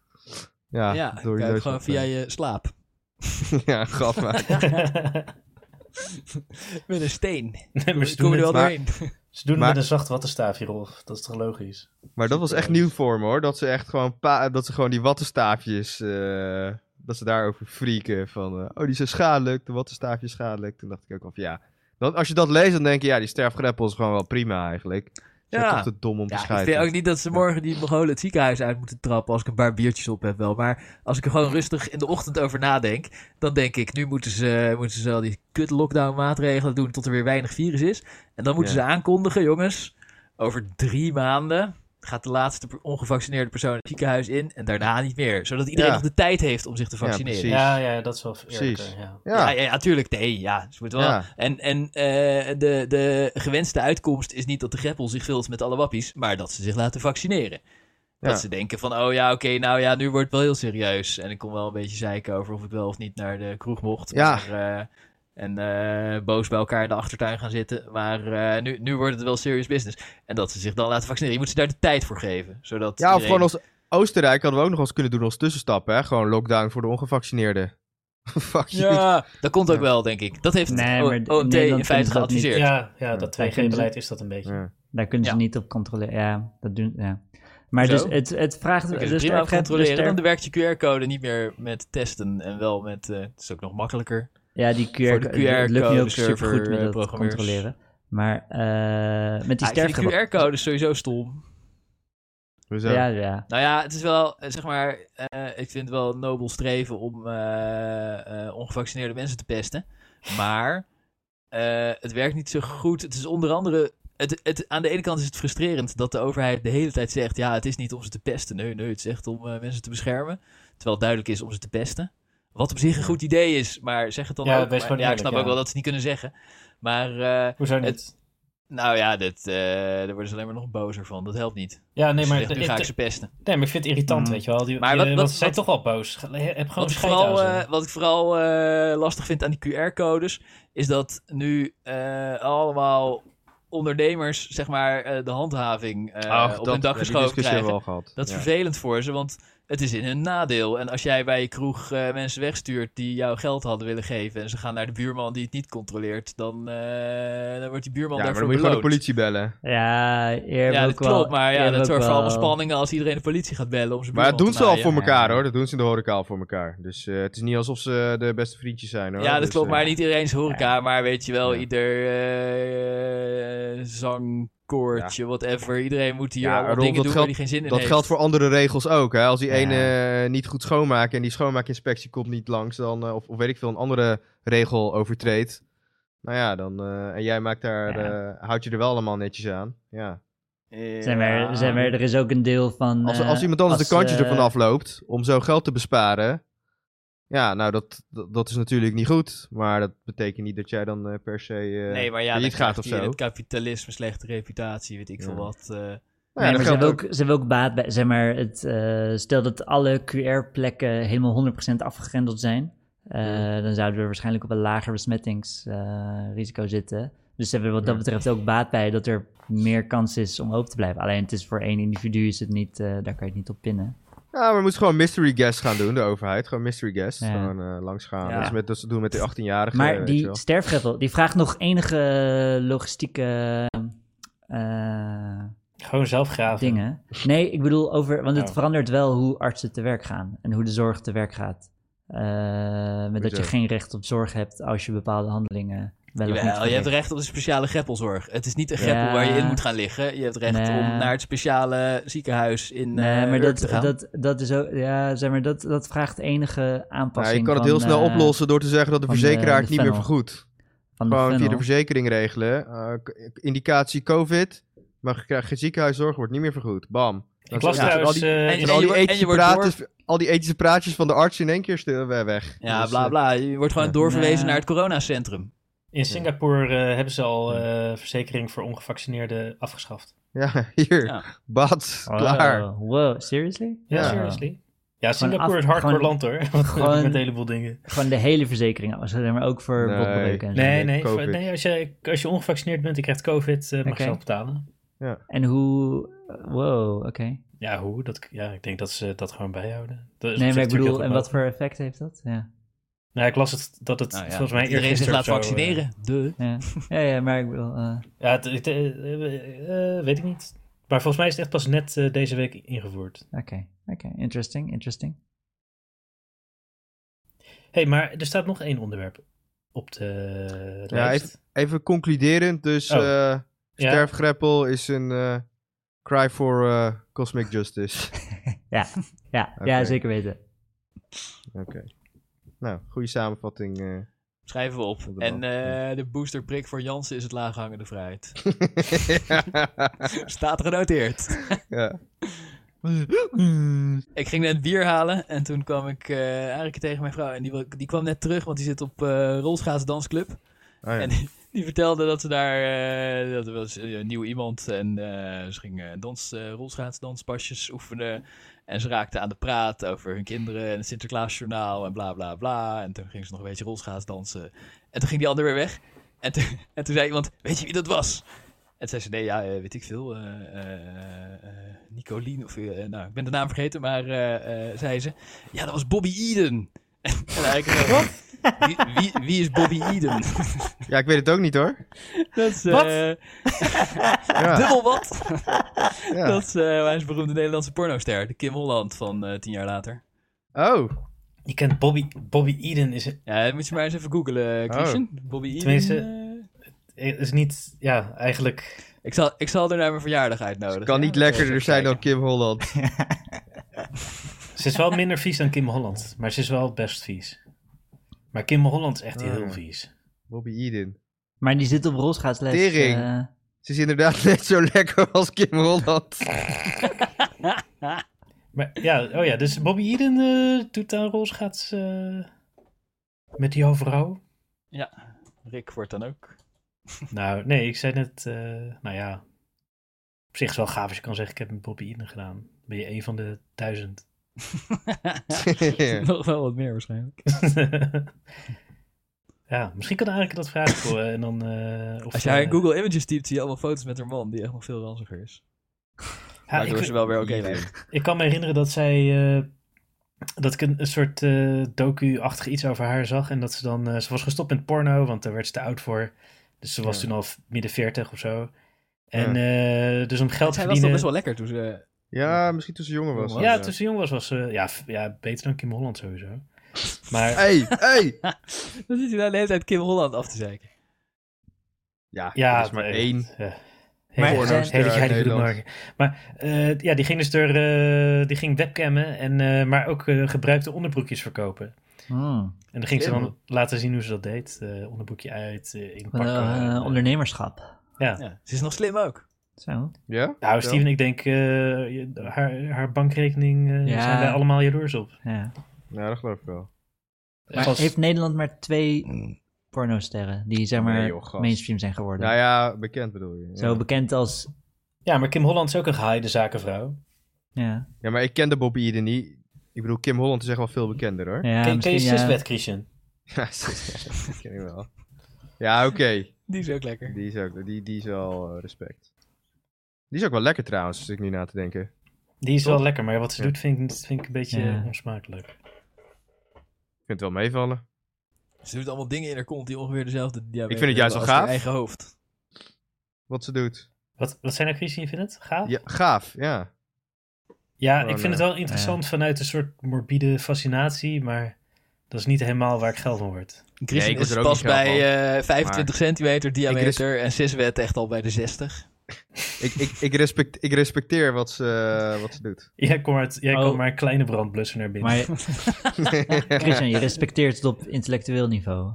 Speaker 4: Ja,
Speaker 3: Ja,
Speaker 4: door die
Speaker 3: kijk,
Speaker 4: neus. eh.
Speaker 3: gewoon via je slaap.
Speaker 4: ja, grap maar.
Speaker 3: Met een steen.
Speaker 1: nee, maar ze
Speaker 3: Ik kom
Speaker 1: doen
Speaker 3: er wel
Speaker 1: het,
Speaker 4: maar-
Speaker 3: doorheen.
Speaker 1: ze doen het
Speaker 4: maar-
Speaker 1: met een zacht wattenstaafje, Rolf. Dat is toch logisch?
Speaker 4: Maar dat was echt nieuw voor me hoor. Dat ze echt gewoon, pa- dat ze gewoon die wattenstaafjes. eh, dat ze daarover freaken. Van eh, oh, die zijn schadelijk. De wattenstaafjes schadelijk. Toen dacht ik ook al van ja. Dat, als je dat leest, dan denk je ja, die sterfgreppel is gewoon wel prima eigenlijk. Zijn
Speaker 3: Ja.
Speaker 4: toch te dom om te
Speaker 3: Ja, ik
Speaker 4: scheiden.
Speaker 3: vind ook niet dat ze morgen die Mongolen het ziekenhuis uit moeten trappen als ik een paar biertjes op heb wel. Maar als ik er gewoon rustig in de ochtend over nadenk, dan denk ik, nu moeten ze, moeten ze al die kut lockdown maatregelen doen tot er weer weinig virus is. En dan moeten
Speaker 4: Ja.
Speaker 3: ze aankondigen, jongens, over drie maanden gaat de laatste per- ongevaccineerde persoon het ziekenhuis in en daarna niet meer. Zodat iedereen
Speaker 4: Ja.
Speaker 3: nog de tijd heeft om zich te
Speaker 4: Ja,
Speaker 3: vaccineren.
Speaker 4: precies.
Speaker 1: Ja, ja, dat is wel eerlijker.
Speaker 4: Precies.
Speaker 1: Ja.
Speaker 3: Ja,
Speaker 4: Ja,
Speaker 3: ja, ja, tuurlijk. Nee, ja. Ze moeten wel.
Speaker 4: Ja.
Speaker 3: En, en eh, de, de gewenste uitkomst is niet dat de greppel zich vult met alle wappies, maar dat ze zich laten vaccineren. Dat
Speaker 4: Ja.
Speaker 3: ze denken van, oh ja, oké, nou ja, nu wordt het wel heel serieus. En ik kon wel een beetje zeiken over of ik wel of niet naar de kroeg mocht.
Speaker 4: Ja.
Speaker 3: Maar, eh, en eh, boos bij elkaar in de achtertuin gaan zitten. Maar eh, nu, nu wordt het wel serious business. En dat ze zich dan laten vaccineren. Je moet ze daar de tijd voor geven. Zodat
Speaker 4: ja of
Speaker 3: iedereen-
Speaker 4: gewoon als Oostenrijk hadden we ook nog eens kunnen doen als tussenstap, hè? Gewoon lockdown voor de ongevaccineerden. Fuck you.
Speaker 3: Ja, dat komt ook
Speaker 4: Ja.
Speaker 3: wel, denk ik. Dat heeft
Speaker 2: Nee,
Speaker 3: het
Speaker 2: maar in
Speaker 3: O- OMT
Speaker 2: Nederland
Speaker 3: in
Speaker 2: kunnen
Speaker 3: feite
Speaker 2: ze dat dus niet.
Speaker 3: geadviseerd.
Speaker 1: Ja, ja, dat
Speaker 2: Ja,
Speaker 1: 2G-beleid is dat een beetje.
Speaker 4: Ja.
Speaker 2: Daar kunnen ze
Speaker 3: Ja.
Speaker 2: niet op controleren. Ja, dat doen Ja. Maar
Speaker 3: Zo?
Speaker 2: dus het, het vraagt...
Speaker 3: Je
Speaker 2: Dus
Speaker 3: kunt het prima
Speaker 2: het gaat- dus
Speaker 3: controleren.
Speaker 2: er-
Speaker 3: Dan werkt je QR-code niet meer met testen en wel met... eh, het is ook nog makkelijker.
Speaker 2: Ja, die
Speaker 3: Voor
Speaker 2: QR,
Speaker 3: de
Speaker 2: het lukt nu ook
Speaker 3: QR-code
Speaker 2: super goed met dat
Speaker 3: programmeurs.
Speaker 2: controleren. Maar eh, met die
Speaker 3: Ah, ik vind
Speaker 2: sterfgevallen...
Speaker 3: QR-code is sowieso stom.
Speaker 4: Hoezo?
Speaker 2: Ja, ja.
Speaker 3: Nou ja, het is wel, eh, zeg maar... eh, ik vind het wel een nobel streven om eh, eh, ongevaccineerde mensen te pesten. Maar eh, het werkt niet zo goed. Het is onder andere... Het, het, aan de ene kant is het frustrerend dat de overheid de hele tijd zegt... ja, het is niet om ze te pesten. Nee, nee, het is echt om eh, mensen te beschermen. Terwijl het duidelijk is om ze te pesten. Wat op zich een goed idee is, maar zeg het dan
Speaker 1: Ja,
Speaker 3: ook.
Speaker 1: wees
Speaker 3: Maar-
Speaker 1: gewoon
Speaker 3: ja, ik
Speaker 1: eerlijk,
Speaker 3: snap
Speaker 1: ja.
Speaker 3: ook wel dat ze het niet kunnen zeggen. Maar eh,
Speaker 1: Hoezo niet?
Speaker 3: Het- Nou ja, dit, eh, daar worden ze alleen maar nog bozer van. Dat helpt niet.
Speaker 1: ja, nee,
Speaker 3: Nee,
Speaker 1: maar,
Speaker 3: maar, nu
Speaker 1: het-
Speaker 3: dus ga ik
Speaker 1: het-
Speaker 3: ze pesten.
Speaker 1: nee, maar ik vind het irritant,
Speaker 2: Mm.
Speaker 1: weet je wel. Die,
Speaker 3: Maar
Speaker 1: die-
Speaker 3: wat-
Speaker 1: want
Speaker 3: wat-
Speaker 1: ze zijn
Speaker 3: wat-
Speaker 1: toch al boos. Ge- Heb gewoon
Speaker 3: Wat ik
Speaker 1: scheid
Speaker 3: vooral,
Speaker 1: aan ze.
Speaker 3: eh, wat ik vooral eh, lastig vind aan die QR-codes... is dat nu eh, allemaal ondernemers zeg maar, eh, de handhaving eh,
Speaker 4: Ach,
Speaker 3: op
Speaker 4: dat-
Speaker 3: hun dak
Speaker 4: ja, die
Speaker 3: geschoven
Speaker 4: discussie hebben
Speaker 3: krijgen.
Speaker 4: we al gehad.
Speaker 3: Dat is
Speaker 4: Ja.
Speaker 3: vervelend voor ze, want het is in hun nadeel. En als jij bij je kroeg eh, mensen wegstuurt die jouw geld hadden willen geven... en ze gaan naar de buurman die het niet controleert... dan, eh, dan wordt die buurman
Speaker 4: Ja, maar
Speaker 3: daarvoor
Speaker 4: dan moet je gewoon de
Speaker 3: beloond.
Speaker 4: politie bellen.
Speaker 2: Ja, eer
Speaker 3: Ja, dat
Speaker 2: ook
Speaker 3: klopt,
Speaker 2: wel,
Speaker 3: maar ja,
Speaker 2: eer
Speaker 3: dat
Speaker 2: ook
Speaker 3: zorgt voor allemaal
Speaker 2: wel.
Speaker 3: spanningen als iedereen de politie gaat bellen om zijn
Speaker 4: Maar dat
Speaker 3: buurman
Speaker 4: doen
Speaker 3: te
Speaker 4: ze al
Speaker 3: naaien.
Speaker 4: voor elkaar, hoor. Dat doen ze in de horeca al voor elkaar. Dus eh, het is niet alsof ze de beste vriendjes zijn, hoor.
Speaker 3: Ja, dat
Speaker 4: Dus,
Speaker 3: klopt,
Speaker 4: eh,
Speaker 3: maar niet iedereen is horeca, maar weet je wel,
Speaker 4: Ja.
Speaker 3: ieder eh, zangkoortje, whatever, iedereen moet hier
Speaker 4: Ja,
Speaker 3: allemaal
Speaker 4: Rolf,
Speaker 3: dingen
Speaker 4: dat
Speaker 3: doen waar
Speaker 4: geldt-
Speaker 3: die geen zin in
Speaker 4: Dat
Speaker 3: heeft.
Speaker 4: geldt voor andere regels ook. Hè? Als die
Speaker 2: Ja.
Speaker 4: ene eh, niet goed schoonmaakt en die schoonmaakinspectie komt niet langs, dan, eh, of, of weet ik veel, een andere regel overtreedt. Nou ja, dan. eh, en jij maakt daar,
Speaker 2: Ja.
Speaker 4: eh, houd je er wel allemaal netjes aan. Ja.
Speaker 2: Zijn er, zijn er, er is ook een deel van...
Speaker 4: Als,
Speaker 2: eh,
Speaker 4: als iemand anders de kantjes
Speaker 2: eh,
Speaker 4: ervan afloopt om zo geld te besparen. Ja, nou, dat, dat, dat is natuurlijk niet goed. Maar dat betekent niet dat jij dan eh, per se. eh
Speaker 3: Nee, maar ja,
Speaker 4: failliet
Speaker 3: dan
Speaker 4: gaat
Speaker 3: gaat
Speaker 4: of
Speaker 3: of in
Speaker 4: zo.
Speaker 3: het kapitalisme slechte reputatie, weet ik veel
Speaker 4: Ja.
Speaker 3: wat. eh.
Speaker 4: Nou ja,
Speaker 2: nee, maar
Speaker 4: dat
Speaker 2: ze
Speaker 4: geldt
Speaker 2: hebben,
Speaker 4: ook.
Speaker 2: ook, ze hebben ook baat bij, zeg maar, het, eh, stel dat alle QR-plekken helemaal 100% afgegrendeld zijn, eh, dan zouden we waarschijnlijk op een lager besmettingsrisico zitten. Dus ze hebben er wat dat
Speaker 4: Ja.
Speaker 2: betreft ook baat bij dat er meer kans is om open te blijven. Alleen het is voor één individu, is het niet, eh, daar kan je het niet op pinnen.
Speaker 4: Ja, maar we moeten gewoon mystery guest gaan doen, de overheid. Gewoon mystery guest.
Speaker 2: Ja.
Speaker 4: Gewoon eh, langs gaan.
Speaker 3: Ja.
Speaker 4: Dat, is met, dat ze doen met de 18-jarigen.
Speaker 2: Maar
Speaker 4: weet je
Speaker 2: die
Speaker 4: wel.
Speaker 2: sterfgevel, die vraagt nog enige logistieke eh,
Speaker 1: Gewoon zelf graven.
Speaker 2: dingen. Nee, ik bedoel over, want het
Speaker 1: Oh.
Speaker 2: verandert wel hoe artsen te werk gaan en hoe de zorg te werk gaat. Eh, met dat je
Speaker 4: Hoezo?
Speaker 2: geen recht op zorg hebt als je bepaalde handelingen wel of niet
Speaker 3: Jawel, je hebt
Speaker 2: verricht.
Speaker 3: recht op de speciale greppelzorg. Het is niet een
Speaker 2: Ja.
Speaker 3: greppel waar je in moet gaan liggen. Je hebt recht
Speaker 2: Nee.
Speaker 3: om naar het speciale ziekenhuis in
Speaker 2: Nee,
Speaker 3: eh,
Speaker 2: maar
Speaker 3: Urk
Speaker 2: dat,
Speaker 3: te gaan.
Speaker 2: dat, dat is ook, ja, zeg maar, dat, dat vraagt enige
Speaker 4: Nou,
Speaker 2: aanpassing.
Speaker 4: je kan het
Speaker 2: van,
Speaker 4: heel snel
Speaker 2: eh,
Speaker 4: oplossen door te zeggen dat de
Speaker 2: van de-
Speaker 4: verzekeraar
Speaker 2: de
Speaker 4: het niet meer
Speaker 2: funnel.
Speaker 4: vergoedt.
Speaker 2: Van de
Speaker 4: Gewoon via de
Speaker 2: funnel.
Speaker 4: verzekering regelen. Eh, k- indicatie COVID. Maar je krijgt geen ziekenhuiszorg, wordt niet meer vergoed. Bam. Dan
Speaker 1: Ik las
Speaker 4: zijn-
Speaker 1: trouwens...
Speaker 4: zijn
Speaker 1: eh,
Speaker 3: en-
Speaker 4: al die,
Speaker 3: je wordt- en
Speaker 4: ethische
Speaker 3: je wordt
Speaker 4: praatjes, al die ethische praatjes van de arts in één keer stu- we- weg.
Speaker 3: Ja,
Speaker 4: Dus,
Speaker 3: bla
Speaker 4: eh,
Speaker 3: bla. Je wordt gewoon
Speaker 4: ja.
Speaker 3: doorverwezen
Speaker 2: Nee.
Speaker 3: naar het coronacentrum.
Speaker 1: in Singapore eh, hebben ze al eh, verzekering voor ongevaccineerden afgeschaft.
Speaker 4: Ja, hier.
Speaker 3: Ja.
Speaker 4: Bad.
Speaker 2: Oh,
Speaker 4: Klaar.
Speaker 2: Wow, seriously?
Speaker 1: Ja,
Speaker 4: Ja.
Speaker 1: seriously. Ja, Singapore
Speaker 2: af-
Speaker 1: is hardcore
Speaker 2: gewoon-
Speaker 1: land hoor. Want
Speaker 2: gewoon-
Speaker 1: met een heleboel dingen.
Speaker 2: Gewoon de hele verzekering, oh, zeg maar ook voor
Speaker 4: Nee.
Speaker 2: botbreuken en zo.
Speaker 1: Nee,
Speaker 4: Nee,
Speaker 1: nee.
Speaker 4: COVID.
Speaker 1: nee als, je, als je ongevaccineerd bent en krijgt COVID, eh, mag
Speaker 2: Oké.
Speaker 1: je zelf betalen.
Speaker 2: En hoe, wow, oké.
Speaker 1: Ja, hoe? Dat, ja, ik denk dat ze dat gewoon bijhouden. Dat is op
Speaker 2: Nee,
Speaker 1: zich
Speaker 2: maar ik
Speaker 1: natuurlijk
Speaker 2: bedoel,
Speaker 1: heel
Speaker 2: en
Speaker 1: goed
Speaker 2: wat voor effect heeft dat? Ja.
Speaker 1: Nou, ik las het dat het
Speaker 3: Nou ja,
Speaker 1: volgens mij
Speaker 3: iedereen zich
Speaker 1: eergisteren
Speaker 3: laat
Speaker 1: zo, eh,
Speaker 3: vaccineren. De.
Speaker 2: Ja. ja, ja, maar ik bedoel... eh,
Speaker 1: ja, het, het, eh, eh, eh, weet ik niet. Maar volgens mij is het echt pas net eh, deze week ingevoerd.
Speaker 2: Oké, oké. Interesting, interesting.
Speaker 1: hey, maar er staat nog één onderwerp op de
Speaker 4: Ja,
Speaker 1: lijst.
Speaker 4: Even concluderend, dus
Speaker 1: Oh.
Speaker 4: eh,
Speaker 1: Ja.
Speaker 4: Sterfgreppel is een eh, cry for eh, cosmic justice.
Speaker 2: Ja, ja
Speaker 4: Oké.
Speaker 2: zeker weten.
Speaker 4: Oké. Nou, goede samenvatting. eh.
Speaker 3: Schrijven we op.
Speaker 4: Op de
Speaker 3: En
Speaker 4: bank, ja.
Speaker 3: eh, de boosterprik voor Jansen is het laaghangende vrijheid. Staat genoteerd.
Speaker 4: ja.
Speaker 3: Ik ging net bier halen en toen kwam ik eh Arike tegen mijn vrouw. En die, wil- die kwam net terug, want die zit op eh Rolschaats Dansclub.
Speaker 4: Oh, ja.
Speaker 3: En die, die vertelde dat ze daar, eh, dat er was een nieuw iemand en eh, ze ging eh, dans, eh rolschaatsdanspasjes oefenen. En ze raakten aan de praat over hun kinderen en het Sinterklaasjournaal en bla bla bla. En toen ging ze nog een beetje rolschaatsdansen. En toen ging die ander weer weg. En toen, en toen zei iemand, weet je wie dat was? En toen zei ze, nee, ja, eh, weet ik veel. eh eh, eh, Nicolien of... eh, nou, ik ben de naam vergeten, maar eh, eh, zei ze... Ja, dat was Bobby Eden. en eigenlijk zo, wie, wie, wie is Bobby Eden?
Speaker 4: ja, ik weet het ook niet hoor.
Speaker 3: Dat is,
Speaker 2: Wat?
Speaker 3: eh,
Speaker 4: Ja,
Speaker 3: dubbel wat.
Speaker 4: ja.
Speaker 3: Dat is, eh, hij is een beroemde Nederlandse pornoster. De Kim Holland van eh, tien jaar later.
Speaker 4: Oh,
Speaker 1: Je kent Bobby, Bobby Eden is,
Speaker 3: Ja, dat moet je maar eens even googlen, eh,
Speaker 4: Oh.
Speaker 3: Christian. Bobby Eden.
Speaker 1: Tenminste-
Speaker 3: eh,
Speaker 1: is niet, ja, eigenlijk.
Speaker 3: ik, zal, ik zal er naar mijn verjaardag uitnodigen.
Speaker 4: het kan niet
Speaker 3: Ja,
Speaker 4: lekkerder
Speaker 3: even
Speaker 4: zijn dan
Speaker 3: kijken.
Speaker 4: Kim Holland.
Speaker 1: Ze is wel minder vies dan Kim Holland, maar ze is wel best vies. Maar Kim Holland is echt
Speaker 4: Ah.
Speaker 1: heel vies.
Speaker 4: Bobby Eden.
Speaker 2: Maar die zit op rolschaatsles.
Speaker 4: Tering.
Speaker 2: eh,
Speaker 4: Ze is inderdaad net zo lekker als Kim Holland.
Speaker 1: Maar ja, oh ja, dus Bobby Eden eh, doet aan rolschaats eh, met die overal.
Speaker 3: Ja, Rick wordt dan ook.
Speaker 1: Nou, nee, ik zei net, eh, nou ja, op zich is wel gaaf als je kan zeggen, ik heb met Bobby Eden gedaan. Dan ben je een van de duizend.
Speaker 3: Nog wel wat meer waarschijnlijk.
Speaker 1: ja, misschien kan eigenlijk dat vragen voor en dan... eh, of,
Speaker 3: Als jij
Speaker 1: eh,
Speaker 3: in Google Images typt, zie je allemaal foto's met haar man, die echt nog veel ranziger is.
Speaker 1: ja, Ah, ik,
Speaker 3: Waardoor ze wel weer oké
Speaker 4: Eden.
Speaker 3: lijkt.
Speaker 1: ik kan me herinneren dat zij... eh, dat ik een, een soort eh, docu-achtig iets over haar zag. En dat ze dan... eh, ze was gestopt met porno, want daar werd ze te oud voor. Dus ze was
Speaker 4: Ja.
Speaker 1: toen al v- midden veertig of zo. En eh, dus om geld te
Speaker 3: Zij was
Speaker 1: verdienen...
Speaker 3: nog best wel lekker toen ze...
Speaker 4: ja, misschien toen ze jonger was.
Speaker 1: Ja, toen ze jong was, was ze... Ja, f- ja, beter dan Kim Holland sowieso. Maar
Speaker 4: Hey, hey!
Speaker 3: Dan zit je daar de hele tijd Kim Holland af te zeiken.
Speaker 4: Ja,
Speaker 1: Ja,
Speaker 4: dat is maar
Speaker 1: nee,
Speaker 4: één.
Speaker 1: eh,
Speaker 2: Maar
Speaker 1: hele-
Speaker 2: er zijn-
Speaker 1: hele
Speaker 4: Ja,
Speaker 1: geile bedoel
Speaker 4: Nederland.
Speaker 1: maken. Maar eh, ja, die ging dus door, eh, die ging webcammen, en, eh, maar ook eh, gebruikte onderbroekjes verkopen.
Speaker 2: hmm.
Speaker 1: En dan ging ze
Speaker 4: Slim.
Speaker 1: dan laten zien hoe ze dat deed. Eh, onderbroekje uit, eh, in
Speaker 2: Wat een,
Speaker 1: pakken.
Speaker 2: eh,
Speaker 1: eh,
Speaker 2: ondernemerschap.
Speaker 1: ja.
Speaker 3: Ja, ze is nog slim ook.
Speaker 2: Zo.
Speaker 4: Ja?
Speaker 1: Nou, Steven, ik denk, eh, je- haar, haar bankrekening eh,
Speaker 2: Ja.
Speaker 1: zijn wij allemaal jaloers op.
Speaker 2: Ja.
Speaker 4: Ja, dat geloof ik wel.
Speaker 2: Maar
Speaker 1: Als-
Speaker 2: heeft Nederland maar twee pornosterren die zeg maar
Speaker 4: Nee, joh, gast.
Speaker 2: mainstream zijn geworden?
Speaker 4: Nou ja, bekend bedoel je. Ja.
Speaker 2: Zo bekend als...
Speaker 1: Ja, maar Kim Holland is ook een gehaaide zakenvrouw.
Speaker 2: Ja,
Speaker 4: Ja, maar ik kende Bobby Eden niet. Ik bedoel, Kim Holland is echt wel veel bekender hoor.
Speaker 1: Ken-
Speaker 2: ja
Speaker 1: ken
Speaker 2: misschien,
Speaker 1: je
Speaker 2: ja.
Speaker 1: Siswet, Christian?
Speaker 4: Ja, dat ken ik wel. Ja, oké.
Speaker 3: Die is ook lekker.
Speaker 4: Die is ook, die, die is wel eh, respect. Die is ook wel lekker trouwens, zit ik nu na te denken.
Speaker 1: Die is wel
Speaker 4: Toch?
Speaker 1: lekker, maar wat ze
Speaker 4: Ja.
Speaker 1: doet vind ik, vind ik een beetje
Speaker 2: Ja.
Speaker 1: eh, onsmakelijk.
Speaker 4: Ik vind het wel meevallen.
Speaker 3: Ze doet allemaal dingen in haar kont die ongeveer dezelfde diabetes
Speaker 4: Ik vind het juist
Speaker 3: hebben als
Speaker 4: wel gaaf.
Speaker 3: haar eigen hoofd.
Speaker 4: Wat ze doet.
Speaker 1: Wat, wat zijn nou, Christian, je vindt het? Gaaf?
Speaker 4: Ja, gaaf, ja.
Speaker 1: Ja,
Speaker 4: Gewoon,
Speaker 1: ik vind het wel interessant vanuit een soort morbide fascinatie, maar dat is niet helemaal waar ik geld van word.
Speaker 4: Nee,
Speaker 3: Christian
Speaker 4: ik word
Speaker 3: is
Speaker 4: er ook
Speaker 3: pas
Speaker 4: niet gaaf
Speaker 3: bij eh, 25 centimeter
Speaker 4: Ik res-
Speaker 3: diameter en Siswet echt al bij de 60.
Speaker 4: Ik, ik, ik, respect, ik respecteer wat ze, eh, wat ze doet.
Speaker 1: Jij komt maar, jij
Speaker 2: Oh.
Speaker 1: komt maar een kleine brandblusser naar binnen.
Speaker 2: Maar Christian, je respecteert het op intellectueel niveau.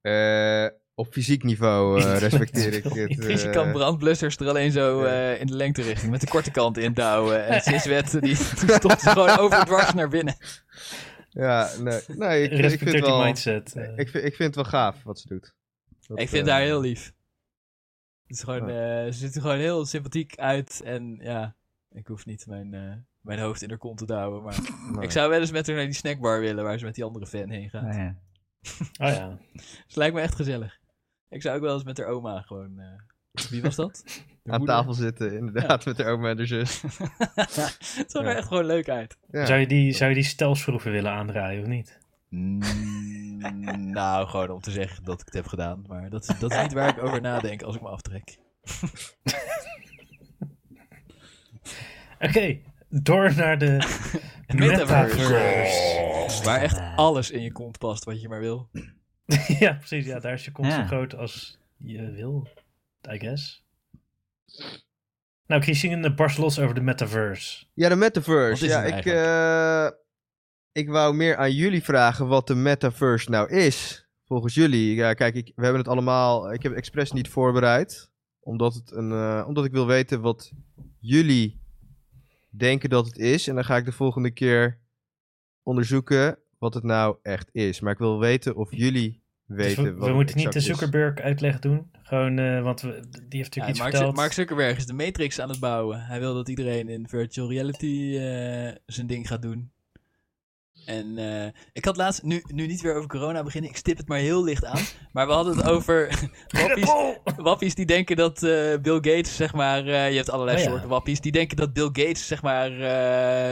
Speaker 4: Eh, op fysiek niveau eh, respecteer ik dit.
Speaker 3: Christian
Speaker 4: eh,
Speaker 3: kan brandblussers er alleen zo eh, in de lengte richting met de korte kant in douwen. En Siswet die, die stopt ze gewoon overdwars naar binnen.
Speaker 4: Ja, nee. nee ik, ik vind
Speaker 1: Respecteer
Speaker 4: het
Speaker 1: die
Speaker 4: wel,
Speaker 1: mindset. eh.
Speaker 4: Ik, vind- ik vind het wel gaaf wat ze doet. Dat,
Speaker 3: ik vind
Speaker 4: eh,
Speaker 3: haar heel lief. Het is gewoon,
Speaker 4: Oh.
Speaker 3: eh, ze ziet er gewoon heel sympathiek uit en ja, ik hoef niet mijn, eh, mijn hoofd in haar kont te douwen. Maar
Speaker 4: nee.
Speaker 3: ik zou wel eens met haar naar die snackbar willen waar ze met die andere fan heen gaat. Dus
Speaker 2: Ah, ja.
Speaker 1: Oh ja.
Speaker 3: Het lijkt me echt gezellig. Ik zou ook wel eens met haar oma gewoon. eh, Wie was dat? De
Speaker 4: aan
Speaker 3: moeder.
Speaker 4: tafel zitten, inderdaad, met haar oma en haar zus.
Speaker 3: het zag
Speaker 4: Ja.
Speaker 3: er echt gewoon leuk uit.
Speaker 4: Ja.
Speaker 1: Zou, je die, zou je die stelschroeven willen aandraaien of niet?
Speaker 3: nou, gewoon om te zeggen dat ik het heb gedaan. Maar dat is, dat is niet waar ik over nadenk als ik me aftrek.
Speaker 1: Oké, door naar de metaverse.
Speaker 3: Metaverse. Waar echt alles in je kont past wat je maar wil.
Speaker 1: ja, precies. Ja, daar is je kont zo
Speaker 2: Ja.
Speaker 1: groot als je wil. I guess. Nou, Christine barst los over de metaverse. Dus
Speaker 4: Ja, de
Speaker 3: Wat
Speaker 4: metaverse.
Speaker 3: is
Speaker 4: Ja,
Speaker 3: het
Speaker 4: ik, eh, ik wou meer aan jullie vragen wat de metaverse nou is. Volgens jullie. Ja, kijk, ik, we hebben het allemaal. Ik heb het expres niet voorbereid. Omdat, het een, eh, omdat ik wil weten wat jullie denken dat het is. En dan ga ik de volgende keer onderzoeken wat het nou echt is. Maar ik wil weten of jullie
Speaker 1: Dus
Speaker 4: weten
Speaker 1: we,
Speaker 4: wat
Speaker 1: we
Speaker 4: het
Speaker 1: moeten niet de
Speaker 4: exact is.
Speaker 1: Zuckerberg uitleg doen. Gewoon, eh, want we, die heeft natuurlijk
Speaker 3: Ja,
Speaker 1: iets
Speaker 3: Mark,
Speaker 1: verteld.
Speaker 3: Mark Zuckerberg is de Matrix aan het bouwen. Hij wil dat iedereen in virtual reality eh, zijn ding gaat doen. En eh, ik had laatst, nu, nu niet weer over corona beginnen, ik stip het maar heel licht aan. Maar we hadden het over wappies, wappies die denken dat eh, Bill Gates, zeg maar, eh, je hebt allerlei
Speaker 1: Oh ja.
Speaker 3: soorten wappies, die denken dat Bill Gates, zeg maar,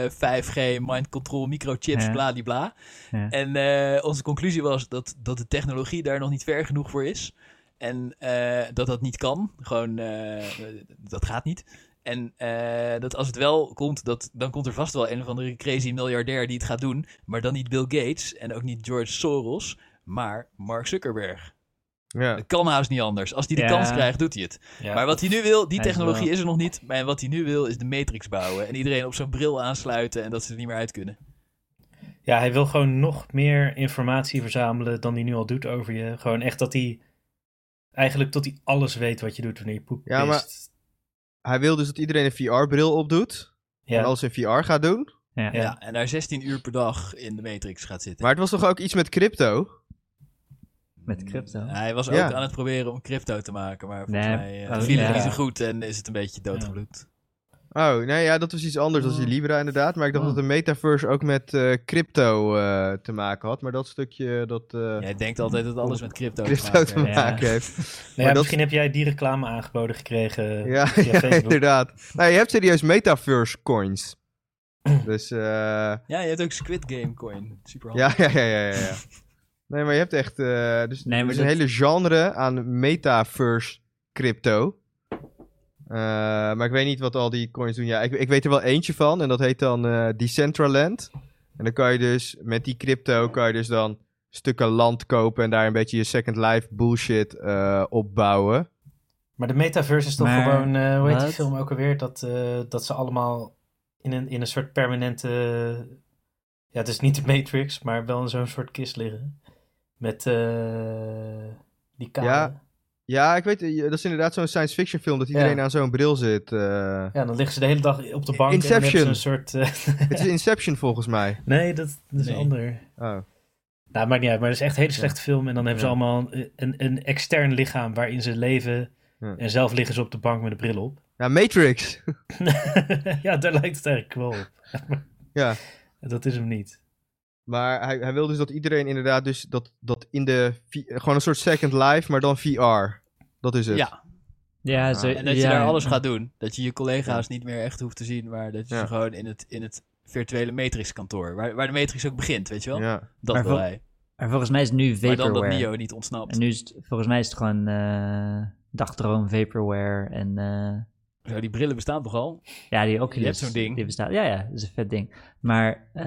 Speaker 3: eh, 5G, mind control, microchips,
Speaker 2: Ja.
Speaker 3: bladibla.
Speaker 2: Ja.
Speaker 3: En eh, onze conclusie was dat, dat de technologie daar nog niet ver genoeg voor is. En eh, dat dat niet kan. Gewoon, eh, dat gaat niet. En eh, dat als het wel komt, dat, dan komt er vast wel een of andere crazy miljardair die het gaat doen. Maar dan niet Bill Gates en ook niet George Soros, maar Mark Zuckerberg.
Speaker 4: Ja.
Speaker 3: Het kan haast niet anders. Als hij de
Speaker 2: Ja.
Speaker 3: kans krijgt, doet hij het.
Speaker 1: Ja.
Speaker 3: Maar wat hij nu wil, die
Speaker 2: Hij is
Speaker 3: technologie
Speaker 2: wel-
Speaker 3: is er nog niet. Maar wat hij nu wil, is de Matrix bouwen. En iedereen op zo'n bril aansluiten en dat ze er niet meer uit kunnen.
Speaker 1: Ja, hij wil gewoon nog meer informatie verzamelen dan hij nu al doet over je. Gewoon echt dat hij eigenlijk tot hij alles weet wat je doet wanneer je poep
Speaker 4: Ja, maar-
Speaker 1: pist.
Speaker 4: Hij wil dus dat iedereen een VR-bril opdoet.
Speaker 1: Ja,
Speaker 4: En alles in VR gaat doen.
Speaker 2: Ja.
Speaker 1: Ja. Nou
Speaker 3: Ja. en daar 16 uur per dag in de Matrix gaat zitten.
Speaker 4: Maar het was toch ook iets met crypto?
Speaker 2: Met crypto.
Speaker 3: Mm, Hij was ook
Speaker 4: Ja.
Speaker 3: aan het proberen om crypto te maken, maar volgens
Speaker 2: Nee,
Speaker 3: mij eh,
Speaker 2: oh,
Speaker 3: viel het
Speaker 1: ja.
Speaker 3: niet zo goed en is het een beetje doodgebloed.
Speaker 4: Oh, nee, ja, dat was iets anders dan die Libra inderdaad. Maar ik dacht
Speaker 2: Oh.
Speaker 4: dat de metaverse ook met eh, crypto eh, te maken had. Maar dat stukje dat eh,
Speaker 3: Jij denkt altijd dat alles met crypto te
Speaker 4: crypto
Speaker 3: maken
Speaker 4: te
Speaker 3: heeft.
Speaker 4: maken heeft.
Speaker 1: Nou ja,
Speaker 4: maar dat-
Speaker 1: misschien heb jij die reclame aangeboden gekregen
Speaker 4: Ja,
Speaker 1: via
Speaker 4: ja,
Speaker 1: Facebook.
Speaker 4: inderdaad. Nou, je hebt serieus metaverse coins. dus eh,
Speaker 3: Ja, je hebt ook Squid Game coin. Super
Speaker 2: Oh.
Speaker 3: handig.
Speaker 4: ja, ja, ja, ja, ja. ja. Nee, maar je hebt echt eh, dus,
Speaker 2: Nee, maar
Speaker 4: dus een
Speaker 2: dat-
Speaker 4: hele genre aan metaverse crypto. Eh, maar ik weet niet wat al die coins doen. Ja, ik, ik weet er wel eentje van. En dat heet dan eh, Decentraland. En dan kan je dus met die crypto kan je dus dan stukken land kopen en daar een beetje je Second Life bullshit eh, opbouwen.
Speaker 1: Maar de metaverse is toch
Speaker 2: Maar
Speaker 1: gewoon, eh, hoe heet die
Speaker 2: wat?
Speaker 1: film ook alweer? Dat, eh, dat ze allemaal in een, in een soort permanente. ja, het is niet de Matrix, maar wel in zo'n soort kist liggen. Met eh, die kade.
Speaker 4: Ja. Ja, ik weet, eh, dat is inderdaad zo'n science fiction film dat
Speaker 1: Ja.
Speaker 4: iedereen aan zo'n bril zit. eh.
Speaker 1: Ja, dan liggen ze de hele dag op de bank. En dan
Speaker 4: Inception.
Speaker 1: hebben ze een soort. eh,
Speaker 4: Het is Inception volgens mij.
Speaker 1: nee, dat, dat is
Speaker 3: Nee.
Speaker 1: ander.
Speaker 4: Oh.
Speaker 1: Nou, maakt niet uit, maar het is echt een hele slechte film. En dan hebben ze
Speaker 4: Ja.
Speaker 1: allemaal een, een, een extern lichaam waarin ze leven.
Speaker 4: Ja.
Speaker 1: En zelf liggen ze op de bank met een bril op.
Speaker 4: Ja, Matrix.
Speaker 1: ja, daar lijkt het eigenlijk wel op.
Speaker 4: Ja.
Speaker 1: Dat is hem niet.
Speaker 4: Maar hij, hij wil dus dat iedereen inderdaad dus dat, dat in de... vi- Gewoon een soort Second Life, maar dan VR. Dat is het.
Speaker 3: Ja,
Speaker 2: Ja, zo,
Speaker 3: en dat je
Speaker 2: ja,
Speaker 3: daar alles gaat doen. Dat je je collega's niet meer echt hoeft te zien, maar dat je
Speaker 4: Ja.
Speaker 3: ze gewoon in het, in het virtuele Matrix-kantoor, waar, waar de Matrix ook begint, weet je wel?
Speaker 4: Ja.
Speaker 3: Dat
Speaker 2: Maar
Speaker 3: wil
Speaker 2: vol-
Speaker 3: hij.
Speaker 2: Maar volgens mij is het nu
Speaker 3: Maar dan dat
Speaker 2: vaporware.
Speaker 3: Nio niet ontsnapt.
Speaker 2: En nu is het, volgens mij is het gewoon eh, dagdroom, vaporware en eh,
Speaker 3: Zo, die brillen bestaan toch al?
Speaker 2: ja, die Oculus.
Speaker 3: Je hebt zo'n ding.
Speaker 2: Die bestaat. Ja, ja, dat is een vet ding. Maar eh,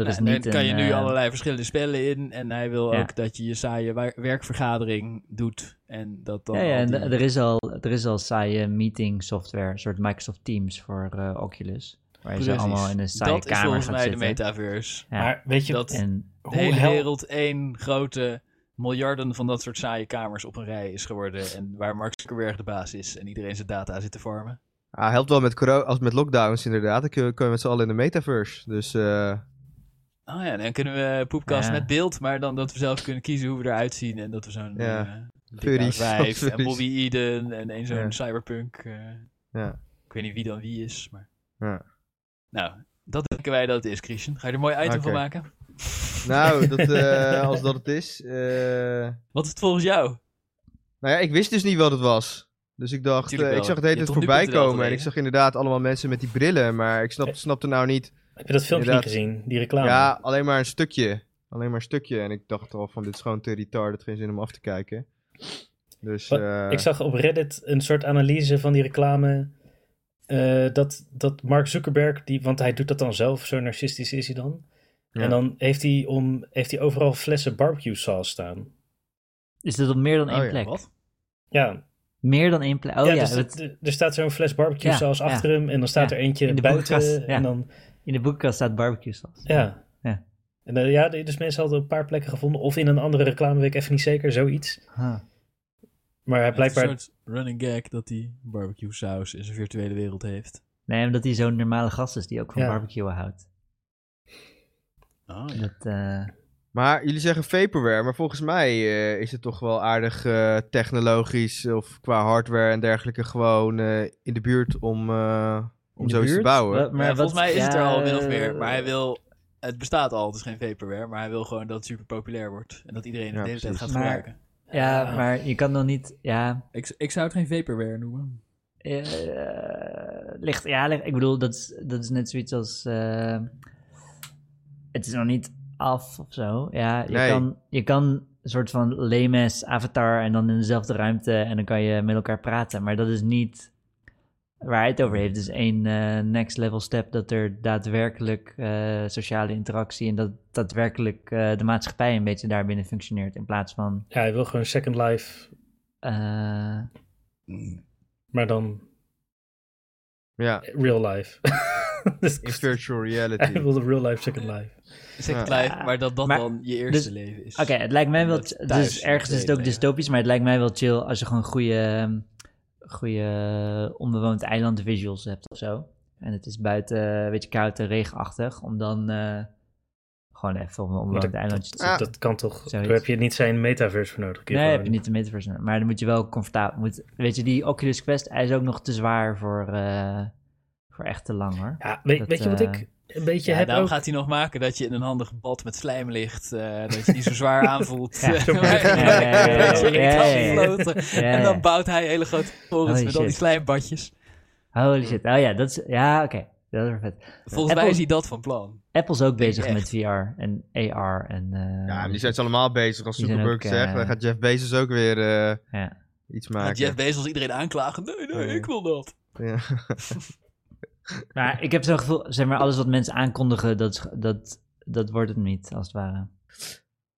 Speaker 2: er is
Speaker 3: Nou,
Speaker 2: niet
Speaker 3: dan kan
Speaker 2: een,
Speaker 3: je nu
Speaker 2: eh,
Speaker 3: allerlei verschillende spellen in. En hij wil
Speaker 2: Ja.
Speaker 3: ook dat je je saaie wa- werkvergadering doet. En dat dan.
Speaker 2: Ja, ja
Speaker 3: al
Speaker 2: en
Speaker 3: die-
Speaker 2: d- er is, al, er is al saaie meeting software, een soort Microsoft Teams voor eh, Oculus. Waar je ze
Speaker 3: Precies.
Speaker 2: allemaal in een saaie
Speaker 3: Dat is
Speaker 2: kamer
Speaker 3: volgens
Speaker 2: gaat
Speaker 3: mij de
Speaker 2: zitten.
Speaker 3: metaverse.
Speaker 2: Ja.
Speaker 1: Maar weet je,
Speaker 3: Dat-
Speaker 2: En
Speaker 3: De
Speaker 1: hoe
Speaker 3: hele
Speaker 1: hel-
Speaker 3: wereld één grote miljarden van dat soort saaie kamers op een rij is geworden. En waar Mark Zuckerberg de baas is en iedereen zijn data zit te farmen.
Speaker 4: Ah, helpt wel met, coro- als met lockdowns inderdaad. Dan kun je, kun je met z'n allen in de metaverse. Dus eh,
Speaker 3: Oh ja, dan kunnen we poepkast
Speaker 2: Ja.
Speaker 3: met beeld, maar dan dat we zelf kunnen kiezen hoe we eruit zien. En dat we zo'n
Speaker 4: Ja.
Speaker 3: eh, Dick
Speaker 4: Furries,
Speaker 3: House Wijf en
Speaker 4: furries.
Speaker 3: Bobby Eden en één zo'n
Speaker 4: Ja.
Speaker 3: cyberpunk. eh,
Speaker 4: Ja.
Speaker 3: Ik weet niet wie dan wie is, maar...
Speaker 4: Ja.
Speaker 3: Nou, dat denken wij dat het is, Christian. Ga je er een mooi item van
Speaker 4: Oké.
Speaker 3: maken?
Speaker 4: nou, dat, eh, als dat het is. eh,
Speaker 3: Wat is het volgens jou?
Speaker 4: Nou ja, ik wist dus niet wat het was. Dus ik dacht,
Speaker 3: Tuurlijk
Speaker 4: eh, ik
Speaker 3: wel.
Speaker 4: zag het hele
Speaker 3: Je
Speaker 4: tijd
Speaker 3: hebt op nu.nl
Speaker 4: voorbij komen. En
Speaker 3: gelezen.
Speaker 4: ik zag inderdaad allemaal mensen met die brillen. Maar ik snap, snapte nou niet
Speaker 1: Heb je dat filmpje
Speaker 4: Inderdaad.
Speaker 1: niet gezien? Die reclame?
Speaker 4: Ja, alleen maar een stukje. Alleen maar een stukje. En ik dacht al van, dit is gewoon te retarded. Geen zin om af te kijken. Dus,
Speaker 1: Wat?
Speaker 4: eh,
Speaker 1: Ik zag op Reddit een soort analyse van die reclame. eh, dat, dat Mark Zuckerberg, die, want hij doet dat dan zelf, zo narcistisch is hij dan.
Speaker 4: Ja.
Speaker 1: En dan heeft hij, om, heeft hij overal flessen barbecue saus staan.
Speaker 2: is dit op meer dan
Speaker 4: Oh
Speaker 2: één
Speaker 4: ja,
Speaker 2: plek?
Speaker 3: Wat?
Speaker 1: Ja,
Speaker 2: Meer dan één plek. Oh ja,
Speaker 1: dus
Speaker 2: dat-
Speaker 1: er- er- er staat zo'n fles barbecue
Speaker 2: Ja,
Speaker 1: saus
Speaker 2: ja.
Speaker 1: achter hem en dan staat
Speaker 2: Ja,
Speaker 1: er eentje
Speaker 2: in de
Speaker 1: buiten.
Speaker 2: boekenkast, ja.
Speaker 1: En dan,
Speaker 2: in de boekenkast staat barbecue saus.
Speaker 1: ja.
Speaker 2: Ja.
Speaker 1: En eh, ja, dus mensen hadden een paar plekken gevonden. Of in een andere reclameweek, even niet zeker, zoiets.
Speaker 2: Huh.
Speaker 1: Maar hij blijkbaar...
Speaker 3: Een soort running gag dat hij barbecue saus in zijn virtuele wereld heeft.
Speaker 2: Nee, omdat hij zo'n normale gast is die ook van
Speaker 1: Ja.
Speaker 2: barbecue houdt.
Speaker 3: Oh,
Speaker 2: Dat, eh,
Speaker 4: Maar jullie zeggen vaporware, maar volgens mij eh, is het toch wel aardig eh, technologisch of qua hardware en dergelijke gewoon eh, in de buurt om, eh, om
Speaker 2: in de
Speaker 4: zoiets te
Speaker 2: buurt?
Speaker 4: bouwen.
Speaker 2: Wa-
Speaker 3: Maar
Speaker 2: wat-
Speaker 3: volgens mij is het er
Speaker 2: ja,
Speaker 3: al min of meer. Maar hij wil. Het bestaat al, het is geen vaporware. Maar hij wil gewoon dat het super populair wordt. En dat iedereen het
Speaker 4: Ja,
Speaker 3: de hele tijd gaat
Speaker 4: precies.
Speaker 2: Maar-
Speaker 3: gebruiken.
Speaker 2: Ja, maar je kan dan niet... Ja,
Speaker 3: Ik, ik zou het geen vaporware noemen.
Speaker 2: eh ligt, ja, ligt- ik bedoel, dat is, dat is net zoiets als. eh, het is nog niet af of zo. Ja, je,
Speaker 4: Nee.
Speaker 2: kan, je kan een soort van lemes avatar en dan in dezelfde ruimte en dan kan je met elkaar praten. Maar dat is niet waar hij het over heeft. Dus één eh, next level step dat er daadwerkelijk eh, sociale interactie en dat daadwerkelijk eh, de maatschappij een beetje daarbinnen functioneert. In plaats van.
Speaker 1: Ja, hij wil gewoon Second Life,
Speaker 2: eh,
Speaker 1: maar dan
Speaker 4: Ja,
Speaker 1: real life. dus
Speaker 4: in virtual
Speaker 1: hij
Speaker 4: reality.
Speaker 1: wilde real life Second Life.
Speaker 3: Second
Speaker 4: Ja.
Speaker 3: Life, maar dat dat
Speaker 2: Maar-
Speaker 3: dan je eerste
Speaker 2: dus-
Speaker 3: leven is.
Speaker 2: Oké, het lijkt mij wel.
Speaker 3: Omdat je thuis
Speaker 2: Dus ergens is het ook
Speaker 3: moet leven.
Speaker 2: dystopisch, maar het lijkt mij wel chill als je gewoon goede, goede onbewoond eiland visuals hebt of zo. En het is buiten eh, een beetje koud en regenachtig, om dan eh, gewoon even op een
Speaker 1: dat-
Speaker 2: onbewoond eilandje te
Speaker 1: Dus
Speaker 4: Ah.
Speaker 2: zitten.
Speaker 1: dat kan toch? Daar
Speaker 2: Zoiets.
Speaker 1: heb je niet zijn metaverse voor nodig.
Speaker 2: Nee, heb je niet de metaverse, nodig, maar dan moet je wel comfortabel. Moet, weet je, die Oculus Quest, hij is ook nog te zwaar voor, eh, voor echt te lang hoor.
Speaker 1: Ja, weet,
Speaker 2: Dat,
Speaker 1: weet je wat
Speaker 2: eh,
Speaker 1: ik een beetje
Speaker 3: Ja,
Speaker 1: heb
Speaker 3: daarom
Speaker 1: ook?
Speaker 3: gaat hij nog maken dat je in een handig bad met slijm ligt. eh, dat je niet zo zwaar aanvoelt.
Speaker 2: Ja.
Speaker 3: Eh,
Speaker 1: Ja, ja,
Speaker 2: ja, ja, ja.
Speaker 3: dat je in kan
Speaker 2: Ja, ja, ja.
Speaker 3: floten.
Speaker 2: Ja,
Speaker 3: En
Speaker 2: ja.
Speaker 3: dan bouwt hij hele grote torens
Speaker 2: Holy
Speaker 3: met al die
Speaker 2: shit.
Speaker 3: slijmbadjes.
Speaker 2: Holy shit. Oh ja, dat is. Ja, oké. Dat is wel vet.
Speaker 3: Volgens mij
Speaker 2: Apple-
Speaker 3: is hij dat van plan.
Speaker 2: Apple is ook bezig
Speaker 3: echt.
Speaker 2: met VR en AR en. eh,
Speaker 4: Ja, en die zijn ze allemaal bezig. Als
Speaker 2: Die zijn
Speaker 4: Zuckerberg
Speaker 2: ook,
Speaker 4: zegt,
Speaker 2: eh,
Speaker 4: dan gaat Jeff Bezos ook weer eh,
Speaker 2: Ja.
Speaker 4: iets
Speaker 3: Dat
Speaker 4: maken.
Speaker 3: Jeff Bezos iedereen aanklagen. Nee, nee,
Speaker 4: Nee.
Speaker 3: ik wil dat.
Speaker 4: Ja.
Speaker 2: Maar ik heb zo'n gevoel, zeg maar, alles wat mensen aankondigen, dat, is- dat, dat wordt het niet, als het ware.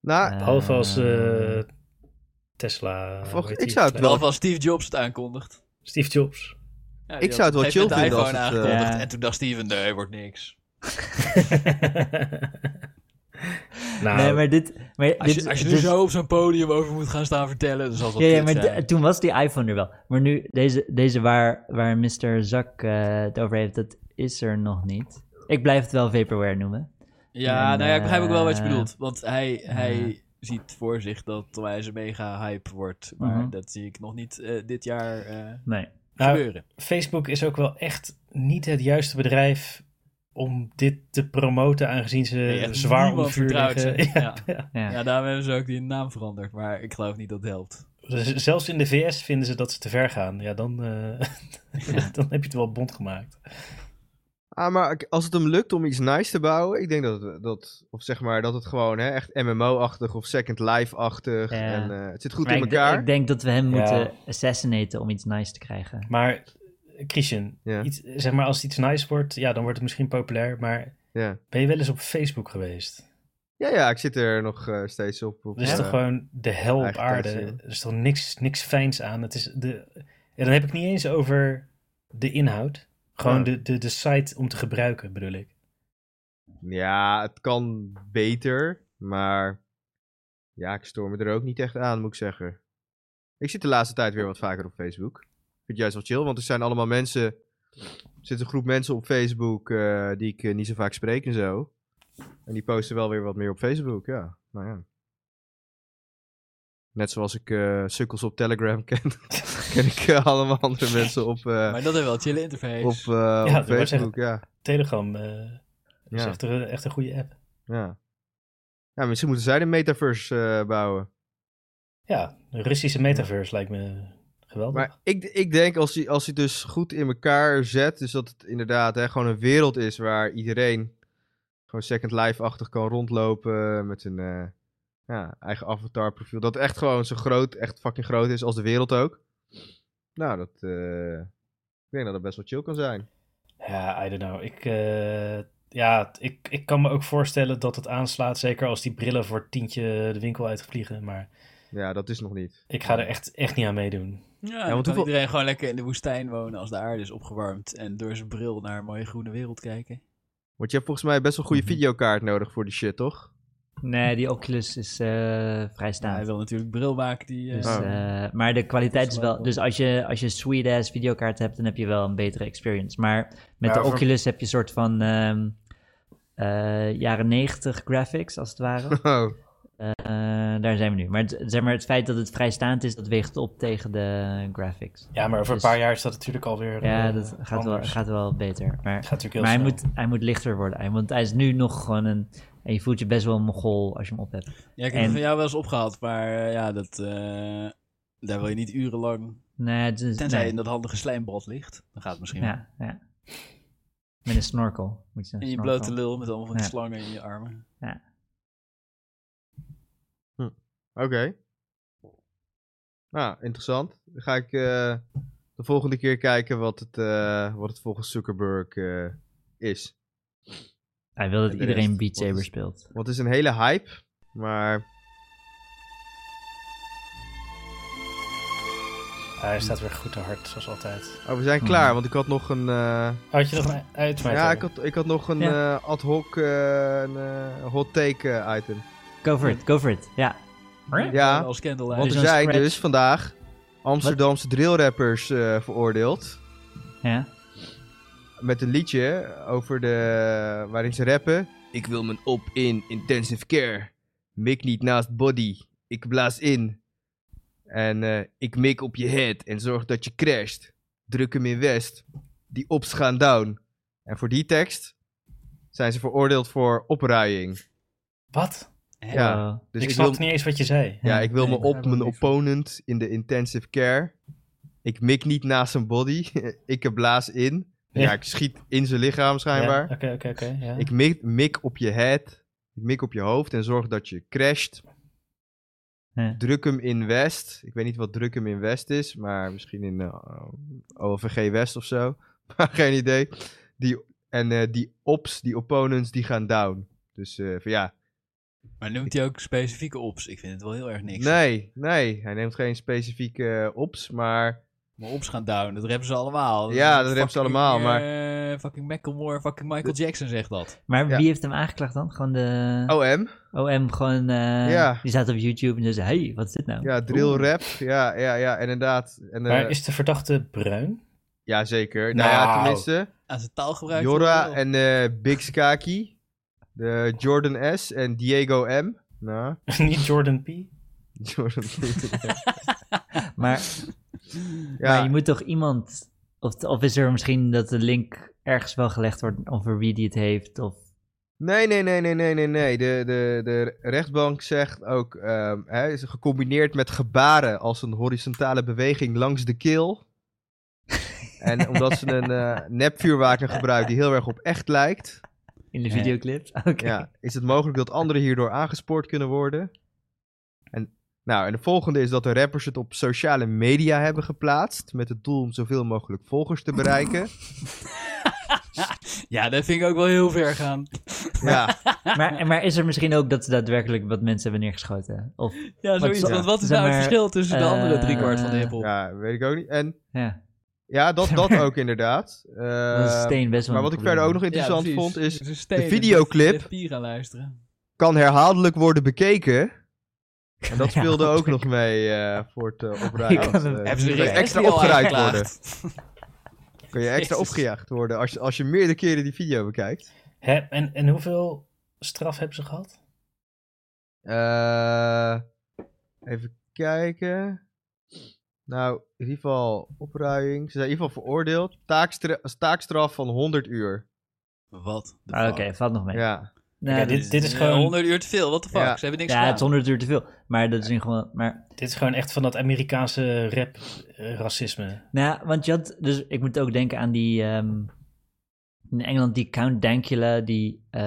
Speaker 4: Nou,
Speaker 2: Eh,
Speaker 1: Behalve als eh, Tesla.
Speaker 4: Volg-
Speaker 1: hoe heet
Speaker 4: ik
Speaker 1: die?
Speaker 4: zou het
Speaker 3: Behalve als Steve Jobs het aankondigt.
Speaker 1: Steve Jobs.
Speaker 3: Ja,
Speaker 4: Ik zou het wel chill
Speaker 3: Hij
Speaker 4: vinden als
Speaker 3: gewoon
Speaker 4: het, eh,
Speaker 3: aangekondigd.
Speaker 2: Ja.
Speaker 3: En toen dacht Steven, nee, wordt niks.
Speaker 1: nou,
Speaker 2: nee, maar dit... Maar
Speaker 3: Als
Speaker 2: dit,
Speaker 3: je, als je er
Speaker 4: dus-
Speaker 2: dit-
Speaker 3: zo eh, op zo'n podium over moet gaan staan vertellen, dan zal het wel
Speaker 2: Ja, ja,
Speaker 3: kut
Speaker 2: maar
Speaker 3: zijn.
Speaker 2: d- toen was die iPhone er wel. Maar nu, deze, deze waar, waar Mr. Zak eh, het over heeft, dat is er nog niet. Ik blijf het wel vaporware noemen.
Speaker 3: Ja,
Speaker 2: En,
Speaker 3: nou ja, ik begrijp ook wel wat je
Speaker 2: eh,
Speaker 3: bedoelt. Want hij,
Speaker 2: ja.
Speaker 3: hij ziet voor zich dat Tom Wijze mega hype wordt. Maar
Speaker 2: Mhm.
Speaker 3: dat zie ik nog niet eh, dit jaar eh,
Speaker 2: Nee.
Speaker 1: nou,
Speaker 3: gebeuren.
Speaker 1: Facebook is ook wel echt niet het juiste bedrijf om dit te promoten, aangezien ze
Speaker 3: Nee, echt
Speaker 1: zwaar
Speaker 3: niemand
Speaker 1: onder vuur
Speaker 3: vertrouwt ze.
Speaker 1: liggen. Ja.
Speaker 3: Ja.
Speaker 2: Ja.
Speaker 3: Ja, daarom hebben ze ook die naam veranderd. Maar ik geloof niet dat het helpt.
Speaker 1: Dus zelfs in de VS vinden ze dat ze te ver gaan. Ja, dan, eh, dan heb je het wel bond gemaakt.
Speaker 4: Ah, maar ik- als het hem lukt om iets nice te bouwen, ik denk dat, het- dat, of zeg maar, dat het gewoon hè, echt MMO-achtig of Second Life-achtig.
Speaker 2: Ja.
Speaker 4: En eh, het zit goed
Speaker 2: Maar
Speaker 4: in
Speaker 2: ik,
Speaker 4: elkaar.
Speaker 2: ik denk dat we hem
Speaker 1: Ja.
Speaker 2: moeten assassinaten om iets nice te krijgen.
Speaker 1: Maar Christian,
Speaker 4: Ja.
Speaker 1: iets, zeg maar als iets nice wordt, ja, dan wordt het misschien populair. Maar
Speaker 4: Ja.
Speaker 1: ben je wel eens op Facebook geweest?
Speaker 4: ja, ja, ik zit er nog eh, steeds op. op
Speaker 1: Dat is
Speaker 4: eh,
Speaker 1: toch gewoon de hel op
Speaker 4: Eigen
Speaker 1: aarde.
Speaker 4: tijd, ja.
Speaker 1: Er is toch niks, niks fijns aan. Het is de, en dan heb ik niet eens over de inhoud. Gewoon
Speaker 4: Ja.
Speaker 1: de, de, de site om te gebruiken, bedoel ik.
Speaker 4: Ja, het kan beter, maar ja, ik stoor me er ook niet echt aan, moet ik zeggen. Ik zit de laatste tijd weer wat vaker op Facebook. Ik vind het juist wel chill, want er zijn allemaal mensen, er zit een groep mensen op Facebook eh, die ik eh, niet zo vaak spreek en zo. En die posten wel weer wat meer op Facebook, ja. Nou ja. Net zoals ik eh, sukkels op Telegram ken, ken ik eh, allemaal andere mensen op, eh,
Speaker 3: Maar dat is wel een chille interface.
Speaker 4: op, eh,
Speaker 1: ik wou
Speaker 4: op Facebook, ja.
Speaker 1: Telegram eh, is
Speaker 4: ja.
Speaker 1: echt, een, echt een goede app.
Speaker 4: Ja. Ja, misschien moeten zij de metaverse eh, bouwen.
Speaker 1: Ja, een Russische metaverse lijkt me geweldig.
Speaker 4: Maar ik, ik denk als hij, als hij dus goed in elkaar zet, dus dat het inderdaad hè, gewoon een wereld is waar iedereen gewoon Second Life-achtig kan rondlopen met een eh, ja, eigen avatar-profiel. Dat het echt gewoon zo groot, echt fucking groot is als de wereld ook. Nou, dat, eh, ik denk dat dat best wel chill kan zijn.
Speaker 1: Ja, I don't know. Ik, eh, ja, t- ik, ik kan me ook voorstellen dat het aanslaat. Zeker als die brillen voor tientje de winkel uitvliegen. Maar
Speaker 4: Ja, dat is nog niet.
Speaker 1: Ik ga er echt, echt niet aan meedoen.
Speaker 3: Ja,
Speaker 4: want
Speaker 3: dan kan
Speaker 4: hoeveel-
Speaker 3: iedereen gewoon lekker in de woestijn wonen als de aarde is opgewarmd. En door zijn bril naar een mooie groene wereld kijken.
Speaker 4: Want je hebt volgens mij best wel een goede
Speaker 2: Mhm.
Speaker 4: videokaart nodig voor die shit, toch?
Speaker 2: Nee, die Oculus is eh, vrij
Speaker 3: Ja, hij
Speaker 2: staand.
Speaker 3: wil natuurlijk bril maken die... eh,
Speaker 2: Dus,
Speaker 4: Oh.
Speaker 2: eh, maar de kwaliteit is wel.
Speaker 3: wel-
Speaker 2: Dus als je, als je een sweet-ass videokaart hebt, dan heb je wel een betere experience. Maar met
Speaker 1: Ja,
Speaker 2: de
Speaker 1: voor-
Speaker 2: Oculus heb je een soort van ehm, eh, jaren 90 graphics, als het ware.
Speaker 4: Oh,
Speaker 2: Eh, daar zijn we nu. Maar, het- zeg maar het feit dat het vrijstaand is, dat weegt op tegen de graphics.
Speaker 1: Ja, maar over
Speaker 2: Dus-
Speaker 1: een paar jaar is dat natuurlijk alweer.
Speaker 2: Ja,
Speaker 1: eh,
Speaker 2: dat gaat wel,
Speaker 1: anders.
Speaker 2: gaat wel beter. Maar
Speaker 1: Gaat natuurlijk heel
Speaker 2: Maar hij
Speaker 1: snel.
Speaker 2: moet, hij moet lichter worden. Hij- Want hij is nu nog gewoon een. En je voelt je best wel een mogol als je hem op hebt.
Speaker 3: Ja, ik heb
Speaker 2: En-
Speaker 3: het van jou wel eens opgehaald, maar eh, ja, dat, eh, daar wil je niet urenlang.
Speaker 2: Nee, het is.
Speaker 3: Tenzij
Speaker 2: nee.
Speaker 3: je in dat handige slijmbad ligt, dan gaat het misschien. wel.
Speaker 2: Ja, ja. Met een snorkel. Moet je een
Speaker 3: En je
Speaker 2: snorkel.
Speaker 3: blote lul met allemaal van die
Speaker 2: Ja.
Speaker 3: slangen in je armen.
Speaker 4: oké. Nou, interessant. Dan ga ik eh, de volgende keer kijken wat het, eh, wat het volgens Zuckerberg eh, is.
Speaker 2: Hij wil dat
Speaker 4: En de
Speaker 2: iedereen
Speaker 4: rest,
Speaker 2: Beat
Speaker 4: wat
Speaker 2: Saber
Speaker 4: is-
Speaker 2: speelt.
Speaker 4: Want het is een hele hype, maar
Speaker 1: Ah, hij staat weer goed te hard, zoals altijd.
Speaker 4: oh, we zijn
Speaker 2: Hmm.
Speaker 4: klaar. Want ik had nog een, eh,
Speaker 1: Oh, Had je nog een uit mij?
Speaker 4: ja, ik had, ik had nog een
Speaker 2: Ja.
Speaker 4: eh, ad hoc eh, een, eh, hot take eh, item.
Speaker 2: Go for it, go for it. Ja.
Speaker 4: Ja,
Speaker 3: Als candle
Speaker 4: want
Speaker 2: Dus
Speaker 4: er
Speaker 2: een
Speaker 4: zijn
Speaker 2: scratch.
Speaker 4: dus vandaag Amsterdamse drillrappers eh, veroordeeld.
Speaker 2: ja.
Speaker 4: Met een liedje over de, waarin ze rappen. Ik wil mijn op in intensive care. Mik niet naast body. Ik blaas in. En eh, ik mik op je head en zorg dat je crasht. Druk hem in west. Die ops gaan down. En voor die tekst zijn ze veroordeeld voor opruiing.
Speaker 1: Wat?
Speaker 4: Ja,
Speaker 2: Wow.
Speaker 4: Dus
Speaker 1: ik
Speaker 4: ik
Speaker 1: snapte
Speaker 4: wil,
Speaker 1: niet eens wat je zei.
Speaker 4: ja, ik wil
Speaker 3: Nee,
Speaker 4: me
Speaker 3: ik begrijp
Speaker 4: op
Speaker 3: er
Speaker 4: mijn
Speaker 3: niks van.
Speaker 4: opponent in de intensive care. Ik mik niet naast zijn body. ik blaas in. Ja,
Speaker 1: Ja.
Speaker 4: ik schiet in zijn lichaam schijnbaar.
Speaker 1: Ja, Oké, oké, oké. ja.
Speaker 4: Ik mik, mik op je head. Ik mik op je hoofd en zorg dat je crasht.
Speaker 2: Ja.
Speaker 4: Druk hem in West. Ik weet niet wat druk hem in West is, maar misschien in eh, OVG West of zo. Maar geen idee. Die, en eh, die ops, die opponents, die gaan down. Dus eh, van ja,
Speaker 3: Maar noemt hij ook specifieke ops? Ik vind het wel heel erg niks.
Speaker 4: nee, nee. Hij neemt geen specifieke eh, ops, maar
Speaker 3: Maar ops gaan down, dat rappen ze allemaal.
Speaker 4: Ja,
Speaker 3: is
Speaker 4: dat rappen ze
Speaker 3: fucking,
Speaker 4: allemaal,
Speaker 3: eh, fucking Macklemore, fucking Michael Jackson zegt dat.
Speaker 2: Maar
Speaker 4: Ja.
Speaker 2: wie heeft hem aangeklaagd dan? Gewoon de
Speaker 4: OM.
Speaker 2: OM, gewoon. eh,
Speaker 4: Ja.
Speaker 2: Die zaten op YouTube en dus, hey, wat is dit nou?
Speaker 4: Ja, drill rap. Ja, ja, ja, inderdaad. En, eh,
Speaker 1: Maar is de verdachte bruin?
Speaker 4: Ja, zeker. Nou, ja,
Speaker 1: Nou.
Speaker 4: tenminste.
Speaker 3: Aan zijn taalgebruik.
Speaker 4: Jora
Speaker 3: wel.
Speaker 4: en eh, Big Skaki. De Jordan S. En Diego M. Nou,
Speaker 1: niet Jordan P?
Speaker 4: Jordan
Speaker 2: Maar Maar je
Speaker 4: ja,
Speaker 2: moet toch iemand. Of, of is er misschien dat de link ergens wel gelegd wordt over wie die het heeft? Of,
Speaker 4: nee, nee, nee, nee, nee, nee, nee. De, de, de rechtbank zegt ook, ehm, hè, is gecombineerd met gebaren als een horizontale beweging langs de keel. En omdat ze een eh nepvuurwaken gebruikt die heel erg op echt lijkt,
Speaker 2: in de
Speaker 1: Ja.
Speaker 2: videoclip? Oké.
Speaker 4: ja, is het mogelijk dat anderen hierdoor aangespoord kunnen worden. En, nou, en de volgende is dat de rappers het op sociale media hebben geplaatst. Met het doel om zoveel mogelijk volgers te bereiken.
Speaker 3: Ja, dat vind ik ook wel heel ver gaan.
Speaker 4: ja,
Speaker 2: Maar, maar is er misschien ook dat ze daadwerkelijk wat mensen hebben neergeschoten? Of,
Speaker 3: Ja, zoiets.
Speaker 2: zo-
Speaker 3: Want wat is
Speaker 2: zeg
Speaker 3: nou het
Speaker 2: maar,
Speaker 3: verschil tussen de andere
Speaker 2: eh,
Speaker 3: driekwart van de hiphop?
Speaker 4: ja, weet ik ook niet. En
Speaker 2: ja,
Speaker 4: ja, dat, dat ook inderdaad. Eh,
Speaker 2: dat is steen best wel
Speaker 4: maar
Speaker 2: een
Speaker 4: wat
Speaker 2: probleem.
Speaker 4: ik verder ook nog
Speaker 3: Ja,
Speaker 4: interessant
Speaker 3: precies.
Speaker 4: vond is...
Speaker 3: Het een steen,
Speaker 4: de videoclip.
Speaker 3: het is papier aan luisteren.
Speaker 4: Kan herhaaldelijk worden bekeken. En dat
Speaker 2: Ja,
Speaker 4: speelde
Speaker 2: dat
Speaker 4: ook nog mee eh, voor het eh, opruimen.
Speaker 2: kan hem-
Speaker 4: Eh,
Speaker 3: Hebben ze
Speaker 4: kun
Speaker 3: er
Speaker 4: je
Speaker 3: echt
Speaker 4: extra
Speaker 3: niet al
Speaker 4: opgeruimd
Speaker 3: aangeklaagd?
Speaker 4: worden. Kun je extra
Speaker 3: Jezus.
Speaker 4: opgejaagd worden als je, als je meerdere keren die video bekijkt.
Speaker 1: Hè, en, en hoeveel straf hebben ze gehad?
Speaker 4: Eh, even kijken. Nou, in ieder geval opruiing. Ze zijn in ieder geval veroordeeld. Taakstra taakstraf van 100 uur.
Speaker 3: Wat? de
Speaker 2: Ah,
Speaker 3: fuck?
Speaker 2: Oké, valt nog mee. Ja,
Speaker 4: Ja.
Speaker 1: Ja,
Speaker 2: dat-
Speaker 1: dit- is
Speaker 3: eh,
Speaker 1: gewoon-
Speaker 3: 100 uur te veel, wat de fuck?
Speaker 4: Ja.
Speaker 3: Ze hebben niks
Speaker 2: ja, het is
Speaker 3: gedaan.
Speaker 2: 100 uur te veel. Maar dat is in gewoon. Maar,
Speaker 1: Dit is gewoon echt van dat Amerikaanse rap eh, racisme.
Speaker 2: nou, ja, want je had. Dus ik moet ook denken aan die. ehm, in Engeland, die Count Dankula, die, eh,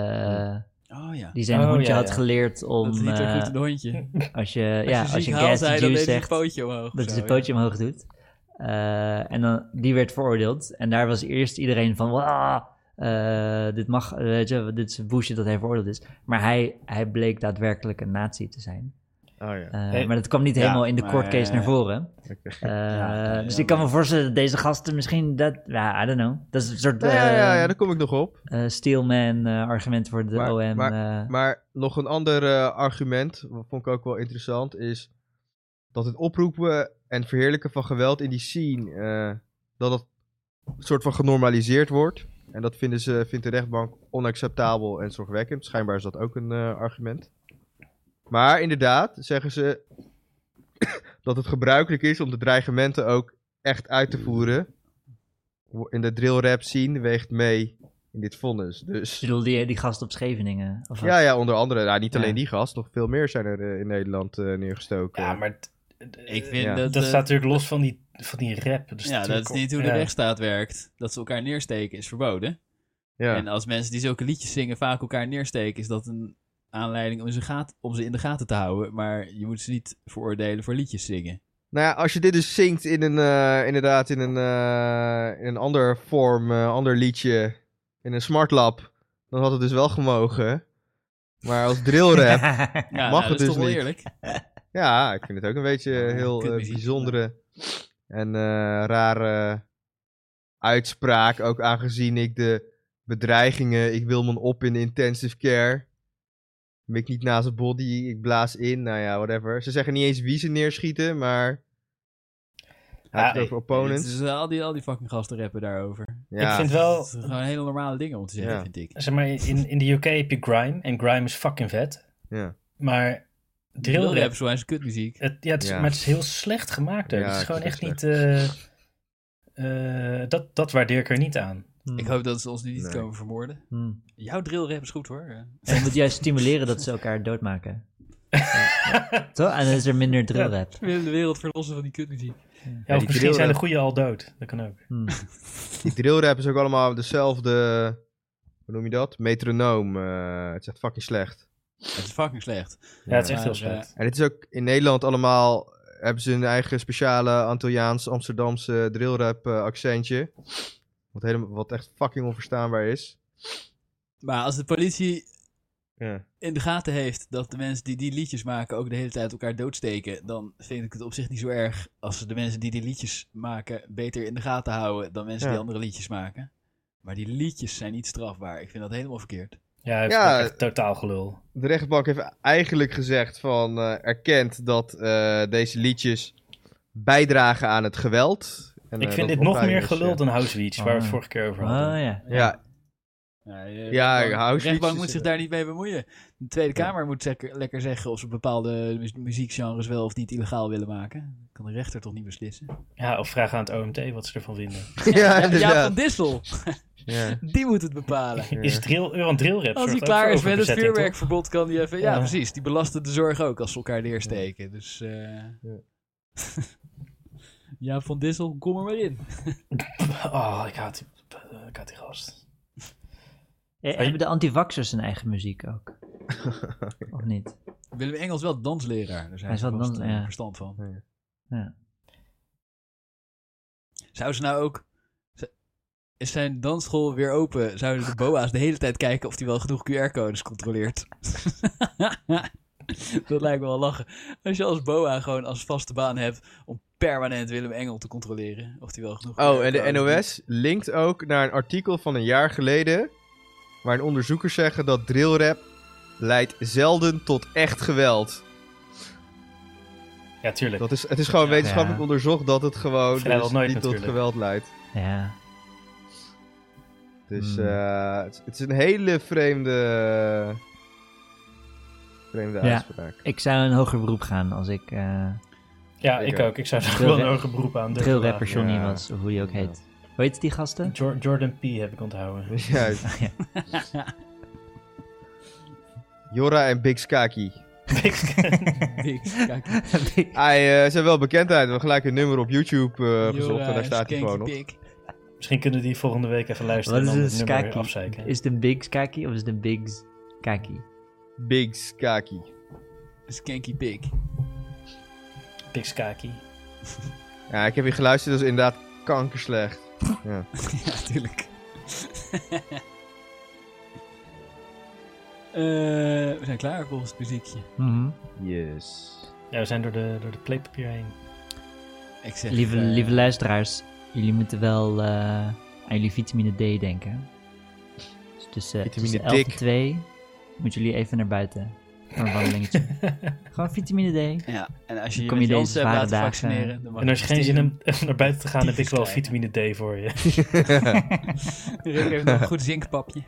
Speaker 3: Oh ja.
Speaker 2: die zijn
Speaker 1: Oh,
Speaker 2: hondje
Speaker 1: ja,
Speaker 2: had
Speaker 1: ja.
Speaker 2: geleerd om.
Speaker 3: Dat is niet zo
Speaker 2: eh,
Speaker 3: goed het hondje.
Speaker 2: Als je, ja, als je
Speaker 3: ziek
Speaker 2: gas
Speaker 3: haalt,
Speaker 2: the
Speaker 3: hij, dan
Speaker 2: juice
Speaker 3: deed hij het
Speaker 2: zegt,
Speaker 3: pootje omhoog.
Speaker 2: dat
Speaker 3: of
Speaker 2: is
Speaker 3: zo,
Speaker 2: het pootje omhoog doet. Eh, en dan, die werd veroordeeld. En daar was eerst iedereen van, "Wah, eh, dit mag, eh, weet je, dit is bullshit dat hij veroordeeld is. Maar hij, hij bleek daadwerkelijk een nazi te zijn.
Speaker 4: Oh ja.
Speaker 2: Eh,
Speaker 1: Hey,
Speaker 2: maar dat kwam niet helemaal in de
Speaker 3: maar,
Speaker 2: court case
Speaker 3: eh,
Speaker 2: naar voren.
Speaker 4: oké.
Speaker 2: Eh,
Speaker 3: Ja,
Speaker 2: dus
Speaker 3: ja,
Speaker 2: ik kan me voorstellen dat deze gasten misschien dat... Ja, I don't know. Dat is een soort
Speaker 4: Nou ja, ja, ja,
Speaker 2: eh
Speaker 4: daar kom ik nog op.
Speaker 2: eh, steelman eh, argument voor de
Speaker 4: Maar-
Speaker 2: OM.
Speaker 4: maar-
Speaker 2: eh,
Speaker 4: Maar nog een ander eh, argument, wat vond ik ook wel interessant, is dat het oproepen en verheerlijken van geweld in die scene, eh, dat dat soort van genormaliseerd wordt. En dat vinden ze, vindt de rechtbank onacceptabel en zorgwekkend. Schijnbaar is dat ook een eh, argument. Maar inderdaad zeggen ze dat het gebruikelijk is om de dreigementen ook echt uit te voeren. Wo- In de drill rap scene weegt mee in dit vonnis. Dus...
Speaker 2: ik bedoel, die, die gast op Scheveningen. Of wat?
Speaker 4: Ja, ja, onder andere. Nou, niet
Speaker 2: Ja.
Speaker 4: alleen die gast, nog veel meer zijn er eh, in Nederland eh, neergestoken.
Speaker 1: Ja, maar t- d-
Speaker 3: Ik
Speaker 1: eh,
Speaker 3: vind
Speaker 4: Ja.
Speaker 3: dat...
Speaker 1: dat
Speaker 3: eh,
Speaker 1: staat natuurlijk los van die, van die rap. Dus
Speaker 3: ja, dat
Speaker 1: natuurlijk
Speaker 3: is
Speaker 1: ook-
Speaker 3: niet hoe de
Speaker 1: ja.
Speaker 3: rechtsstaat werkt. Dat ze elkaar neersteken is verboden.
Speaker 4: ja.
Speaker 3: En als mensen die zulke liedjes zingen vaak elkaar neersteken, is dat een aanleiding om ze, gaat, om ze in de gaten te houden. Maar je moet ze niet veroordelen voor liedjes zingen.
Speaker 4: Nou ja, als je dit dus zingt in een, eh, inderdaad, in een, eh, in een ander vorm, eh, ander liedje, in een smartlab, dan had het dus wel gemogen. Maar als drillrap,
Speaker 3: Ja,
Speaker 4: Mag
Speaker 3: nou,
Speaker 4: het
Speaker 3: dat is
Speaker 4: dus
Speaker 3: toch wel
Speaker 4: niet.
Speaker 3: eerlijk.
Speaker 4: ja, ik vind het ook een beetje eh,
Speaker 3: Ja,
Speaker 4: heel eh,
Speaker 3: kutmuziek.
Speaker 4: bijzondere en eh, rare uitspraak. Ook aangezien ik de bedreigingen, ik wil me op in intensive care. Mik niet naast het body, ik blaas in, nou ja, whatever. Ze zeggen niet eens wie ze neerschieten, maar... Hij heeft het
Speaker 1: nee,
Speaker 4: over
Speaker 3: Het
Speaker 4: opponents.
Speaker 3: is al, die, al die fucking gasten rappen daarover.
Speaker 4: Ja.
Speaker 1: Ik vind wel,
Speaker 3: Dat is gewoon hele normale dingen om te zeggen,
Speaker 4: Ja.
Speaker 3: vind ik.
Speaker 1: zeg maar, in, in de UK heb je grime. En grime is fucking vet.
Speaker 4: Ja.
Speaker 1: Maar
Speaker 3: Heel
Speaker 1: drillrap
Speaker 3: rap, zo is kutmuziek.
Speaker 1: Het, ja, het is,
Speaker 4: Ja.
Speaker 1: maar het is heel slecht gemaakt ook.
Speaker 4: Ja,
Speaker 1: het is
Speaker 4: het
Speaker 1: gewoon
Speaker 4: is
Speaker 1: echt
Speaker 4: heel
Speaker 1: niet... eh, eh, dat, dat waardeer ik er niet aan.
Speaker 2: Hmm.
Speaker 3: Ik hoop dat ze ons nu niet
Speaker 4: Nee.
Speaker 3: komen vermoorden.
Speaker 2: Hmm.
Speaker 3: Jouw drillrap is goed hoor.
Speaker 2: En je moet juist stimuleren dat ze elkaar doodmaken. ja. Toch? En dan is er minder drillrap.
Speaker 3: We willen de wereld verlossen van die kutmuziek.
Speaker 1: Ja, of
Speaker 4: die
Speaker 1: misschien zijn de
Speaker 4: drillrap-
Speaker 1: goeie al dood. Dat kan ook.
Speaker 2: Hmm.
Speaker 4: Die drillrap is ook allemaal dezelfde... Hoe noem je dat? Metronoom. eh, het is echt fucking slecht.
Speaker 3: Het is fucking slecht.
Speaker 1: Ja, het is echt heel
Speaker 3: Maar,
Speaker 1: slecht.
Speaker 4: En het is ook in Nederland allemaal... Hebben ze hun eigen speciale Antilliaans-Amsterdamse drillrap eh, accentje. Wat, helemaal, wat echt fucking onverstaanbaar is.
Speaker 3: Maar als de politie
Speaker 4: Ja.
Speaker 3: in de gaten heeft dat de mensen die die liedjes maken ook de hele tijd elkaar doodsteken, dan vind ik het op zich niet zo erg als ze de mensen die die liedjes maken beter in de gaten houden dan mensen
Speaker 4: Ja.
Speaker 3: die andere liedjes maken. Maar die liedjes zijn niet strafbaar. Ik vind dat helemaal verkeerd.
Speaker 1: Ja, hij heeft
Speaker 4: Ja.
Speaker 1: ook echt totaal gelul.
Speaker 4: De rechtbank heeft eigenlijk gezegd van... eh, erkent dat eh, deze liedjes bijdragen aan het geweld. En,
Speaker 1: ik
Speaker 4: eh,
Speaker 1: vind
Speaker 4: dat
Speaker 1: dit nog meer
Speaker 4: onveilig is,
Speaker 1: gelul
Speaker 4: ja.
Speaker 1: dan Houseweeds, waar we het
Speaker 2: Ah.
Speaker 1: vorige keer over
Speaker 2: Oh
Speaker 1: hadden.
Speaker 2: ja.
Speaker 4: Ja,
Speaker 3: Ja,
Speaker 4: Ja,
Speaker 3: de
Speaker 4: Auschwitz
Speaker 3: rechtbank
Speaker 4: is-
Speaker 3: moet zich daar niet mee bemoeien. De Tweede Kamer moet zeker, lekker zeggen of ze bepaalde mu- muziekgenres wel of niet illegaal willen maken. Dat kan de rechter toch niet beslissen?
Speaker 1: Ja, of vraag aan het OMT wat ze ervan vinden.
Speaker 4: ja,
Speaker 3: Ja,
Speaker 4: inderdaad.
Speaker 3: van Dissel,
Speaker 4: Ja.
Speaker 3: die moet het bepalen.
Speaker 1: Is drill, Euro drillrap
Speaker 3: Als hij
Speaker 1: zorgt ook
Speaker 3: klaar
Speaker 1: voor
Speaker 3: is met het
Speaker 1: overbezetting, toch?
Speaker 3: vuurwerkverbod, kan hij even... Ja,
Speaker 1: Ja.
Speaker 3: precies. Die belasten de zorg ook als ze elkaar neersteken. Dus... eh
Speaker 4: Ja.
Speaker 3: ja, Van Dissel, kom er maar in.
Speaker 1: Oh, ik haat, die- ik haat die gast.
Speaker 2: Eh, Hebben de antivaxers hun eigen muziek ook? of niet?
Speaker 3: Willem Engels wel dansleraar. Daar zijn
Speaker 2: Hij is
Speaker 3: ze
Speaker 2: wel
Speaker 3: vast
Speaker 2: dans-
Speaker 3: eh,
Speaker 2: ja.
Speaker 3: verstand van.
Speaker 4: Ja.
Speaker 2: Ja.
Speaker 3: Zou ze nou ook... z- Is zijn dansschool weer open? Zouden de boa's de hele tijd kijken of hij wel genoeg QR-codes controleert? Dat lijkt me wel lachen. Als je als boa gewoon als vaste baan hebt om permanent Willem Engel te controleren. Of hij wel genoeg
Speaker 4: Oh, en de
Speaker 3: QR-codes
Speaker 4: NOS linkt ook naar een artikel van een jaar geleden. Waarin onderzoekers zeggen dat drillrap leidt zelden tot echt geweld.
Speaker 1: Ja, tuurlijk.
Speaker 4: Dat is, het is gewoon
Speaker 1: Ja.
Speaker 4: wetenschappelijk
Speaker 2: Ja.
Speaker 4: onderzocht dat het gewoon
Speaker 1: Vrijwel
Speaker 4: dus
Speaker 1: nooit
Speaker 4: niet tot
Speaker 1: natuurlijk.
Speaker 4: geweld leidt.
Speaker 2: Ja.
Speaker 4: Dus
Speaker 2: Hmm.
Speaker 4: eh, het, het is een hele vreemde, vreemde
Speaker 2: Ja.
Speaker 4: uitspraak.
Speaker 2: Ik zou een hoger beroep gaan als ik eh
Speaker 1: Ja,
Speaker 4: ik
Speaker 1: ik ook. Ik zou er
Speaker 2: Drillrap-
Speaker 1: wel een hoger beroep aan durven
Speaker 2: drillrapper
Speaker 1: vragen.
Speaker 2: Johnny
Speaker 4: ja.
Speaker 2: was, of hoe die ook heet. Hoe heet die gasten?
Speaker 1: Jor- Jordan P. heb ik onthouden.
Speaker 4: Dus juist.
Speaker 2: Ah, ja.
Speaker 4: Jora en Big Skaki.
Speaker 3: Niks, kijk.
Speaker 4: Hij eh, zijn wel bekendheid. We hebben gelijk een nummer op YouTube eh, gezocht en
Speaker 3: Jora,
Speaker 4: daar staat hij
Speaker 3: skanky
Speaker 4: gewoon op.
Speaker 3: pik.
Speaker 1: Misschien kunnen die volgende week even luisteren
Speaker 2: Wat is
Speaker 1: en dan
Speaker 2: een
Speaker 1: het nummer weer
Speaker 2: skaki?
Speaker 1: afzeiken.
Speaker 2: Is het een big skaki of is het een big skaki?
Speaker 4: Big Skaki.
Speaker 3: Skanky pik.
Speaker 1: Pikskaki.
Speaker 4: Ja, ik heb hier geluisterd, dat is inderdaad kankerslecht.
Speaker 3: Ja, tuurlijk. Eh, we zijn klaar volgens het muziekje.
Speaker 2: Mhm.
Speaker 4: Yes.
Speaker 1: Ja, we zijn door de, door de playpapier heen.
Speaker 3: Ik zeg,
Speaker 2: Lieve,
Speaker 3: eh,
Speaker 2: lieve luisteraars, jullie moeten wel eh, aan jullie vitamine D denken. Dus tussen,
Speaker 4: Vitamine
Speaker 2: tussen 11 en
Speaker 4: dik.
Speaker 2: 2 moeten jullie even naar buiten voor een wandelingetje. Gewoon vitamine D.
Speaker 3: Ja, en als je
Speaker 2: Dan
Speaker 3: je
Speaker 2: kom
Speaker 3: met
Speaker 2: je deze
Speaker 3: Janssen hebt
Speaker 2: zware
Speaker 3: laten
Speaker 2: dagen-
Speaker 3: vaccineren, dan mag
Speaker 1: En als je geen zin
Speaker 3: in
Speaker 1: hebt om naar buiten te gaan, heb ik wel
Speaker 3: Tyfus
Speaker 1: vitamine D voor je.
Speaker 3: Rick heeft nog een goed zinkpapje.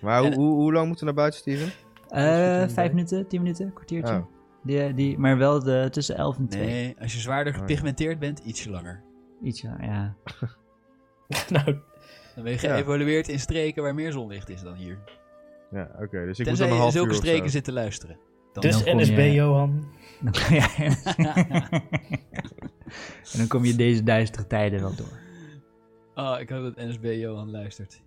Speaker 4: maar hoe,
Speaker 3: En-
Speaker 4: hoe, hoe lang moeten we naar buiten, Steven?
Speaker 2: Eh vijf minuten, tien minuten, kwartiertje.
Speaker 4: Oh.
Speaker 2: Die, die, maar wel de, tussen 11 en 2.
Speaker 3: Nee, als je zwaarder gepigmenteerd bent, ietsje langer.
Speaker 2: Ietsje, ja.
Speaker 1: nou,
Speaker 3: Dan ben je
Speaker 4: Ja.
Speaker 3: geëvolueerd in streken waar meer zonlicht is dan hier.
Speaker 4: Ja, oké. dus ik
Speaker 3: Tenzij
Speaker 4: moet
Speaker 3: je
Speaker 4: dan
Speaker 3: in
Speaker 4: een half
Speaker 3: zulke
Speaker 4: uur of zo.
Speaker 3: streken zit te luisteren. Dan
Speaker 1: dus
Speaker 2: dan kom
Speaker 1: NSB,
Speaker 2: je-
Speaker 1: Johan.
Speaker 2: Dan kom je- en dan kom je deze duistere tijden wel door.
Speaker 3: Oh, ik hoop dat NSB Johan luistert.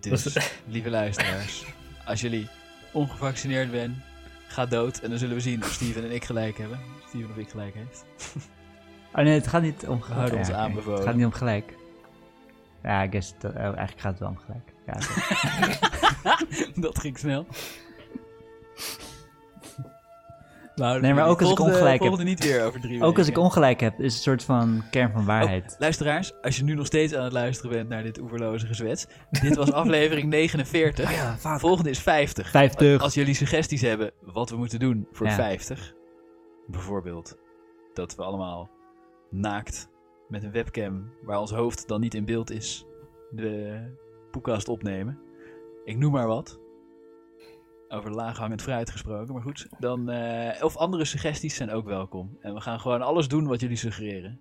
Speaker 3: Dus, lieve luisteraars, als jullie ongevaccineerd bent, ga dood en dan zullen we zien of Steven en ik gelijk hebben. Steven of ik gelijk heeft.
Speaker 2: Oh nee, het gaat niet om gelijk.
Speaker 3: houden ons
Speaker 2: oké.
Speaker 3: aanbevolen.
Speaker 2: Het gaat niet om gelijk. Ja, ik guess dat, oh, eigenlijk gaat het wel om gelijk. Ja, oké.
Speaker 3: Dat ging snel. Nou,
Speaker 2: Nee, maar ook als ik
Speaker 3: volgende-
Speaker 2: ongelijk heb.
Speaker 3: volgende niet weer over drie
Speaker 2: Ook als ik
Speaker 3: weken.
Speaker 2: ongelijk heb, is het een soort van kern van waarheid.
Speaker 3: Oh, luisteraars, als je nu nog steeds aan het luisteren bent naar dit oeverloze gezwets. dit was aflevering 49.
Speaker 2: Ah,
Speaker 3: Volgende is 50.
Speaker 2: 50.
Speaker 3: Als jullie suggesties hebben wat we moeten doen voor
Speaker 2: Ja.
Speaker 3: 50. Bijvoorbeeld dat we allemaal naakt met een webcam waar ons hoofd dan niet in beeld is de podcast opnemen. Ik noem maar wat. Over laaghangend fruit gesproken, maar goed. Dan, eh, of andere suggesties zijn ook welkom. En we gaan gewoon alles doen wat jullie suggereren.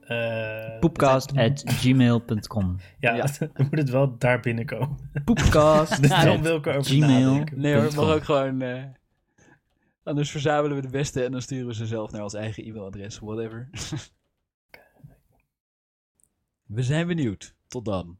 Speaker 1: Eh,
Speaker 2: Poepcast at gmail.com.
Speaker 1: ja,
Speaker 3: ja.
Speaker 1: dan moet het wel daar binnenkomen.
Speaker 2: Poepcast.
Speaker 1: Dus
Speaker 2: at-
Speaker 1: dan wil ik erover
Speaker 2: Gmail.
Speaker 1: nadenken.
Speaker 3: Nee hoor, het mag
Speaker 2: com.
Speaker 3: ook gewoon... eh, anders verzamelen we de beste en dan sturen we ze zelf naar ons eigen e-mailadres, whatever. we zijn benieuwd. Tot dan.